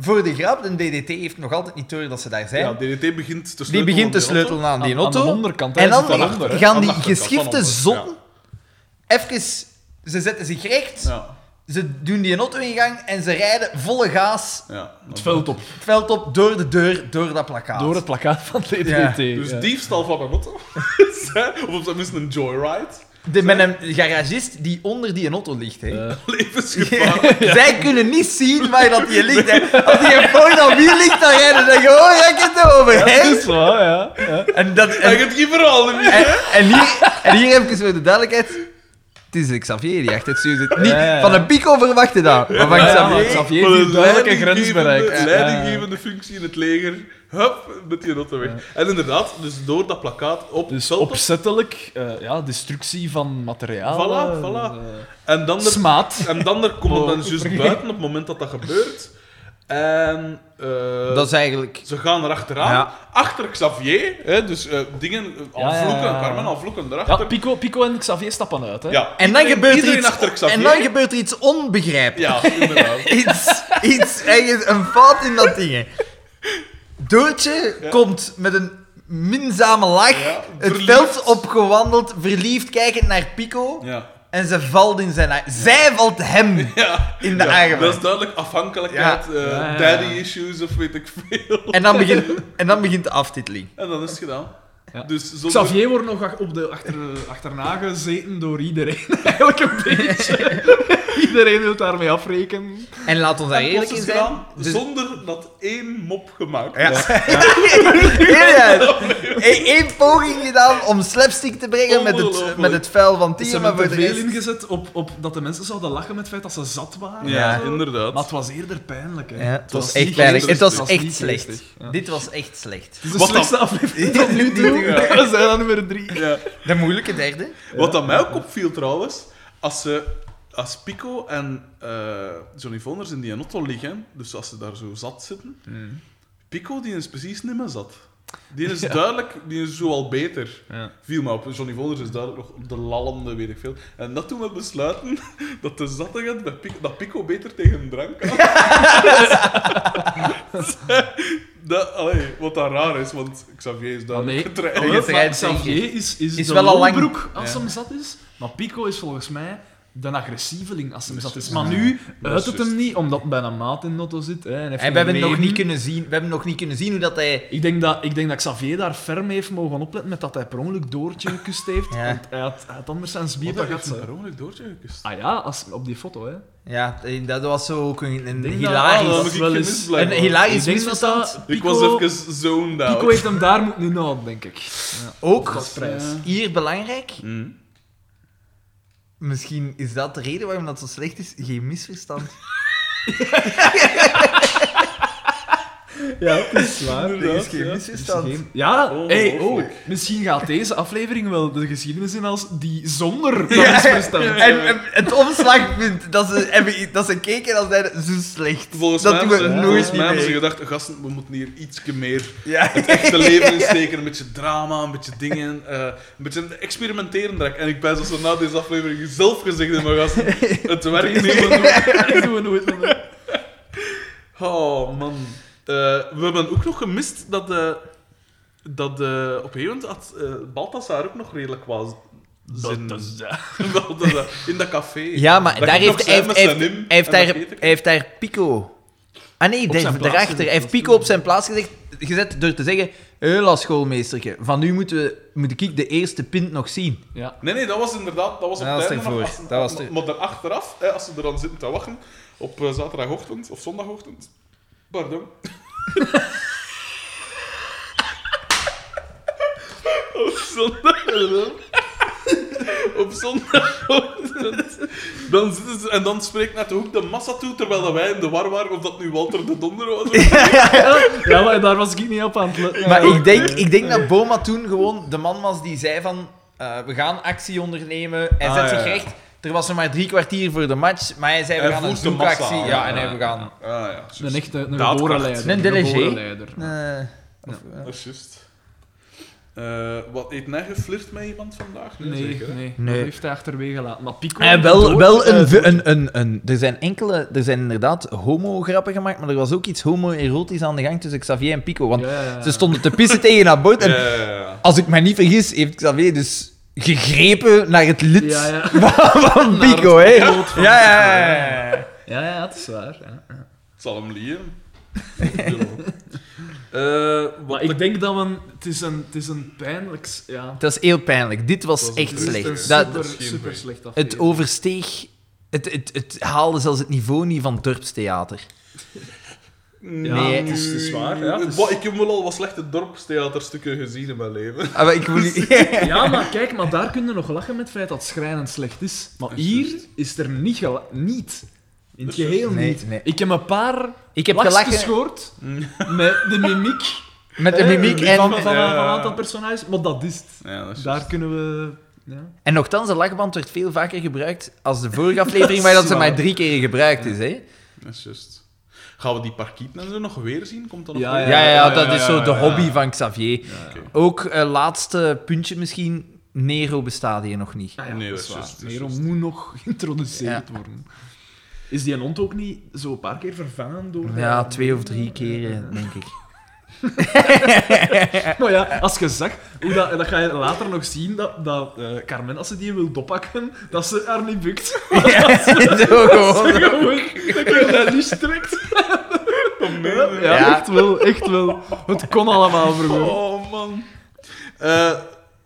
[SPEAKER 2] voor de grap, de DDT heeft nog altijd niet door dat ze daar zijn.
[SPEAKER 1] Ja, DDT begint te sleutelen.
[SPEAKER 2] die begint te
[SPEAKER 1] aan die auto.
[SPEAKER 2] sleutelen aan die
[SPEAKER 3] Aan- aan
[SPEAKER 2] auto.
[SPEAKER 3] de onderkant, hè,
[SPEAKER 2] en dan
[SPEAKER 3] zit daarachter,
[SPEAKER 2] gaan
[SPEAKER 3] hè.
[SPEAKER 2] die
[SPEAKER 1] Aan de achterkant,
[SPEAKER 2] geschifte
[SPEAKER 1] van onder,
[SPEAKER 2] zon
[SPEAKER 1] ja.
[SPEAKER 2] even... Ze zetten zich recht,
[SPEAKER 1] Ja.
[SPEAKER 2] ze doen die auto in gang en ze rijden volle gaas
[SPEAKER 1] ja.
[SPEAKER 3] Het veld op.
[SPEAKER 2] het veld op door de deur, door dat plakkaat.
[SPEAKER 3] Door het plakkaat van DDT.
[SPEAKER 2] Ja.
[SPEAKER 1] Dus
[SPEAKER 3] ja.
[SPEAKER 1] diefstal van een auto. of op zijn minst een joyride.
[SPEAKER 2] De- met een garagist die onder die auto ligt. Hè.
[SPEAKER 3] Eh,
[SPEAKER 1] Levensgevaar.
[SPEAKER 2] Zij kunnen niet zien waar dat die ligt. Hè. Als die gewoon aan wie ligt, dan rijden ze gewoon raket
[SPEAKER 3] dat
[SPEAKER 2] overheen.
[SPEAKER 3] is waar, ja. ja.
[SPEAKER 2] En, dat,
[SPEAKER 1] Hij
[SPEAKER 2] en,
[SPEAKER 1] gaat geen verhaal niet.
[SPEAKER 2] en, en hier, en hier even voor de duidelijkheid. Het is Xavier die achter het stuur zit. Niet,
[SPEAKER 3] Ja, ja.
[SPEAKER 2] Van een pico verwachten dat, maar van
[SPEAKER 3] Ja, ja,
[SPEAKER 2] Xavier...
[SPEAKER 3] maar Xavier heeft een duidelijke grens bereikt. Ja.
[SPEAKER 1] Leidinggevende functie in het leger. Hup, met die auto weg. En inderdaad, dus door dat plakkaat op het
[SPEAKER 3] Dus
[SPEAKER 1] veld op.
[SPEAKER 3] opzettelijk eh, ja, destructie van materiaal.
[SPEAKER 1] Voilà,
[SPEAKER 3] eh,
[SPEAKER 1] voilà.
[SPEAKER 3] eh,
[SPEAKER 1] En dan er
[SPEAKER 3] Smaad.
[SPEAKER 1] En dan er komt het dan
[SPEAKER 3] Oh,
[SPEAKER 1] juist
[SPEAKER 3] vergeet.
[SPEAKER 1] buiten op het moment dat dat gebeurt. En eh,
[SPEAKER 2] Dat is eigenlijk...
[SPEAKER 1] ze gaan erachteraan.
[SPEAKER 2] Ja.
[SPEAKER 1] Achter Xavier, hè, dus eh, dingen eh, al
[SPEAKER 3] Ja, ja,
[SPEAKER 1] vloeken,
[SPEAKER 3] ja.
[SPEAKER 1] Carmen al vloeken erachter.
[SPEAKER 3] Ja, Pico, Pico en Xavier stappen uit. Hè?
[SPEAKER 1] Ja,
[SPEAKER 2] En dan,
[SPEAKER 1] iedereen-
[SPEAKER 2] gebeurt er
[SPEAKER 1] iedereen
[SPEAKER 2] iets,
[SPEAKER 1] achter Xavier.
[SPEAKER 2] en dan gebeurt er iets onbegrijpelijks.
[SPEAKER 1] Ja, inderdaad.
[SPEAKER 2] Iets, iets, ergens een fout in dat ding. hè. Doortje
[SPEAKER 1] Ja.
[SPEAKER 2] komt met een minzame lach
[SPEAKER 1] Ja,
[SPEAKER 2] het
[SPEAKER 1] verliefd.
[SPEAKER 2] veld opgewandeld, verliefd kijkend naar Pico.
[SPEAKER 1] ja.
[SPEAKER 2] En ze valt in zijn armen. Zij valt hem
[SPEAKER 1] Ja.
[SPEAKER 2] in de
[SPEAKER 1] Ja,
[SPEAKER 2] armen.
[SPEAKER 1] dat is duidelijk afhankelijkheid, eh,
[SPEAKER 3] Ja, ja, ja.
[SPEAKER 1] daddy issues of weet ik veel.
[SPEAKER 2] En, dan begint, en dan begint de aftiteling.
[SPEAKER 1] En dat is het gedaan.
[SPEAKER 3] Ja.
[SPEAKER 1] Dus zonder...
[SPEAKER 3] Xavier wordt nog ach- op de achter, achterna gezeten door iedereen. Eigenlijk een beetje. iedereen wil daarmee afrekenen.
[SPEAKER 2] En laat ons daar
[SPEAKER 1] en plots is het
[SPEAKER 2] eerlijk in zijn.
[SPEAKER 1] gedaan,
[SPEAKER 2] Dus,
[SPEAKER 1] Zonder dat één mop gemaakt
[SPEAKER 2] ja.
[SPEAKER 1] was.
[SPEAKER 2] Eerlijk. Eén poging gedaan om slapstick te brengen met het,
[SPEAKER 1] Ongelooflijk.
[SPEAKER 2] met het vuil van
[SPEAKER 3] Ze
[SPEAKER 2] Tia, maar
[SPEAKER 3] hebben
[SPEAKER 2] voor
[SPEAKER 3] er
[SPEAKER 2] de
[SPEAKER 3] veel
[SPEAKER 2] rest...
[SPEAKER 3] ingezet op, op dat de mensen zouden lachen met het feit dat ze zat waren.
[SPEAKER 1] Ja,
[SPEAKER 3] Zo.
[SPEAKER 1] inderdaad.
[SPEAKER 3] Maar het was eerder pijnlijk. Hè.
[SPEAKER 2] Ja, het was
[SPEAKER 3] niet
[SPEAKER 2] echt pijnlijk. Het
[SPEAKER 3] geestig.
[SPEAKER 2] was
[SPEAKER 3] niet
[SPEAKER 2] echt
[SPEAKER 3] geestig.
[SPEAKER 2] slecht.
[SPEAKER 3] Ja.
[SPEAKER 2] Dit was echt slecht.
[SPEAKER 3] Het is de
[SPEAKER 1] Wat
[SPEAKER 3] slechtste aflevering tot nu toe. We zijn aan nummer drie.
[SPEAKER 1] Ja.
[SPEAKER 2] De moeilijke derde.
[SPEAKER 1] Wat dat mij ook opviel trouwens, als, ze, als Pico en eh, Johnny Voners in die auto liggen, dus als ze daar zo zat zitten, Pico die is precies niet meer zat. Die is duidelijk, die is zo al beter. Viel mij op. Johnny Voners is duidelijk nog de lallende, weet ik veel. En dat toen we besluiten dat de zattigheid bij Pico, dat Pico beter tegen drank kan. dat, allee, wat dan raar is, want Xavier is duidelijk
[SPEAKER 3] Ah, nee. Oh,
[SPEAKER 1] getraind.
[SPEAKER 2] Allee,
[SPEAKER 3] Maar
[SPEAKER 2] rijdt
[SPEAKER 3] Xavier is, is,
[SPEAKER 2] Is
[SPEAKER 3] de
[SPEAKER 2] wel al lang-
[SPEAKER 3] lolbroek als
[SPEAKER 1] Ja.
[SPEAKER 3] hem zat is, maar Pico is volgens mij de agressieveling als hem
[SPEAKER 2] Dus-
[SPEAKER 1] Dat is
[SPEAKER 3] zat is. Maar
[SPEAKER 1] juist.
[SPEAKER 3] nu
[SPEAKER 1] Dat
[SPEAKER 3] uit
[SPEAKER 1] is
[SPEAKER 3] het
[SPEAKER 1] juist.
[SPEAKER 3] hem niet, omdat bijna maat in de auto zit. Hè, en heeft
[SPEAKER 2] En
[SPEAKER 3] geen
[SPEAKER 2] we hebben, nog
[SPEAKER 3] reden.
[SPEAKER 2] niet kunnen zien, we hebben nog niet kunnen zien hoe dat hij...
[SPEAKER 3] Ik denk, dat, ik denk dat Xavier daar ferm heeft mogen opletten met dat hij per ongeluk Doortje gekust heeft.
[SPEAKER 2] Ja.
[SPEAKER 3] Want hij had, hij had anders zijn
[SPEAKER 1] Wat,
[SPEAKER 3] bier
[SPEAKER 1] dat
[SPEAKER 3] gehad.
[SPEAKER 1] gaat
[SPEAKER 3] hè.
[SPEAKER 1] ze per ongeluk doortje gekust.
[SPEAKER 3] Ah ja, als, op die foto, hè.
[SPEAKER 2] Ja, dat was zo ook een, een
[SPEAKER 3] denk dat-
[SPEAKER 2] hilarisch...
[SPEAKER 3] ah,
[SPEAKER 1] dat
[SPEAKER 3] dat
[SPEAKER 1] heb ik
[SPEAKER 3] wel
[SPEAKER 1] gemist,
[SPEAKER 3] eens-
[SPEAKER 2] Een
[SPEAKER 1] blijkbaar.
[SPEAKER 2] hilarisch
[SPEAKER 3] Ik denk dat dat-
[SPEAKER 2] misverstand.
[SPEAKER 1] Ik
[SPEAKER 3] Pico-
[SPEAKER 1] was even zoned out.
[SPEAKER 3] Pico heeft hem daar moeten inhouden, denk ik.
[SPEAKER 2] Ook
[SPEAKER 3] Dat eh, is prijs.
[SPEAKER 1] Ja.
[SPEAKER 2] hier belangrijk.
[SPEAKER 1] Mm.
[SPEAKER 2] Misschien is dat de reden waarom dat zo slecht is. Geen misverstand.
[SPEAKER 3] Ja, dat is waar.
[SPEAKER 2] Er is
[SPEAKER 1] Inderdaad,
[SPEAKER 2] geen
[SPEAKER 1] ja.
[SPEAKER 2] misverstand.
[SPEAKER 3] Ja,
[SPEAKER 1] Oh,
[SPEAKER 3] hey, oh,
[SPEAKER 1] ongelooflijk.
[SPEAKER 3] misschien gaat deze aflevering wel de geschiedenis in als die zonder dat
[SPEAKER 2] Ja.
[SPEAKER 3] misverstand.
[SPEAKER 2] En, en het omslagpunt dat ze, hebben- dat ze keken als zeiden, zo slecht.
[SPEAKER 1] Volgens
[SPEAKER 2] dat
[SPEAKER 1] mij,
[SPEAKER 2] doen
[SPEAKER 1] hebben
[SPEAKER 2] we
[SPEAKER 1] ze- volgens
[SPEAKER 2] nooit
[SPEAKER 1] mij hebben
[SPEAKER 2] meer.
[SPEAKER 1] ze gedacht, gasten, we moeten hier ietsje meer
[SPEAKER 2] Ja.
[SPEAKER 1] het echte leven insteken. Een beetje drama, een beetje dingen, eh, een beetje experimenteren. direct. En ik ben zoals we na deze aflevering zelf gezegd hebben, maar gasten, het werkt niet. we doen-
[SPEAKER 3] Dat doen we nooit meer.
[SPEAKER 1] Oh, man. Eh, we hebben ook nog gemist dat, de, dat de, op een gegeven moment had eh, Balthasar ook nog redelijk was. Zin. Balthasar, in dat café.
[SPEAKER 2] Ja, maar
[SPEAKER 1] Dat
[SPEAKER 2] daar
[SPEAKER 1] ik nog
[SPEAKER 2] heeft,
[SPEAKER 1] zei
[SPEAKER 2] hij,
[SPEAKER 1] met
[SPEAKER 2] heeft,
[SPEAKER 1] zijn
[SPEAKER 2] heeft,
[SPEAKER 1] nim
[SPEAKER 2] hij heeft
[SPEAKER 1] en dat
[SPEAKER 2] daar, hij
[SPEAKER 1] Peter.
[SPEAKER 2] heeft daar Pico... Ah nee, daar,
[SPEAKER 3] zijn plaats
[SPEAKER 2] daarachter.
[SPEAKER 3] gezet,
[SPEAKER 2] Hij heeft
[SPEAKER 3] dat is
[SPEAKER 2] Pico op zijn plaats gezegd, gezet door te zeggen... Hela schoolmeesterke, van nu moeten we, moet ik de eerste pint nog zien.
[SPEAKER 3] Ja.
[SPEAKER 1] Nee, nee, dat was inderdaad... Dat was op
[SPEAKER 2] Ja, dat is
[SPEAKER 1] het einde nog,
[SPEAKER 2] ervoor.
[SPEAKER 1] als-
[SPEAKER 2] Dat was er-
[SPEAKER 1] Maar daarachteraf, hè, als ze er dan zitten te wachten, op eh, zaterdagochtend of zondagochtend... Pardon. op zondag... op zondagochtend... Dan zitten ze... En dan spreekt naar de hoek de massa toe, terwijl dat wij in de war waren, of dat nu Walter de Donder was. of-
[SPEAKER 3] ja, maar daar was ik niet op aan het letten.
[SPEAKER 2] Maar ik denk, ik denk dat Boma toen gewoon de man was die zei van... eh, we gaan actie ondernemen. Hij
[SPEAKER 1] Ah,
[SPEAKER 2] zet
[SPEAKER 1] ja,
[SPEAKER 2] zich
[SPEAKER 1] ja.
[SPEAKER 2] recht. Er was nog maar drie kwartier voor de match. Maar hij zei, we
[SPEAKER 1] Hij
[SPEAKER 2] gaan een
[SPEAKER 1] voelt de massa
[SPEAKER 2] zoekactie.
[SPEAKER 1] aan,
[SPEAKER 2] Ja,
[SPEAKER 1] ja,
[SPEAKER 2] en hij, we gaan...
[SPEAKER 1] Ah ja,
[SPEAKER 3] Een
[SPEAKER 1] juist.
[SPEAKER 3] echte een
[SPEAKER 1] Daadkracht.
[SPEAKER 3] geboren leider.
[SPEAKER 2] Een delegé.
[SPEAKER 3] geboren leider.
[SPEAKER 2] eh, of, eh,
[SPEAKER 1] Dat is Ah, juist. Eh, wat, heeft hij geflirt met iemand vandaag?
[SPEAKER 3] Nee,
[SPEAKER 1] zeker, hè?
[SPEAKER 3] nee,
[SPEAKER 2] Nee.
[SPEAKER 3] Dat heeft hij achterwege gelaten. Maar Pico...
[SPEAKER 2] Eh, wel,
[SPEAKER 3] Dood-
[SPEAKER 2] wel
[SPEAKER 3] eh,
[SPEAKER 2] een, v- een, een, een. Er zijn enkele. Er zijn inderdaad homo-grappen gemaakt. Maar er was ook iets homoerotisch aan de gang tussen Xavier en Pico. Want
[SPEAKER 3] Ja, ja, ja.
[SPEAKER 2] ze stonden te pissen tegen haar boot. En
[SPEAKER 1] Ja, ja, ja.
[SPEAKER 2] als ik mij niet vergis, heeft Xavier dus gegrepen naar het lid
[SPEAKER 4] Ja, ja.
[SPEAKER 2] van, van Pico, hè? Ja, ja, ja. ja.
[SPEAKER 4] Ja, ja, het is waar. Ja. ja.
[SPEAKER 1] zal hem liegen. Eh, wat
[SPEAKER 3] Maar ik denk dat we... Het is een, het is een pijnlijk... s- Ja.
[SPEAKER 2] Het was heel pijnlijk. Dit was,
[SPEAKER 1] was
[SPEAKER 2] echt
[SPEAKER 1] een
[SPEAKER 3] Het is een
[SPEAKER 2] slecht.
[SPEAKER 3] super,
[SPEAKER 2] Dat,
[SPEAKER 1] Geen
[SPEAKER 3] super
[SPEAKER 1] weet.
[SPEAKER 3] slecht aflevering.
[SPEAKER 2] het oversteeg... Het, het, het haalde zelfs het niveau niet van Dorpstheater. Nee.
[SPEAKER 1] het is, het is waar. Ja.
[SPEAKER 3] Het is-
[SPEAKER 1] Boah, ik heb wel al wat slechte dorpstheaterstukken gezien in mijn leven.
[SPEAKER 2] Ah, maar ik wil niet...
[SPEAKER 3] Ja, maar kijk, maar daar kunnen we nog lachen met het feit dat het schrijnend slecht is. Maar
[SPEAKER 1] Dat is
[SPEAKER 3] hier
[SPEAKER 1] juist.
[SPEAKER 3] is er niet gela- Niet. In het
[SPEAKER 1] Dat is
[SPEAKER 3] geheel
[SPEAKER 2] juist. Nee,
[SPEAKER 3] niet.
[SPEAKER 2] nee.
[SPEAKER 3] Ik heb een paar
[SPEAKER 2] Ik heb
[SPEAKER 3] lachjes
[SPEAKER 2] gelachen
[SPEAKER 3] geschoord met de mimiek,
[SPEAKER 2] met de
[SPEAKER 3] hè,
[SPEAKER 2] mimiek
[SPEAKER 3] van, van,
[SPEAKER 2] en...
[SPEAKER 3] van,
[SPEAKER 1] Ja.
[SPEAKER 3] een aantal personages. Maar dat is het.
[SPEAKER 1] Ja, dat is
[SPEAKER 3] Daar kunnen we... Ja.
[SPEAKER 2] En nogthans, de lachband werd veel vaker gebruikt als de vorige aflevering, maar dat ze
[SPEAKER 3] waar.
[SPEAKER 2] maar drie keer gebruikt is, hè?
[SPEAKER 1] Dat is juist. Gaan we die parkieten en zo nog weer zien? Komt dat nog
[SPEAKER 3] Ja,
[SPEAKER 1] weer?
[SPEAKER 2] Ja, ja,
[SPEAKER 3] ja,
[SPEAKER 2] dat
[SPEAKER 1] ja,
[SPEAKER 2] is zo
[SPEAKER 1] ja,
[SPEAKER 2] de
[SPEAKER 1] ja.
[SPEAKER 2] hobby van Xavier.
[SPEAKER 1] Oké.
[SPEAKER 2] Ook eh, laatste puntje misschien. Nero bestaat hier nog niet.
[SPEAKER 3] Ah
[SPEAKER 1] Nee, dat
[SPEAKER 3] dat is
[SPEAKER 1] is
[SPEAKER 3] waar.
[SPEAKER 1] juist, dat is
[SPEAKER 3] Nero
[SPEAKER 1] juist.
[SPEAKER 3] moet nog geïntroduceerd worden. Is die hond ook niet zo een paar keer vervangen door...
[SPEAKER 2] Ja, twee of drie keren, denk ik.
[SPEAKER 3] Maar ja, als je zag, hoe dat, en dat ga je later nog zien, dat, dat eh, Carmen, als ze die wil dopakken, dat ze haar niet bukt.
[SPEAKER 2] Zo gewoon.
[SPEAKER 3] Gewoon, dat je dat niet strekt. Ja,
[SPEAKER 2] Ja.
[SPEAKER 3] echt wel, echt wel. Het kon allemaal vroeger.
[SPEAKER 1] Oh man. Eh,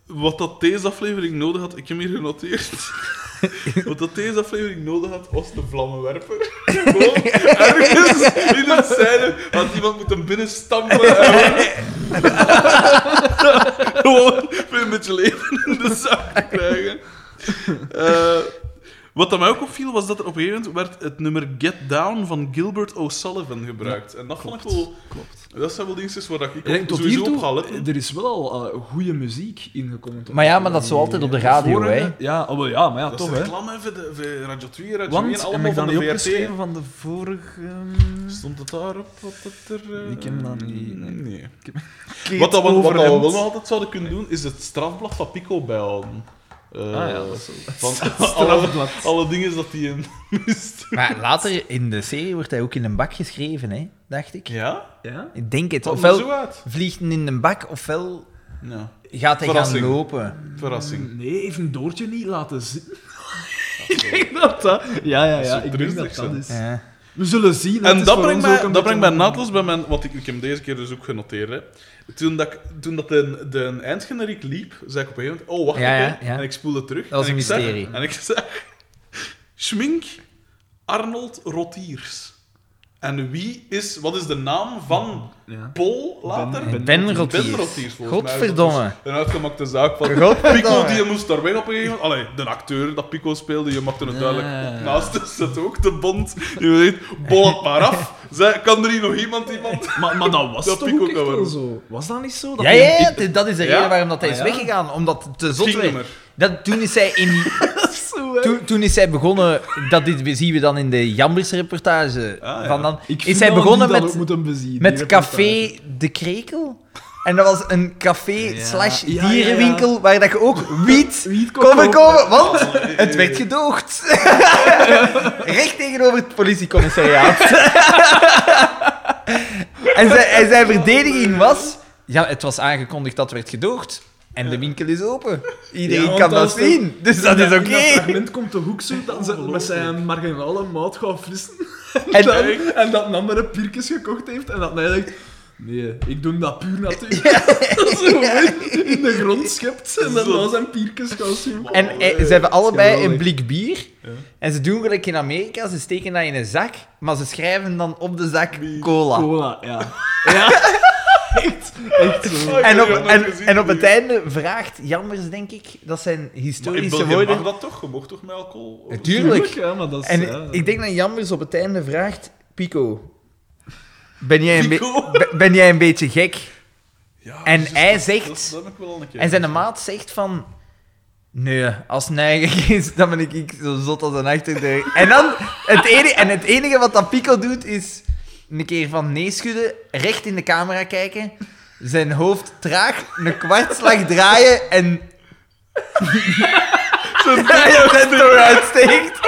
[SPEAKER 1] wat dat deze aflevering nodig had, ik heb hier genoteerd. wat dat deze aflevering nodig had, was de vlammenwerper. Gewoon ergens in het zijde had iemand moeten binnenstampen. en gewoon- Gewoon weer een beetje leven in de zak te krijgen. Eh, wat dat mij ook opviel, was dat er op een gegeven moment werd het nummer Get Down van Gilbert O'Sullivan gebruikt. en dat vond ik wel... Dat zijn wel dingetjes waar ik op,
[SPEAKER 3] Ik denk tot
[SPEAKER 1] sowieso op
[SPEAKER 3] hiertoe,
[SPEAKER 1] ga letten.
[SPEAKER 3] er is wel al eh, goede muziek ingekomen. tot
[SPEAKER 2] Maar ja,
[SPEAKER 3] nu toe.
[SPEAKER 2] maar dat is zo altijd op de radio,
[SPEAKER 3] Vorige-
[SPEAKER 2] hè?
[SPEAKER 3] Ja, oh, wel, ja, maar ja,
[SPEAKER 1] Dat
[SPEAKER 3] toch,
[SPEAKER 1] is
[SPEAKER 3] hè.
[SPEAKER 1] reclame voor, de, voor Radio 2, Radio 1,
[SPEAKER 3] Want, heb
[SPEAKER 1] allemaal
[SPEAKER 3] ik
[SPEAKER 1] van
[SPEAKER 3] dan
[SPEAKER 1] de
[SPEAKER 3] niet
[SPEAKER 1] VRT.
[SPEAKER 3] opgeschreven van de vorige...
[SPEAKER 1] Stond het daarop wat dat er... eh,
[SPEAKER 3] Ik heb dat niet, nee.
[SPEAKER 1] Nee.
[SPEAKER 3] Kleed
[SPEAKER 1] Wat, dat we, wat dat we wel
[SPEAKER 3] overhemd.
[SPEAKER 1] nog altijd zouden kunnen doen, is het strafblad van Pico bijhouden. Eh,
[SPEAKER 3] Ah ja, dat is wel-
[SPEAKER 1] Want alle,
[SPEAKER 3] strafblad.
[SPEAKER 1] alle dingen dat hij in mist.
[SPEAKER 2] Maar later in de serie wordt hij ook in een bak geschreven, hè? dacht ik.
[SPEAKER 1] Ja?
[SPEAKER 3] Ja?
[SPEAKER 2] Ik denk het.
[SPEAKER 1] Dat maakt
[SPEAKER 2] Ofwel
[SPEAKER 1] zo uit.
[SPEAKER 2] vliegt hij in een bak, ofwel
[SPEAKER 1] Ja.
[SPEAKER 2] gaat hij
[SPEAKER 1] Verrassing.
[SPEAKER 2] gaan lopen.
[SPEAKER 1] Verrassing.
[SPEAKER 3] Nee, even Doortje niet laten zitten. ik denk dat dat... Ja, ja,
[SPEAKER 1] Zo
[SPEAKER 3] ja. Ik denk dat
[SPEAKER 1] triestig,
[SPEAKER 3] dat
[SPEAKER 1] zo.
[SPEAKER 3] is.
[SPEAKER 2] Ja.
[SPEAKER 3] We zullen zien. het
[SPEAKER 1] En
[SPEAKER 3] is
[SPEAKER 1] dat
[SPEAKER 3] voor
[SPEAKER 1] brengt,
[SPEAKER 3] ons
[SPEAKER 1] mij,
[SPEAKER 3] ook een
[SPEAKER 1] dat brengt
[SPEAKER 3] beetje
[SPEAKER 1] mij
[SPEAKER 3] een-
[SPEAKER 1] naadloos bij mijn... Want ik, ik heb deze keer dus ook genoteerd. Hè. Toen, dat ik, toen dat de, de eindgeneriek liep, zei ik op een gegeven moment... Oh, wacht
[SPEAKER 2] Ja, ja,
[SPEAKER 1] even.
[SPEAKER 2] ja.
[SPEAKER 1] En ik spoelde terug.
[SPEAKER 2] Dat was
[SPEAKER 1] en
[SPEAKER 2] een
[SPEAKER 1] ik zag-
[SPEAKER 2] mysterie.
[SPEAKER 1] en ik zeg... Schmink Arnold Rotiers. En wie is... Wat is de naam van
[SPEAKER 3] Ja.
[SPEAKER 1] Pol later?
[SPEAKER 2] Ben- Ben Rotiers.
[SPEAKER 1] volgens mij.
[SPEAKER 2] Godverdomme.
[SPEAKER 1] Dat was Een uitgemaakte zaak van...
[SPEAKER 2] Godverdomme.
[SPEAKER 1] Pico die moest daar weg op een gegeven moment. Allee, de acteur dat Pico speelde, je maakte het duidelijk
[SPEAKER 3] Ja.
[SPEAKER 1] naast is dat ook de bond. Je weet, bol het maar af. Zij, kan er hier nog iemand iemand?
[SPEAKER 3] Maar, maar dat was
[SPEAKER 1] Dat
[SPEAKER 3] toch
[SPEAKER 1] piek
[SPEAKER 3] ook
[SPEAKER 1] ook
[SPEAKER 3] echt
[SPEAKER 1] wel.
[SPEAKER 3] wel zo? Was dat niet zo? Dat
[SPEAKER 2] Ja,
[SPEAKER 3] die-
[SPEAKER 2] ja, ja, dat is de
[SPEAKER 1] Ja?
[SPEAKER 2] reden waarom dat hij
[SPEAKER 3] Ah,
[SPEAKER 2] is
[SPEAKER 3] ja.
[SPEAKER 2] weggegaan. Omdat het te zot
[SPEAKER 1] Ging niet
[SPEAKER 2] werd.
[SPEAKER 1] meer.
[SPEAKER 2] Dat, toen is hij in die-
[SPEAKER 3] Zo, hè.
[SPEAKER 2] Toen, toen is zij begonnen, dat dit zien we dan in de Jambers reportage
[SPEAKER 1] Ah, ja.
[SPEAKER 2] van dan,
[SPEAKER 3] Ik vind
[SPEAKER 2] is zij
[SPEAKER 3] dat we
[SPEAKER 2] begonnen
[SPEAKER 3] die dan
[SPEAKER 2] met,
[SPEAKER 3] ook moeten bezien, die
[SPEAKER 2] met
[SPEAKER 3] reportage.
[SPEAKER 2] café De Krekel. En dat was een café slash
[SPEAKER 3] Ja, ja, ja.
[SPEAKER 2] dierenwinkel waar dat je ook wiet
[SPEAKER 3] Wiet kon
[SPEAKER 2] kon bekomen,
[SPEAKER 3] kopen. Oh,
[SPEAKER 2] want het werd gedoogd. Recht tegenover het politiecommissariaat. en, zijn, en zijn
[SPEAKER 3] Oh,
[SPEAKER 2] verdediging was, ja, het was aangekondigd dat werd gedoogd. En de winkel is open. Iedereen
[SPEAKER 3] want
[SPEAKER 2] kan
[SPEAKER 3] dat
[SPEAKER 2] dat
[SPEAKER 3] is de-
[SPEAKER 2] zien. Dus dat
[SPEAKER 3] Ja,
[SPEAKER 2] is
[SPEAKER 3] in
[SPEAKER 2] oké.
[SPEAKER 3] dat fragment komt de hoek zo,
[SPEAKER 1] Oh,
[SPEAKER 3] dat ze met zijn marginale maat gaat frissen.
[SPEAKER 2] En-
[SPEAKER 3] En, dan, en dat een andere Pirkes gekocht heeft. En dat hij denkt... Nee, ik doe dat puur natuurlijk. dat ze gewoon in de grond schept. En dan
[SPEAKER 1] Zo.
[SPEAKER 3] nou zijn Pirkes gaan zoeken.
[SPEAKER 2] En
[SPEAKER 1] Oh,
[SPEAKER 2] eh,
[SPEAKER 1] nee.
[SPEAKER 2] ze hebben allebei
[SPEAKER 3] Geweldig.
[SPEAKER 2] een blik bier. En ze doen gelijk in Amerika, ze steken dat in een zak, maar ze schrijven dan op de zak cola.
[SPEAKER 3] Cola, ja. ja. echt, echt zo.
[SPEAKER 2] En op,
[SPEAKER 1] Ja,
[SPEAKER 2] en,
[SPEAKER 1] gezien,
[SPEAKER 2] en op het
[SPEAKER 1] nee.
[SPEAKER 2] einde vraagt Jammers, denk ik, dat zijn
[SPEAKER 1] Maar in
[SPEAKER 2] historische
[SPEAKER 1] België mag
[SPEAKER 2] woorden.
[SPEAKER 1] dat toch? Je mocht toch met alcohol?
[SPEAKER 2] Natuurlijk.
[SPEAKER 3] Ja, maar dat is...
[SPEAKER 2] En
[SPEAKER 3] ja.
[SPEAKER 2] ik denk dat Jammers op het einde vraagt: Pico, ben jij een, be-
[SPEAKER 1] Pico?
[SPEAKER 2] be- ben jij een beetje gek?
[SPEAKER 1] Ja,
[SPEAKER 2] En
[SPEAKER 1] juist,
[SPEAKER 2] hij
[SPEAKER 1] dat-
[SPEAKER 2] zegt-
[SPEAKER 1] Dat, dat heb ik wel al een keer.
[SPEAKER 2] En zijn maat zegt van... Nee, als het eigenlijk is, dan ben ik, ik zo zot als een achterdeur. En dan, het enige, en het enige wat dat Pico doet, is een keer van nee schudden, recht in de camera kijken, zijn hoofd traag, een kwartslag draaien en... zijn tong uitsteekt.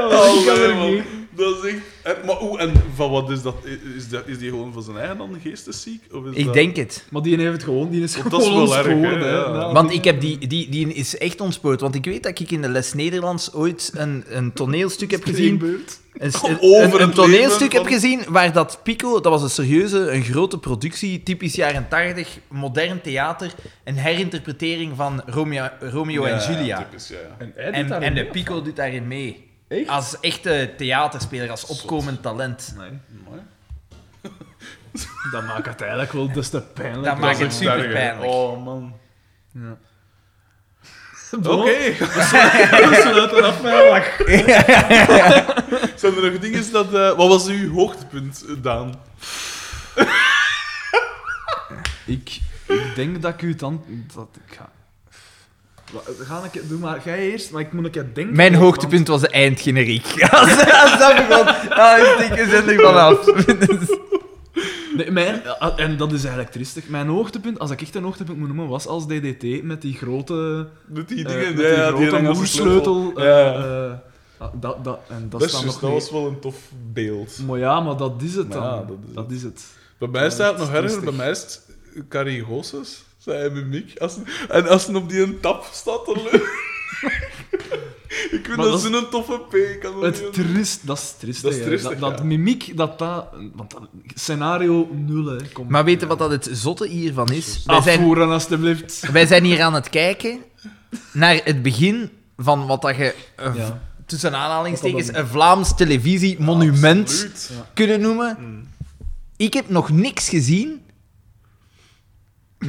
[SPEAKER 3] Oh, ik kan
[SPEAKER 1] Allee,
[SPEAKER 3] er
[SPEAKER 1] man. Oh,
[SPEAKER 3] geen-
[SPEAKER 1] Dat Dat is echt... En, maar oeh, en van wat is dat? Is, dat, is die gewoon van zijn eigen dan geestesziek? Of is
[SPEAKER 2] Ik
[SPEAKER 1] dat...
[SPEAKER 2] denk het.
[SPEAKER 3] Maar die heeft het gewoon, die is
[SPEAKER 1] Want
[SPEAKER 3] gewoon
[SPEAKER 1] Oh, dat is wel erg, hè,
[SPEAKER 3] ontspoord, hè.
[SPEAKER 1] ja.
[SPEAKER 3] Nou,
[SPEAKER 2] Want ik heb die, die, die is echt ontspoord. Want ik weet dat ik in de les Nederlands ooit een, een toneelstuk heb gezien.
[SPEAKER 3] Steenbeurt.
[SPEAKER 2] Een,
[SPEAKER 1] Kom
[SPEAKER 2] een-
[SPEAKER 1] over
[SPEAKER 2] een- een
[SPEAKER 1] het
[SPEAKER 2] toneelstuk
[SPEAKER 1] leven
[SPEAKER 2] heb
[SPEAKER 1] van-
[SPEAKER 2] gezien waar dat Pico, dat was een serieuze, een grote productie, typisch jaren 80, modern theater, een herinterpretering van Romeo, Romeo
[SPEAKER 1] Ja,
[SPEAKER 2] en Julia.
[SPEAKER 1] typisch, ja, ja.
[SPEAKER 4] En, hij doet
[SPEAKER 2] En,
[SPEAKER 4] daar
[SPEAKER 2] en de
[SPEAKER 4] mee, of
[SPEAKER 2] Pico doet daarin mee.
[SPEAKER 4] Echt?
[SPEAKER 2] Als echte theaterspeler, als opkomend talent.
[SPEAKER 4] wat? Nee.
[SPEAKER 1] Amai.
[SPEAKER 3] Dat maakt het eigenlijk wel des te pijnlijk.
[SPEAKER 2] Dat maakt
[SPEAKER 1] is
[SPEAKER 2] het
[SPEAKER 1] echt
[SPEAKER 2] super
[SPEAKER 1] erg, hè.
[SPEAKER 2] pijnlijk.
[SPEAKER 1] Oh, man.
[SPEAKER 4] Ja.
[SPEAKER 1] Oké.
[SPEAKER 4] Sluit eraf met een lach.
[SPEAKER 1] Zijn er nog dingen dat... eh, wat was uw hoogtepunt, eh, Daan?
[SPEAKER 3] Ik, ik denk dat ik u dan... Dat, ik ga... Wa- Ga ik, doe maar, jij eerst, maar ik moet een keer denken.
[SPEAKER 2] Mijn
[SPEAKER 3] want-
[SPEAKER 2] hoogtepunt was de eindgeneriek. Als, als dat begon, ah, ik denk, we zijn er vanaf.
[SPEAKER 3] Nee, mijn, ah, en dat is eigenlijk triestig. Mijn hoogtepunt, als ik echt een hoogtepunt moet noemen, was als DDT met die grote...
[SPEAKER 1] Met die
[SPEAKER 3] eh,
[SPEAKER 1] dingen?
[SPEAKER 3] met
[SPEAKER 1] ja,
[SPEAKER 3] die
[SPEAKER 1] ja,
[SPEAKER 3] grote
[SPEAKER 1] hangen als een
[SPEAKER 3] moersleutel.
[SPEAKER 1] sleutel. Ja, ja.
[SPEAKER 3] eh, eh, ah, dat, dat, en dat,
[SPEAKER 1] Dat, is
[SPEAKER 3] staat
[SPEAKER 1] juist,
[SPEAKER 3] nog
[SPEAKER 1] dat was
[SPEAKER 3] niet-
[SPEAKER 1] wel een tof beeld.
[SPEAKER 3] Maar ja, maar dat is het
[SPEAKER 1] Maar
[SPEAKER 3] dan.
[SPEAKER 1] ja,
[SPEAKER 3] dat, is, het.
[SPEAKER 1] Bij mij is het eigenlijk nog
[SPEAKER 3] dat is
[SPEAKER 1] erger. Bij
[SPEAKER 3] triestig.
[SPEAKER 1] mij is het Carrie Gosses, zei hij mimiek. Als, en als ze op die een tap staat, dan Ik vind
[SPEAKER 3] Maar
[SPEAKER 1] dat
[SPEAKER 3] dat is-
[SPEAKER 1] zo'n toffe P. Ik kan dat
[SPEAKER 3] Het
[SPEAKER 1] niet-
[SPEAKER 3] trist, dat is trist.
[SPEAKER 1] Dat is
[SPEAKER 3] hè.
[SPEAKER 1] triestig,
[SPEAKER 3] dat, dat
[SPEAKER 1] ja.
[SPEAKER 3] mimiek, dat dat... Want dat, scenario nul, hè. Kom.
[SPEAKER 2] Maar weet je wat dat het zotte hiervan is? Wij zijn
[SPEAKER 3] Afvoeren, alstublieft.
[SPEAKER 2] Wij zijn hier aan het kijken naar het begin van wat dat je eh,
[SPEAKER 3] Ja.
[SPEAKER 2] tussen aanhalingstekens een Vlaams televisiemonument
[SPEAKER 1] Absoluut.
[SPEAKER 2] kunnen noemen. Ik heb nog niks gezien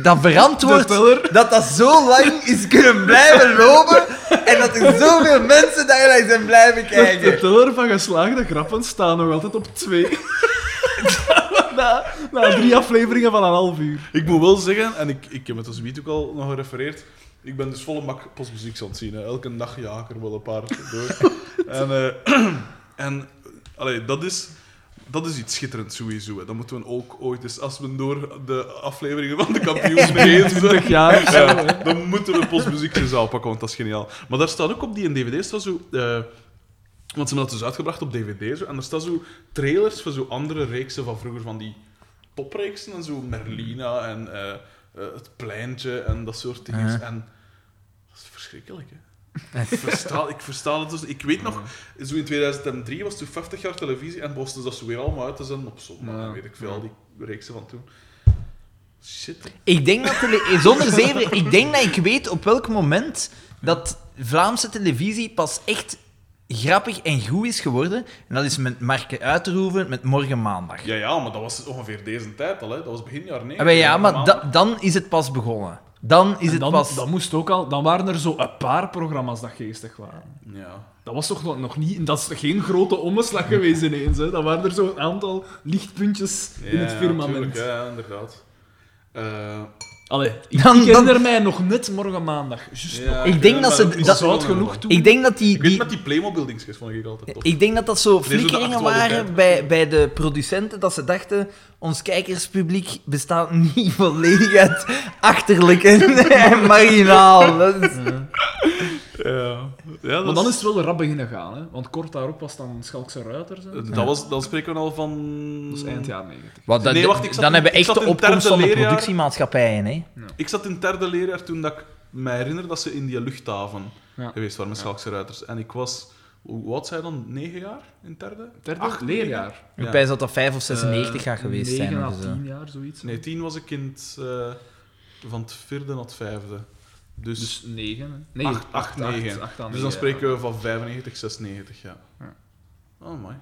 [SPEAKER 2] dat verantwoord dat dat zo lang is kunnen blijven lopen en dat er zoveel mensen daar naar zijn blijven
[SPEAKER 3] De
[SPEAKER 2] kijken.
[SPEAKER 3] teller van geslaagde grappen staat nog altijd op twee. na, na drie afleveringen van een half uur.
[SPEAKER 1] Ik moet wel zeggen, en ik, ik heb het als Wiet ook al nog gerefereerd. Ik ben dus volle mak postmuziek aan het zien. hè. Elke dag jaag er wel een paar door. en eh, en allee, dat, is, dat is iets schitterends sowieso. Hè. Dat moeten we ook ooit eens, als we door de afleveringen van de kampioen heen zijn,
[SPEAKER 3] 20 jaar of zo.
[SPEAKER 1] Ja,
[SPEAKER 3] hè.
[SPEAKER 1] dan moeten we postmuziek eens aanpakken, want dat is geniaal. Maar daar staat ook op die DVD staat zo. eh, want ze hebben dat dus uitgebracht op DVD zo, en daar staan zo trailers van zo andere reeksen van vroeger, van die popreeksen en zo, Merlina en eh, eh, Het Pleintje en dat soort dingen.
[SPEAKER 2] Ja.
[SPEAKER 1] En dat is verschrikkelijk, hè? Ik versta, ik versta het dus. Ik weet nog, zo in 2003 was toen 50 jaar televisie en was dus dat ze weer allemaal uit te zenden op zondag.
[SPEAKER 3] Ja.
[SPEAKER 1] en Weet ik veel, al die reeksen van toen. Shit.
[SPEAKER 2] Ik denk dat tele- zonder zeven, ik denk dat ik weet op welk moment dat Vlaamse televisie pas echt grappig en goed is geworden. En dat is met Marke Uiterhoeven met Morgen Maandag.
[SPEAKER 1] Ja, ja, maar dat was ongeveer deze tijd al, hè. Dat was begin jaar 90.
[SPEAKER 2] Ah, maar ja, maar da- dan is het pas begonnen. Dan is
[SPEAKER 3] En
[SPEAKER 2] het
[SPEAKER 3] dan,
[SPEAKER 2] pas.
[SPEAKER 3] dan moest ook al, dan waren er zo een paar programma's dat geestig waren.
[SPEAKER 1] Ja.
[SPEAKER 3] Dat was toch nog- nog niet, dat is geen grote omslag geweest ineens. Hè. Dan waren er zo'n aantal lichtpuntjes in het
[SPEAKER 1] Ja,
[SPEAKER 3] firmament.
[SPEAKER 1] tuurlijk, ja, inderdaad. Eh,
[SPEAKER 3] Allee, ik
[SPEAKER 2] Dan-
[SPEAKER 3] ik herinner mij nog net morgen maandag. Just nog.
[SPEAKER 1] ja,
[SPEAKER 2] Ik
[SPEAKER 1] ik
[SPEAKER 2] denk
[SPEAKER 1] weet
[SPEAKER 2] dat
[SPEAKER 1] het,
[SPEAKER 2] ze-
[SPEAKER 1] maar is
[SPEAKER 2] dat-
[SPEAKER 1] zo lang
[SPEAKER 3] Zout genoeg
[SPEAKER 1] geleden.
[SPEAKER 3] toen.
[SPEAKER 2] Ik denk dat die.
[SPEAKER 1] Ik weet
[SPEAKER 2] die
[SPEAKER 1] met die Playmobil-dingetjes vond ik altijd tof.
[SPEAKER 2] ik denk dat dat zo
[SPEAKER 1] zo de
[SPEAKER 2] flikkeringen waren
[SPEAKER 1] actualiteit.
[SPEAKER 2] bij, bij de producenten, dat ze dachten, ons kijkerspubliek bestaat niet volledig uit achterlijk en, en marginaal. Dat is-
[SPEAKER 1] Ja. ja,
[SPEAKER 3] Maar dan is het wel rap beginnen gaan, hè? want kort daarop was dan Schalkse Ruiters. Hè?
[SPEAKER 1] Dat was, dan spreken we al van...
[SPEAKER 3] Dat is eind jaar 90.
[SPEAKER 2] Wat, dat-
[SPEAKER 1] Nee, wacht, ik zat
[SPEAKER 2] dan
[SPEAKER 1] in-
[SPEAKER 2] hebben
[SPEAKER 1] ik
[SPEAKER 2] we echt
[SPEAKER 1] zat
[SPEAKER 2] de
[SPEAKER 1] in
[SPEAKER 2] opkomst
[SPEAKER 1] derde
[SPEAKER 2] van de
[SPEAKER 1] leerjaar.
[SPEAKER 2] productiemaatschappijen. Hè?
[SPEAKER 1] Ik zat in het derde leerjaar toen dat ik me herinner dat ze in die luchthaven
[SPEAKER 3] Ja.
[SPEAKER 1] geweest waren met Schalkse Ruiters. En ik was... Hoe oud zijn dan? Negen jaar? In het derde?
[SPEAKER 3] Derde
[SPEAKER 1] Acht,
[SPEAKER 3] leerjaar.
[SPEAKER 2] Ik
[SPEAKER 1] Ja.
[SPEAKER 2] wijs dat dat 5 of 96
[SPEAKER 3] Eh,
[SPEAKER 2] gaat geweest zijn.
[SPEAKER 3] 9 à
[SPEAKER 2] of zo.
[SPEAKER 3] 10 jaar, zoiets.
[SPEAKER 1] Nee, tien was ik in het... eh, van het vierde naar het vijfde. Dus...
[SPEAKER 3] Dus 9, hè? Nee,
[SPEAKER 1] Acht- acht, negen.
[SPEAKER 3] acht aan
[SPEAKER 1] dus dan
[SPEAKER 3] negen,
[SPEAKER 1] spreken
[SPEAKER 3] ja.
[SPEAKER 1] we van 95, 96, ja.
[SPEAKER 3] Ja.
[SPEAKER 1] Oh, mooi.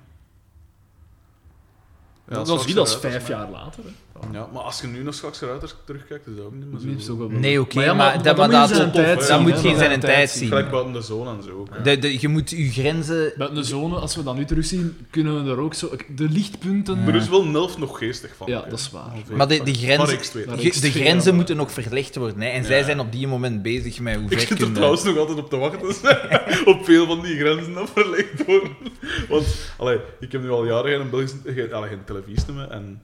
[SPEAKER 3] dat was niet als vijf jaar later. Hè?
[SPEAKER 1] Ja, maar als je nu naar Schakse Ruiters terugkijkt, is dat ook niet meer
[SPEAKER 3] Dat
[SPEAKER 1] zo...
[SPEAKER 3] is ook wel
[SPEAKER 2] Nee, oké,
[SPEAKER 3] Maar ja,
[SPEAKER 2] maar,
[SPEAKER 3] maar-
[SPEAKER 2] dat,
[SPEAKER 3] maar
[SPEAKER 2] maar
[SPEAKER 3] dan moet
[SPEAKER 2] dat,
[SPEAKER 3] je zijn tijd
[SPEAKER 2] dat
[SPEAKER 3] zien,
[SPEAKER 2] moet
[SPEAKER 3] hè,
[SPEAKER 2] geen
[SPEAKER 3] dat
[SPEAKER 2] zijn
[SPEAKER 3] moet je
[SPEAKER 2] tijd
[SPEAKER 3] tijd
[SPEAKER 2] zien.
[SPEAKER 3] zien.
[SPEAKER 1] Gelijk buiten de zone en zo ook. hè.
[SPEAKER 2] De, de, je moet je grenzen...
[SPEAKER 3] Met de zone, als we dat nu terugzien, kunnen we er ook zo... De lichtpunten...
[SPEAKER 1] Maar er is wel Nelf nog geestig van.
[SPEAKER 3] Ja,
[SPEAKER 1] hè.
[SPEAKER 3] dat is waar.
[SPEAKER 1] Ongeveer.
[SPEAKER 2] Maar de, de,
[SPEAKER 1] Maar
[SPEAKER 2] grenzen,
[SPEAKER 1] ik zweer.
[SPEAKER 3] Maar
[SPEAKER 2] ge-
[SPEAKER 3] ik
[SPEAKER 2] de
[SPEAKER 3] zweer
[SPEAKER 2] grenzen
[SPEAKER 3] dat.
[SPEAKER 2] moeten nog verlegd worden. Hè? En zij zijn op die moment bezig met hoe
[SPEAKER 1] Ik
[SPEAKER 2] ver
[SPEAKER 1] zit er
[SPEAKER 2] kunnen-
[SPEAKER 1] trouwens
[SPEAKER 3] eh.
[SPEAKER 1] nog altijd op te wachten dus, op veel van die grenzen dat verlegd worden. Want allee, ik heb nu al jaren geen, Belgische, geen, allee, geen televisie meer en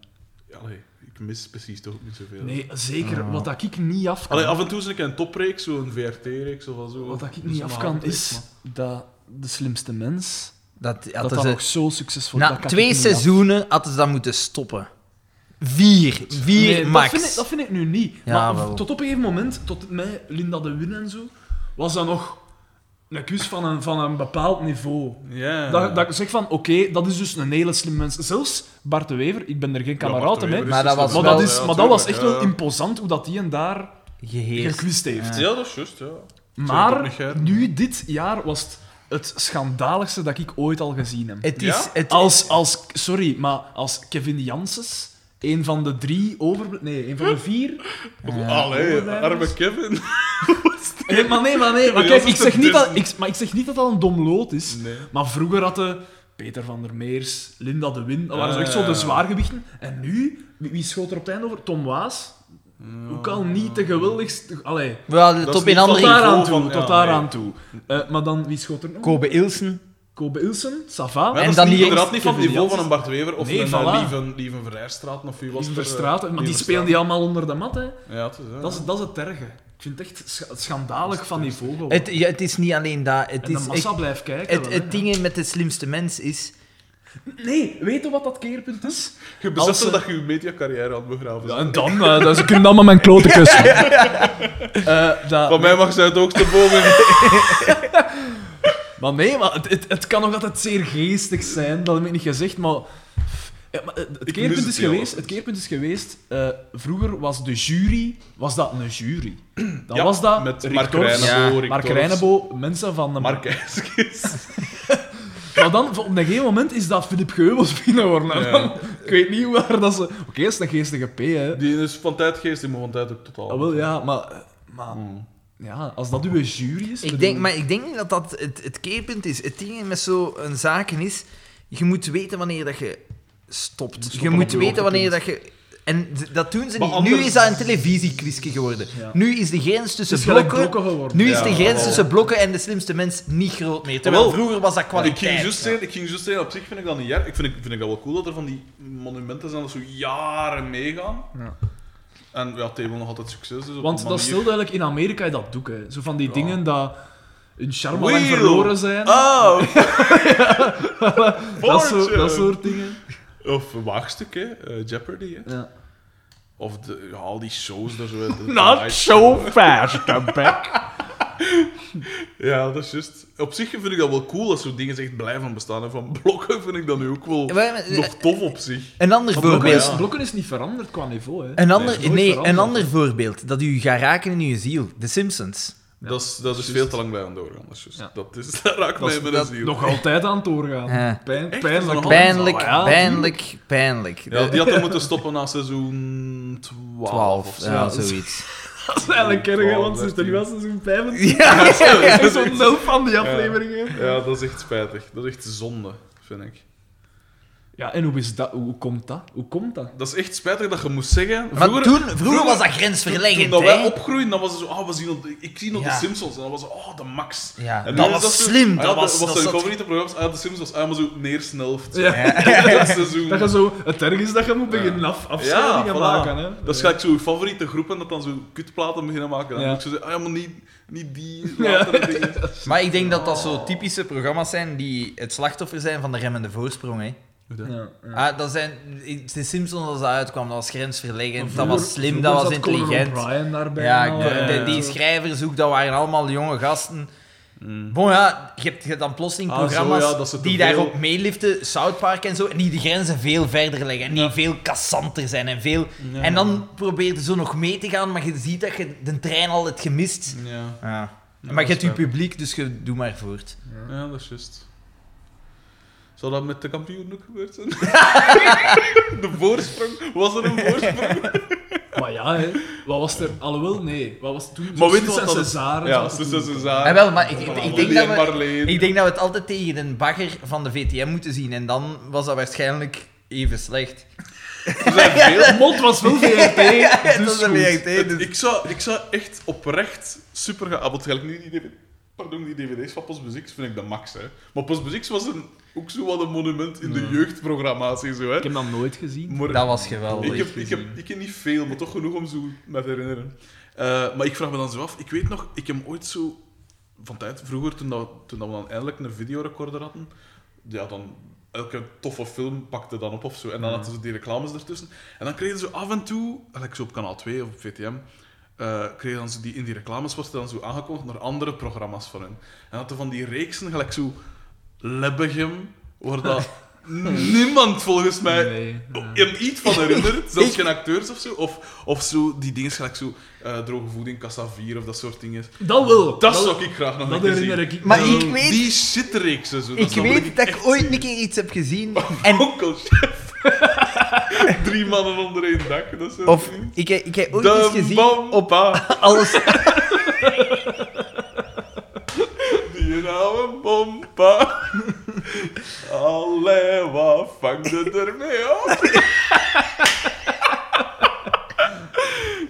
[SPEAKER 1] allee, ik mis precies toch ook niet zoveel.
[SPEAKER 3] Nee, zeker. Wat dat ik niet af kan...
[SPEAKER 1] Allee, af en toe zit ik in een topreeks, zo'n VRT-reeks of al zo.
[SPEAKER 3] Wat dat ik
[SPEAKER 1] Dus
[SPEAKER 3] niet af
[SPEAKER 1] maar-
[SPEAKER 3] kan, is dat de slimste mens
[SPEAKER 2] Dat,
[SPEAKER 3] dat
[SPEAKER 2] hadden
[SPEAKER 3] dat
[SPEAKER 2] ze,
[SPEAKER 3] nog zo succesvol
[SPEAKER 2] na
[SPEAKER 3] dat kan ik
[SPEAKER 2] twee
[SPEAKER 3] niet
[SPEAKER 2] seizoenen hadden ze dat moeten stoppen. Vier.
[SPEAKER 3] af.
[SPEAKER 2] Vier
[SPEAKER 3] Nee,
[SPEAKER 2] max.
[SPEAKER 3] Dat vind, ik, dat vind ik nu niet.
[SPEAKER 2] Ja,
[SPEAKER 3] maar
[SPEAKER 2] wel.
[SPEAKER 3] tot op een gegeven moment, tot mij, Linda de Win en zo, was dat nog een kus van een, van een bepaald niveau.
[SPEAKER 1] Ja.
[SPEAKER 3] Dat, dat ik zeg van, oké, dat is dus een hele slimme mens. Zelfs Bart de Wever, ik ben er geen kameraad mee,
[SPEAKER 2] Maar dat was
[SPEAKER 3] maar
[SPEAKER 2] wel-
[SPEAKER 3] dat, is,
[SPEAKER 1] ja,
[SPEAKER 3] maar dat was echt
[SPEAKER 1] tuurlijk,
[SPEAKER 3] wel
[SPEAKER 1] ja.
[SPEAKER 3] imposant hoe dat die en daar
[SPEAKER 2] Geheerst.
[SPEAKER 3] gekwist heeft.
[SPEAKER 1] Ja, dat is juist, ja.
[SPEAKER 3] Maar
[SPEAKER 1] Sorry, dat niet,
[SPEAKER 3] nu, dit jaar, was het het schandaligste dat ik ooit al gezien heb.
[SPEAKER 2] Het is...
[SPEAKER 1] Ja?
[SPEAKER 2] Het,
[SPEAKER 3] Als, als, sorry, maar als Kevin Janssens, een van de drie over... Nee, een van de vier.
[SPEAKER 1] Allee,
[SPEAKER 3] Overblijvers.
[SPEAKER 1] arme Kevin.
[SPEAKER 3] Nee, Eh, maar nee, maar nee. Maar
[SPEAKER 1] Kevin Janssens
[SPEAKER 3] kijk, ik zeg,
[SPEAKER 1] Hm? is
[SPEAKER 3] niet dat,
[SPEAKER 1] een
[SPEAKER 3] ik, maar ik zeg niet dat dat een domloot is.
[SPEAKER 1] Nee.
[SPEAKER 3] Maar vroeger hadden Peter van der Meers, Linda de Win, dat waren zo echt zo de
[SPEAKER 1] Ah.
[SPEAKER 3] zwaargewichten. En nu, wie, wie schoot er op het einde over? Tom Waas. Ook al niet de geweldigste... Allee,
[SPEAKER 2] we hadden
[SPEAKER 1] Dat
[SPEAKER 2] het
[SPEAKER 1] is
[SPEAKER 2] op
[SPEAKER 1] niet
[SPEAKER 2] een
[SPEAKER 3] tot
[SPEAKER 2] andere...
[SPEAKER 1] daar-
[SPEAKER 3] daaraan
[SPEAKER 1] niveau
[SPEAKER 3] toe,
[SPEAKER 1] van-
[SPEAKER 3] tot
[SPEAKER 1] ja,
[SPEAKER 3] daaraan
[SPEAKER 1] nee.
[SPEAKER 3] toe. Eh, maar dan, wie schoot er nog?
[SPEAKER 2] Kobe Ilsen.
[SPEAKER 3] Kobe Ilsen, Sava.
[SPEAKER 1] Maar
[SPEAKER 2] En
[SPEAKER 1] dat
[SPEAKER 2] dan
[SPEAKER 1] is niet,
[SPEAKER 2] die-
[SPEAKER 1] inderdaad niet van het
[SPEAKER 3] Kevin
[SPEAKER 1] niveau van een
[SPEAKER 3] Janssens.
[SPEAKER 1] Bart Wever of
[SPEAKER 3] Nee,
[SPEAKER 1] een
[SPEAKER 3] voilà.
[SPEAKER 1] eh, Lieven, Lieven Verheijstraat of wie was het?
[SPEAKER 3] Verstraten, maar die spelen die allemaal onder de mat, hè.
[SPEAKER 1] Ja, het is, ja.
[SPEAKER 3] Dat is, dat is het erge. Ik vind het echt scha- schandalig van niveau geworden.
[SPEAKER 2] Het, ja, het is niet alleen dat. Het
[SPEAKER 3] en de
[SPEAKER 2] is
[SPEAKER 3] massa
[SPEAKER 2] echt-
[SPEAKER 3] blijft kijken.
[SPEAKER 2] het,
[SPEAKER 3] wel,
[SPEAKER 2] het
[SPEAKER 3] hè.
[SPEAKER 2] ding met de slimste mens is...
[SPEAKER 3] Nee, weet je wat dat keerpunt is?
[SPEAKER 1] Je beseft
[SPEAKER 3] Als ze-
[SPEAKER 1] dat je je mediacarrière aan begraven
[SPEAKER 3] Ja,
[SPEAKER 1] bent.
[SPEAKER 3] en dan, eh, dat- ze kunnen allemaal mijn kloten kussen. Eh, dat-
[SPEAKER 1] Van mij mag ze uit de hoogste boven.
[SPEAKER 3] Maar nee, maar het, het, het kan nog altijd zeer geestig zijn, dat heb ik niet gezegd, maar... Ja, maar het, het
[SPEAKER 1] Ik mis
[SPEAKER 3] keerpunt
[SPEAKER 1] het
[SPEAKER 3] is
[SPEAKER 1] heel
[SPEAKER 3] geweest,
[SPEAKER 1] erg.
[SPEAKER 3] het keerpunt is geweest eh, vroeger was de jury, was dat een jury. Dan
[SPEAKER 1] Ja,
[SPEAKER 3] was dat
[SPEAKER 1] met
[SPEAKER 3] Rick
[SPEAKER 1] Mark
[SPEAKER 3] Dorfs,
[SPEAKER 1] Reinebo,
[SPEAKER 2] Ja,
[SPEAKER 1] Rick
[SPEAKER 3] Mark
[SPEAKER 1] Dorfs.
[SPEAKER 3] Reinebo, mensen van de
[SPEAKER 1] Mark Eiskes.
[SPEAKER 3] Maar dan, op een gegeven moment is dat Philip Geubels binnenhoorn.
[SPEAKER 1] Ja.
[SPEAKER 3] Ik weet niet waar dat ze... Oké, het is een geestige P, hè.
[SPEAKER 1] Die is van tijdgeest, die moet van tijd ook totaal.
[SPEAKER 3] Ah, wel, ja, maar... maar Ja, als dat uw jury
[SPEAKER 2] Ik
[SPEAKER 3] is... bedoel-
[SPEAKER 2] denk, maar ik denk niet dat dat het, het keerpunt is. Het ding met zo'n zaken is... Je moet weten wanneer dat je stopt. je
[SPEAKER 3] stoppen op
[SPEAKER 2] moet
[SPEAKER 3] je
[SPEAKER 2] weten wanneer dat
[SPEAKER 3] hoogtepunt.
[SPEAKER 2] je... En d- dat doen ze
[SPEAKER 1] Maar
[SPEAKER 2] niet. Nu
[SPEAKER 1] anders-
[SPEAKER 2] is dat een televisiequizje geworden.
[SPEAKER 3] Ja.
[SPEAKER 2] Nu is de grens
[SPEAKER 3] Het
[SPEAKER 2] tussen
[SPEAKER 3] is gelijk
[SPEAKER 2] blokken...
[SPEAKER 3] blokken geworden.
[SPEAKER 2] Nu
[SPEAKER 1] Ja,
[SPEAKER 2] is de grens
[SPEAKER 1] wel.
[SPEAKER 2] tussen blokken en de slimste mens niet groot meer. Terwijl
[SPEAKER 1] Jawel.
[SPEAKER 2] vroeger was dat
[SPEAKER 1] ik
[SPEAKER 2] kwaliteit.
[SPEAKER 1] ging juist zeggen, ik ging juist zeggen, op zich vind ik dat niet jaar. Ik vind, ik vind ik dat wel cool dat er van die monumenten zijn dat zo jaren meegaan.
[SPEAKER 3] Ja.
[SPEAKER 1] En ja, het heeft wel nog altijd succes. Dus op een
[SPEAKER 3] Want dat
[SPEAKER 1] manier-
[SPEAKER 3] stelt eigenlijk in Amerika dat doek, hè. Zo van die dingen dat hun charme lang
[SPEAKER 1] Wheel.
[SPEAKER 3] verloren zijn.
[SPEAKER 1] Oh!
[SPEAKER 3] dat, soort,
[SPEAKER 1] Fortune.
[SPEAKER 3] dat soort dingen.
[SPEAKER 1] Of Waagstuk, hè? eh, Jeopardy, hè?
[SPEAKER 3] Ja.
[SPEAKER 1] Of de, ja, al die shows daar zo. uit de-
[SPEAKER 3] Not
[SPEAKER 1] uit-
[SPEAKER 3] so fast, back.
[SPEAKER 1] Ja, dat is juist. Op zich vind ik dat wel cool als zo'n dingen echt blijven bestaan. En van blokken vind ik dat nu ook wel
[SPEAKER 2] Maar- eh, maar-
[SPEAKER 1] nog tof op zich.
[SPEAKER 2] Een ander
[SPEAKER 3] Blokken
[SPEAKER 2] voorbeeld.
[SPEAKER 3] is, blokken is niet veranderd qua niveau, hè.
[SPEAKER 2] Een
[SPEAKER 1] Nee,
[SPEAKER 2] ander,
[SPEAKER 3] is nooit
[SPEAKER 2] nee, een
[SPEAKER 3] veranderd.
[SPEAKER 2] ander voorbeeld dat u gaat raken in uw ziel. De Simpsons.
[SPEAKER 1] dat is, dat is
[SPEAKER 3] juist.
[SPEAKER 1] veel te lang bij aan doorgaan. Dat, is juist.
[SPEAKER 3] Ja.
[SPEAKER 1] dat, is, dat raakt
[SPEAKER 3] Dat
[SPEAKER 1] mij
[SPEAKER 3] is-
[SPEAKER 1] met een
[SPEAKER 2] dat
[SPEAKER 1] ziel.
[SPEAKER 3] Nog altijd aan het doorgaan.
[SPEAKER 2] Ja.
[SPEAKER 3] Pijn,
[SPEAKER 1] Echt?
[SPEAKER 3] pijnlijk.
[SPEAKER 1] Is dat nog
[SPEAKER 2] Eh, Pijnlijk,
[SPEAKER 3] Oh, ja.
[SPEAKER 2] pijnlijk, pijnlijk.
[SPEAKER 1] Ja,
[SPEAKER 2] De-
[SPEAKER 1] die had er moeten stoppen na seizoen 12.
[SPEAKER 2] 12,
[SPEAKER 1] of zo.
[SPEAKER 2] ja,
[SPEAKER 3] zo.
[SPEAKER 2] zoiets.
[SPEAKER 3] Dat is eigenlijk erg, hè, want ze zitten nu al seizoen 25.
[SPEAKER 2] Ja,
[SPEAKER 3] Dat is zo'n nul van die afleveringen. Ja.
[SPEAKER 1] Ja, dat is echt spijtig. Dat is echt zonde, vind ik.
[SPEAKER 3] en hoe, is dat, hoe komt dat? Hoe komt dat?
[SPEAKER 1] Dat is echt spijtig dat je moest zeggen.
[SPEAKER 2] Maar toen, vroeger, was dat grensverleggend,
[SPEAKER 1] Toen dat wij
[SPEAKER 2] hè?
[SPEAKER 1] opgroeiden, dan was het zo, ah, we zien dat, ik zie nog
[SPEAKER 2] Ja.
[SPEAKER 1] de Simpsons. En dan was het, oh, de Max.
[SPEAKER 2] Ja,
[SPEAKER 1] en nu
[SPEAKER 2] dat
[SPEAKER 1] is
[SPEAKER 2] was
[SPEAKER 1] zo,
[SPEAKER 2] slim,
[SPEAKER 1] ah ja,
[SPEAKER 2] dat was- dat
[SPEAKER 1] zijn
[SPEAKER 2] zat-
[SPEAKER 1] favoriete programma's. Ah, de Simpsons, ah, maar zo neersnelft.
[SPEAKER 3] Ja.
[SPEAKER 1] Dat seizoen.
[SPEAKER 3] Dat je zo, het erg is dat je moet beginnen af,
[SPEAKER 1] ja,
[SPEAKER 3] afscheidingen
[SPEAKER 1] voilà.
[SPEAKER 3] maken. Hè.
[SPEAKER 1] Dat is gelijk zo je favoriete groep en dat dan zo kutplaten beginnen maken. En dan
[SPEAKER 3] Ja.
[SPEAKER 1] moet je zeggen, ah ja, maar niet, niet die
[SPEAKER 3] Ja.
[SPEAKER 1] latere dingen.
[SPEAKER 2] Maar ik denk dat dat zo typische programma's zijn die het slachtoffer zijn van de remmende voorsprong, hè?
[SPEAKER 3] Ja, ja.
[SPEAKER 2] Ah, dat zijn, de Simpsons, als dat uitkwam, dat was grensverleggend,
[SPEAKER 3] Maar
[SPEAKER 2] dat
[SPEAKER 3] vroeger-
[SPEAKER 2] was slim,
[SPEAKER 3] vroeger
[SPEAKER 2] dat was
[SPEAKER 3] zat Conan
[SPEAKER 2] intelligent.
[SPEAKER 3] O'Brien daarbij
[SPEAKER 2] Ja,
[SPEAKER 3] en al,
[SPEAKER 2] de-
[SPEAKER 3] hè.
[SPEAKER 2] de- die schrijvers ook, dat waren allemaal jonge gasten. Bon, ja, je hebt, je hebt dan plotseling
[SPEAKER 1] Ah, zo,
[SPEAKER 2] programma's
[SPEAKER 1] ja, dat ze te
[SPEAKER 2] die
[SPEAKER 1] veel-
[SPEAKER 2] daarop meeliften, South Park en zo, en die de grenzen veel verder leggen, en die veel kassanter zijn. En, veel... en dan probeert je zo nog mee te gaan, maar je ziet dat je de trein al hebt gemist.
[SPEAKER 1] Ah. Ja.
[SPEAKER 2] Ja.
[SPEAKER 1] dat
[SPEAKER 2] maar je
[SPEAKER 1] is
[SPEAKER 2] hebt je
[SPEAKER 1] waar.
[SPEAKER 2] publiek, dus je doe maar voort.
[SPEAKER 1] ja, dat is juist. Zou dat met de kampioen ook gebeurd zijn? de voorsprong? Was er een voorsprong?
[SPEAKER 3] Maar ja, hè. wat was er? Alhoewel, nee. Wat was toen?
[SPEAKER 1] Maar weet je
[SPEAKER 3] Suus
[SPEAKER 1] wat
[SPEAKER 3] en
[SPEAKER 1] dat-
[SPEAKER 3] César.
[SPEAKER 1] Ja, tussen César.
[SPEAKER 2] Ah, wel, maar ik, ik,
[SPEAKER 1] Voilà,
[SPEAKER 2] ik denk
[SPEAKER 1] Molly
[SPEAKER 2] dat
[SPEAKER 1] en
[SPEAKER 2] we,
[SPEAKER 1] Marleen.
[SPEAKER 2] ik denk dat we het altijd tegen een bagger van de VTM moeten zien, en dan was dat waarschijnlijk even slecht.
[SPEAKER 1] Er zijn veel-
[SPEAKER 3] Mond was wel VRT,
[SPEAKER 2] dat
[SPEAKER 3] dus
[SPEAKER 2] is een
[SPEAKER 3] goed.
[SPEAKER 2] VRT,
[SPEAKER 1] Het-
[SPEAKER 2] dus-
[SPEAKER 1] ik, zou, ik zou echt oprecht super gaan. Ah, want gelijk nu die, DVD pardon, die DVD's van Postmuziek vind ik de max. Hè. Maar Postmuziek was een, ook zo wat een monument in de jeugdprogramma's en zo. Hè.
[SPEAKER 3] Ik heb dat nooit gezien.
[SPEAKER 1] Maar
[SPEAKER 2] Dat was geweldig.
[SPEAKER 1] ik, heb, ik, heb, ik heb niet veel, maar toch genoeg om zo me te herinneren. Eh, maar ik vraag me dan zo af, ik weet nog, ik heb ooit zo van tijd vroeger, toen, dat, toen dat we dan eindelijk een videorecorder hadden, ja, dan elke toffe film pakte dan op of zo. En dan hadden ze die reclames ertussen. En dan kregen ze af en toe, gelijk zo op kanaal 2 of op VTM, eh, kregen dan zo die, in die reclames was het dan zo aangekondigd naar andere programma's van hen. En hadden van die reeksen, gelijk zo Lebbegem, waar dat niemand volgens mij
[SPEAKER 4] Nee, ja.
[SPEAKER 1] hem Eh, iets van herinnert, zelfs geen acteurs of zo. Of, of zo die dingen gelijk zo eh, droge voeding, kassa 4 of dat soort dingen.
[SPEAKER 3] Dat wel.
[SPEAKER 1] Dat zou ik graag nog
[SPEAKER 3] dat
[SPEAKER 1] een keer
[SPEAKER 3] herinner
[SPEAKER 1] zien.
[SPEAKER 3] ik me.
[SPEAKER 2] Maar
[SPEAKER 3] wel.
[SPEAKER 2] ik weet-
[SPEAKER 1] Die shitreeksen. Zo,
[SPEAKER 2] Ik
[SPEAKER 1] zou
[SPEAKER 2] weet dat ik
[SPEAKER 1] echt
[SPEAKER 2] ooit
[SPEAKER 1] zien.
[SPEAKER 2] een keer iets heb gezien. En,
[SPEAKER 1] Onkel Chef. Drie mannen onder één dak. Dat is
[SPEAKER 2] of ik, heb- ik heb ooit
[SPEAKER 1] De
[SPEAKER 2] iets gezien op
[SPEAKER 1] bompa,
[SPEAKER 2] alles.
[SPEAKER 1] die oude bompa. Allee, wat vang je ermee op?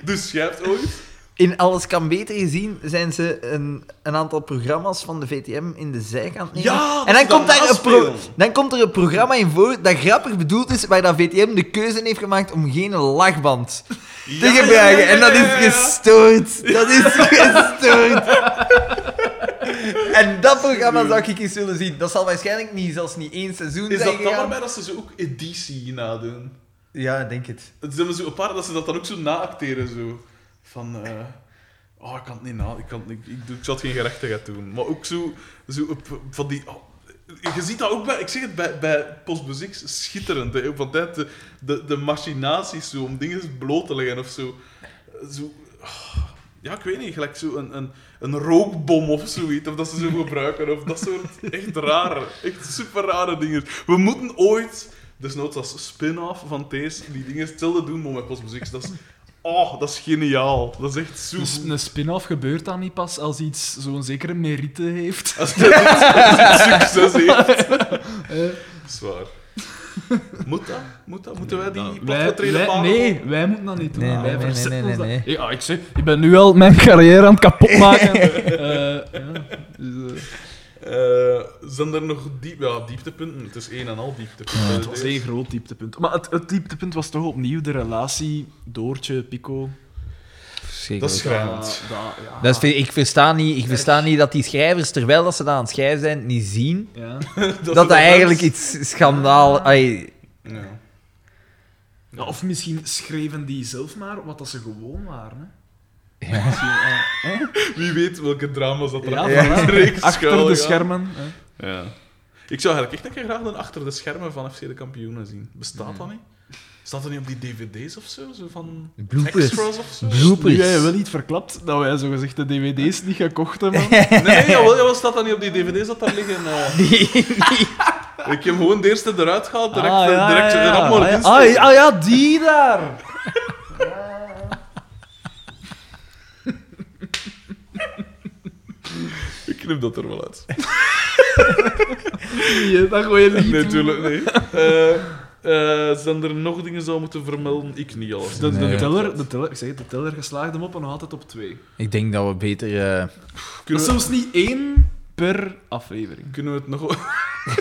[SPEAKER 1] dus jij hebt ooit...
[SPEAKER 2] In Alles kan beter gezien zijn ze een, een aantal programma's van de VTM in de zijkant nemen.
[SPEAKER 1] Ja, dat
[SPEAKER 2] en dan
[SPEAKER 1] ze
[SPEAKER 2] komt,
[SPEAKER 1] dat
[SPEAKER 2] daar een pro-
[SPEAKER 1] naspelen.
[SPEAKER 2] dan komt er een programma in voor dat grappig bedoeld is, waar dat VTM de keuze in heeft gemaakt om geen lachband te
[SPEAKER 1] Ja, ja,
[SPEAKER 2] gebruiken.
[SPEAKER 1] ja, ja,
[SPEAKER 2] En dat
[SPEAKER 1] ja, ja.
[SPEAKER 2] is dus- gestoord. Dat is gestoord. en dat programma zou ik eens willen zien. Dat zal waarschijnlijk niet, zelfs niet één seizoen
[SPEAKER 1] Is
[SPEAKER 2] zijn
[SPEAKER 1] dat dan
[SPEAKER 2] gegaan.
[SPEAKER 1] waarbij dat ze zo ook editie nadoen?
[SPEAKER 2] Ja, ik denk het.
[SPEAKER 1] Het zijn zo een paar dat ze dat dan ook zo naacteren. Zo. Van, eh, oh, ik kan het niet na, ik, kan, het niet- ik, doe- ik zal het geen gerechtigheid doen. Maar ook zo, zo op, van die... oh, je ziet dat ook bij, ik zeg het, bij, bij Postbusix schitterend. Hè, van tijd de, de, de machinaties zo, om dingen bloot te leggen of zo. zo oh, ja, ik weet niet, gelijk zo een, een, een rookbom of zoiets. Of dat ze zo gebruiken. Of dat soort echt rare, echt super rare dingen. We moeten ooit, desnoods als spin-off van deze, die dingen hetzelfde doen, maar met postmuziek. Dat is, oh, dat is geniaal. Dat is echt zo
[SPEAKER 3] Dus
[SPEAKER 1] goed.
[SPEAKER 3] een spin-off gebeurt dan niet pas als iets zo'n zekere merite heeft.
[SPEAKER 1] Als dat iets- als iets succes heeft. Zwaar. Moet dat? Moet dat? Moeten wij die platgetreden paren?
[SPEAKER 3] nee, wij moeten dat niet doen.
[SPEAKER 2] Nee,
[SPEAKER 3] Ah, wij
[SPEAKER 2] nee, nee,
[SPEAKER 3] verzetten
[SPEAKER 2] nee, nee,
[SPEAKER 3] ons dat.
[SPEAKER 2] nee.
[SPEAKER 3] Ja, ik, zeg, ik ben nu al mijn carrière aan het kapotmaken. Eh, ja, dus, eh,
[SPEAKER 1] Eh, zijn er nog diep, ja, dieptepunten? Het is één en al dieptepunten.
[SPEAKER 3] het was één groot dieptepunt. Maar het, het dieptepunt was toch opnieuw de relatie Doortje, Pico.
[SPEAKER 1] dat is schrijnend.
[SPEAKER 3] Dat- dat- ja.
[SPEAKER 2] Dat is ver- ik versta niet, ik versta niet dat die schrijvers, terwijl dat ze dat aan het schrijven zijn, niet zien
[SPEAKER 3] Ja.
[SPEAKER 2] dat
[SPEAKER 1] ze
[SPEAKER 2] dat, eigenlijk
[SPEAKER 1] mens-
[SPEAKER 2] iets schandaal... ai,
[SPEAKER 1] Ja.
[SPEAKER 3] Ja, Of misschien schreven die zelf maar wat dat ze gewoon waren. Hè?
[SPEAKER 1] Wie weet welke drama's dat er
[SPEAKER 3] Ja,
[SPEAKER 1] achter
[SPEAKER 3] voilà.
[SPEAKER 1] de reeks
[SPEAKER 3] Achter de
[SPEAKER 1] schuilgaan.
[SPEAKER 3] schermen. Hè?
[SPEAKER 1] Ja. Ik zou eigenlijk echt een keer graag een achter de schermen van FC de Kampioenen zien. Bestaat dat niet? Staat dat niet op die dvd's of zo? Zo van
[SPEAKER 2] Bloopers.
[SPEAKER 1] extras of zo?
[SPEAKER 2] Bloopers.
[SPEAKER 3] Nu jij wel iets verklapt dat wij zogezegd de dvd's niet gekocht hebben.
[SPEAKER 1] Nee, nee jawel, jawel, staat dat niet op die dvd's dat daar liggen? eh. Ik heb gewoon de eerste eruit gehaald, direct, eh,
[SPEAKER 3] ah, ja,
[SPEAKER 1] direct
[SPEAKER 3] ja,
[SPEAKER 1] de
[SPEAKER 3] ja.
[SPEAKER 1] rap maar
[SPEAKER 3] Ah, ja.
[SPEAKER 1] erin
[SPEAKER 3] Ah,
[SPEAKER 1] steken.
[SPEAKER 3] ja, ah, ja, die daar!
[SPEAKER 1] Ik knip dat er wel uit.
[SPEAKER 3] Die, eh, dat gooi je niet
[SPEAKER 1] Nee,
[SPEAKER 3] toe.
[SPEAKER 1] tuurlijk, nee. Eh, eh, zijn er nog dingen zou moeten vermelden? Ik niet, alles.
[SPEAKER 3] De, de,
[SPEAKER 2] Nee.
[SPEAKER 3] teller, de, teller, ik zeg, het, de teller geslaagde hem op en nog altijd op twee.
[SPEAKER 2] Ik denk dat we beter... eh,
[SPEAKER 3] Dat is
[SPEAKER 1] Kunnen we,
[SPEAKER 3] zelfs niet één per aflevering.
[SPEAKER 1] kunnen we het nog...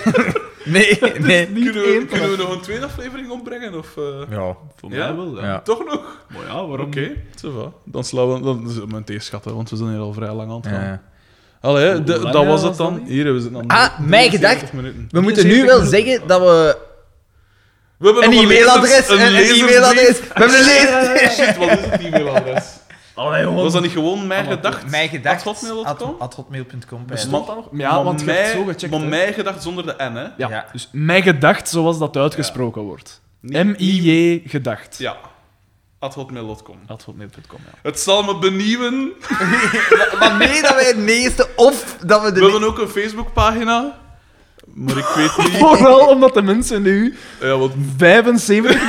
[SPEAKER 2] Nee, nee.
[SPEAKER 3] Niet
[SPEAKER 1] Kunnen we,
[SPEAKER 3] één per
[SPEAKER 1] kunnen we
[SPEAKER 3] aflevering.
[SPEAKER 1] nog een tweede aflevering opbrengen? Of, eh,
[SPEAKER 2] Ja.
[SPEAKER 3] Voor
[SPEAKER 1] Ja?
[SPEAKER 3] mij wel, ja.
[SPEAKER 2] Ja.
[SPEAKER 1] Toch nog?
[SPEAKER 3] Maar ja, waarom?
[SPEAKER 1] Oké, ça va. Dan slaan we dan zullen we een theeschatten, want we zijn hier al vrij lang aan het gaan.
[SPEAKER 2] Eh,
[SPEAKER 1] Allee,
[SPEAKER 3] Hoe
[SPEAKER 1] de-
[SPEAKER 3] lang
[SPEAKER 1] dat was
[SPEAKER 3] was
[SPEAKER 1] het dan.
[SPEAKER 3] dat niet?
[SPEAKER 1] Hier, we zitten aan
[SPEAKER 2] Ah, mijn
[SPEAKER 1] 73
[SPEAKER 2] gedacht.
[SPEAKER 1] minuten.
[SPEAKER 2] We moeten nu wel zeggen dat we
[SPEAKER 1] We hebben
[SPEAKER 2] een
[SPEAKER 1] nog
[SPEAKER 2] e-mailadres...
[SPEAKER 1] lezers-
[SPEAKER 2] Een, een
[SPEAKER 1] lezersbrief.
[SPEAKER 2] e-mailadres... We hebben een lezer...
[SPEAKER 1] Shit, wat is het e-mailadres? Was dat niet gewoon mijn gedacht?
[SPEAKER 2] Mijn gedacht...
[SPEAKER 1] At hotmail.com?
[SPEAKER 2] hotmail.com.
[SPEAKER 1] Bestond
[SPEAKER 3] dat nog? Ja, want je hebt het zo gecheckt.
[SPEAKER 1] Maar
[SPEAKER 3] hè.
[SPEAKER 1] mijn gedacht zonder de N, hè?
[SPEAKER 3] Ja,
[SPEAKER 2] Ja.
[SPEAKER 3] dus mijn gedacht zoals dat uitgesproken wordt.
[SPEAKER 1] Niet-
[SPEAKER 3] M-I-J gedacht.
[SPEAKER 1] Ja. At hotmail.com.
[SPEAKER 3] At hotmail.com, ja.
[SPEAKER 1] Het zal me benieuwen.
[SPEAKER 2] Wanneer dat wij het meeste of dat we de...
[SPEAKER 1] We hebben ook een Facebookpagina. Maar ik weet niet...
[SPEAKER 3] Vooral omdat de mensen nu
[SPEAKER 1] Ja, want
[SPEAKER 3] 75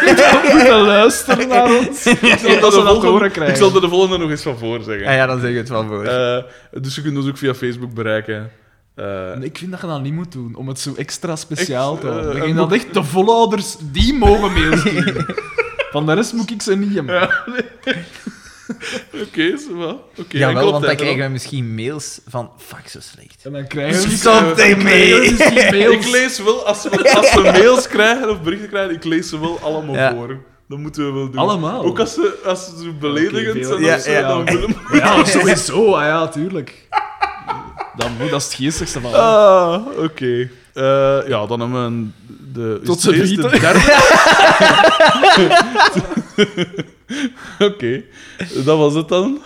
[SPEAKER 3] minuten moeten luisteren naar ons.
[SPEAKER 1] ik zal, er de
[SPEAKER 3] dat ze dat te
[SPEAKER 1] volgende,
[SPEAKER 3] horen
[SPEAKER 1] ik
[SPEAKER 3] krijgen.
[SPEAKER 1] zal er de volgende nog eens van voor zeggen.
[SPEAKER 2] Ah ja, dan zeg ik het wel voor.
[SPEAKER 1] Eh, dus je kunt ons ook via Facebook bereiken. Eh,
[SPEAKER 3] Ik vind dat je dat niet moet doen, om het zo extra speciaal
[SPEAKER 1] Ik-
[SPEAKER 3] te
[SPEAKER 1] eh,
[SPEAKER 3] houden.
[SPEAKER 1] en
[SPEAKER 3] Ik denk
[SPEAKER 1] moet-
[SPEAKER 3] dat echt de volhouders, die mogen mails sturen. Van de rest moet ik ze niet hebben.
[SPEAKER 1] Oké, zo wel. Oké, enkel
[SPEAKER 2] ja Jawel,
[SPEAKER 1] op
[SPEAKER 2] want
[SPEAKER 1] tijd,
[SPEAKER 2] dan krijgen
[SPEAKER 1] hè.
[SPEAKER 2] we misschien mails van... Fuck, zo slecht.
[SPEAKER 3] En dan krijgen ze
[SPEAKER 2] Something mee.
[SPEAKER 1] Ik lees wel, als we, als we mails krijgen of berichten krijgen, ik lees ze wel allemaal
[SPEAKER 2] Ja.
[SPEAKER 1] voor. Dat moeten we wel doen.
[SPEAKER 3] Allemaal?
[SPEAKER 1] Ook als ze, als ze zo beledigend
[SPEAKER 3] Oké,
[SPEAKER 1] zijn
[SPEAKER 3] veel-
[SPEAKER 1] of
[SPEAKER 2] Ja,
[SPEAKER 1] zo,
[SPEAKER 2] ja.
[SPEAKER 1] dan willen we...
[SPEAKER 3] Ja, sowieso. Ah ja, tuurlijk. Dat moet, dat is het geestigste van alles.
[SPEAKER 1] Ah, oké. Eh, ja, dan hebben we een, de... is
[SPEAKER 3] Tot
[SPEAKER 1] het
[SPEAKER 3] z'n
[SPEAKER 1] deze de
[SPEAKER 3] drieten.
[SPEAKER 1] derde? oké. Dat was het dan.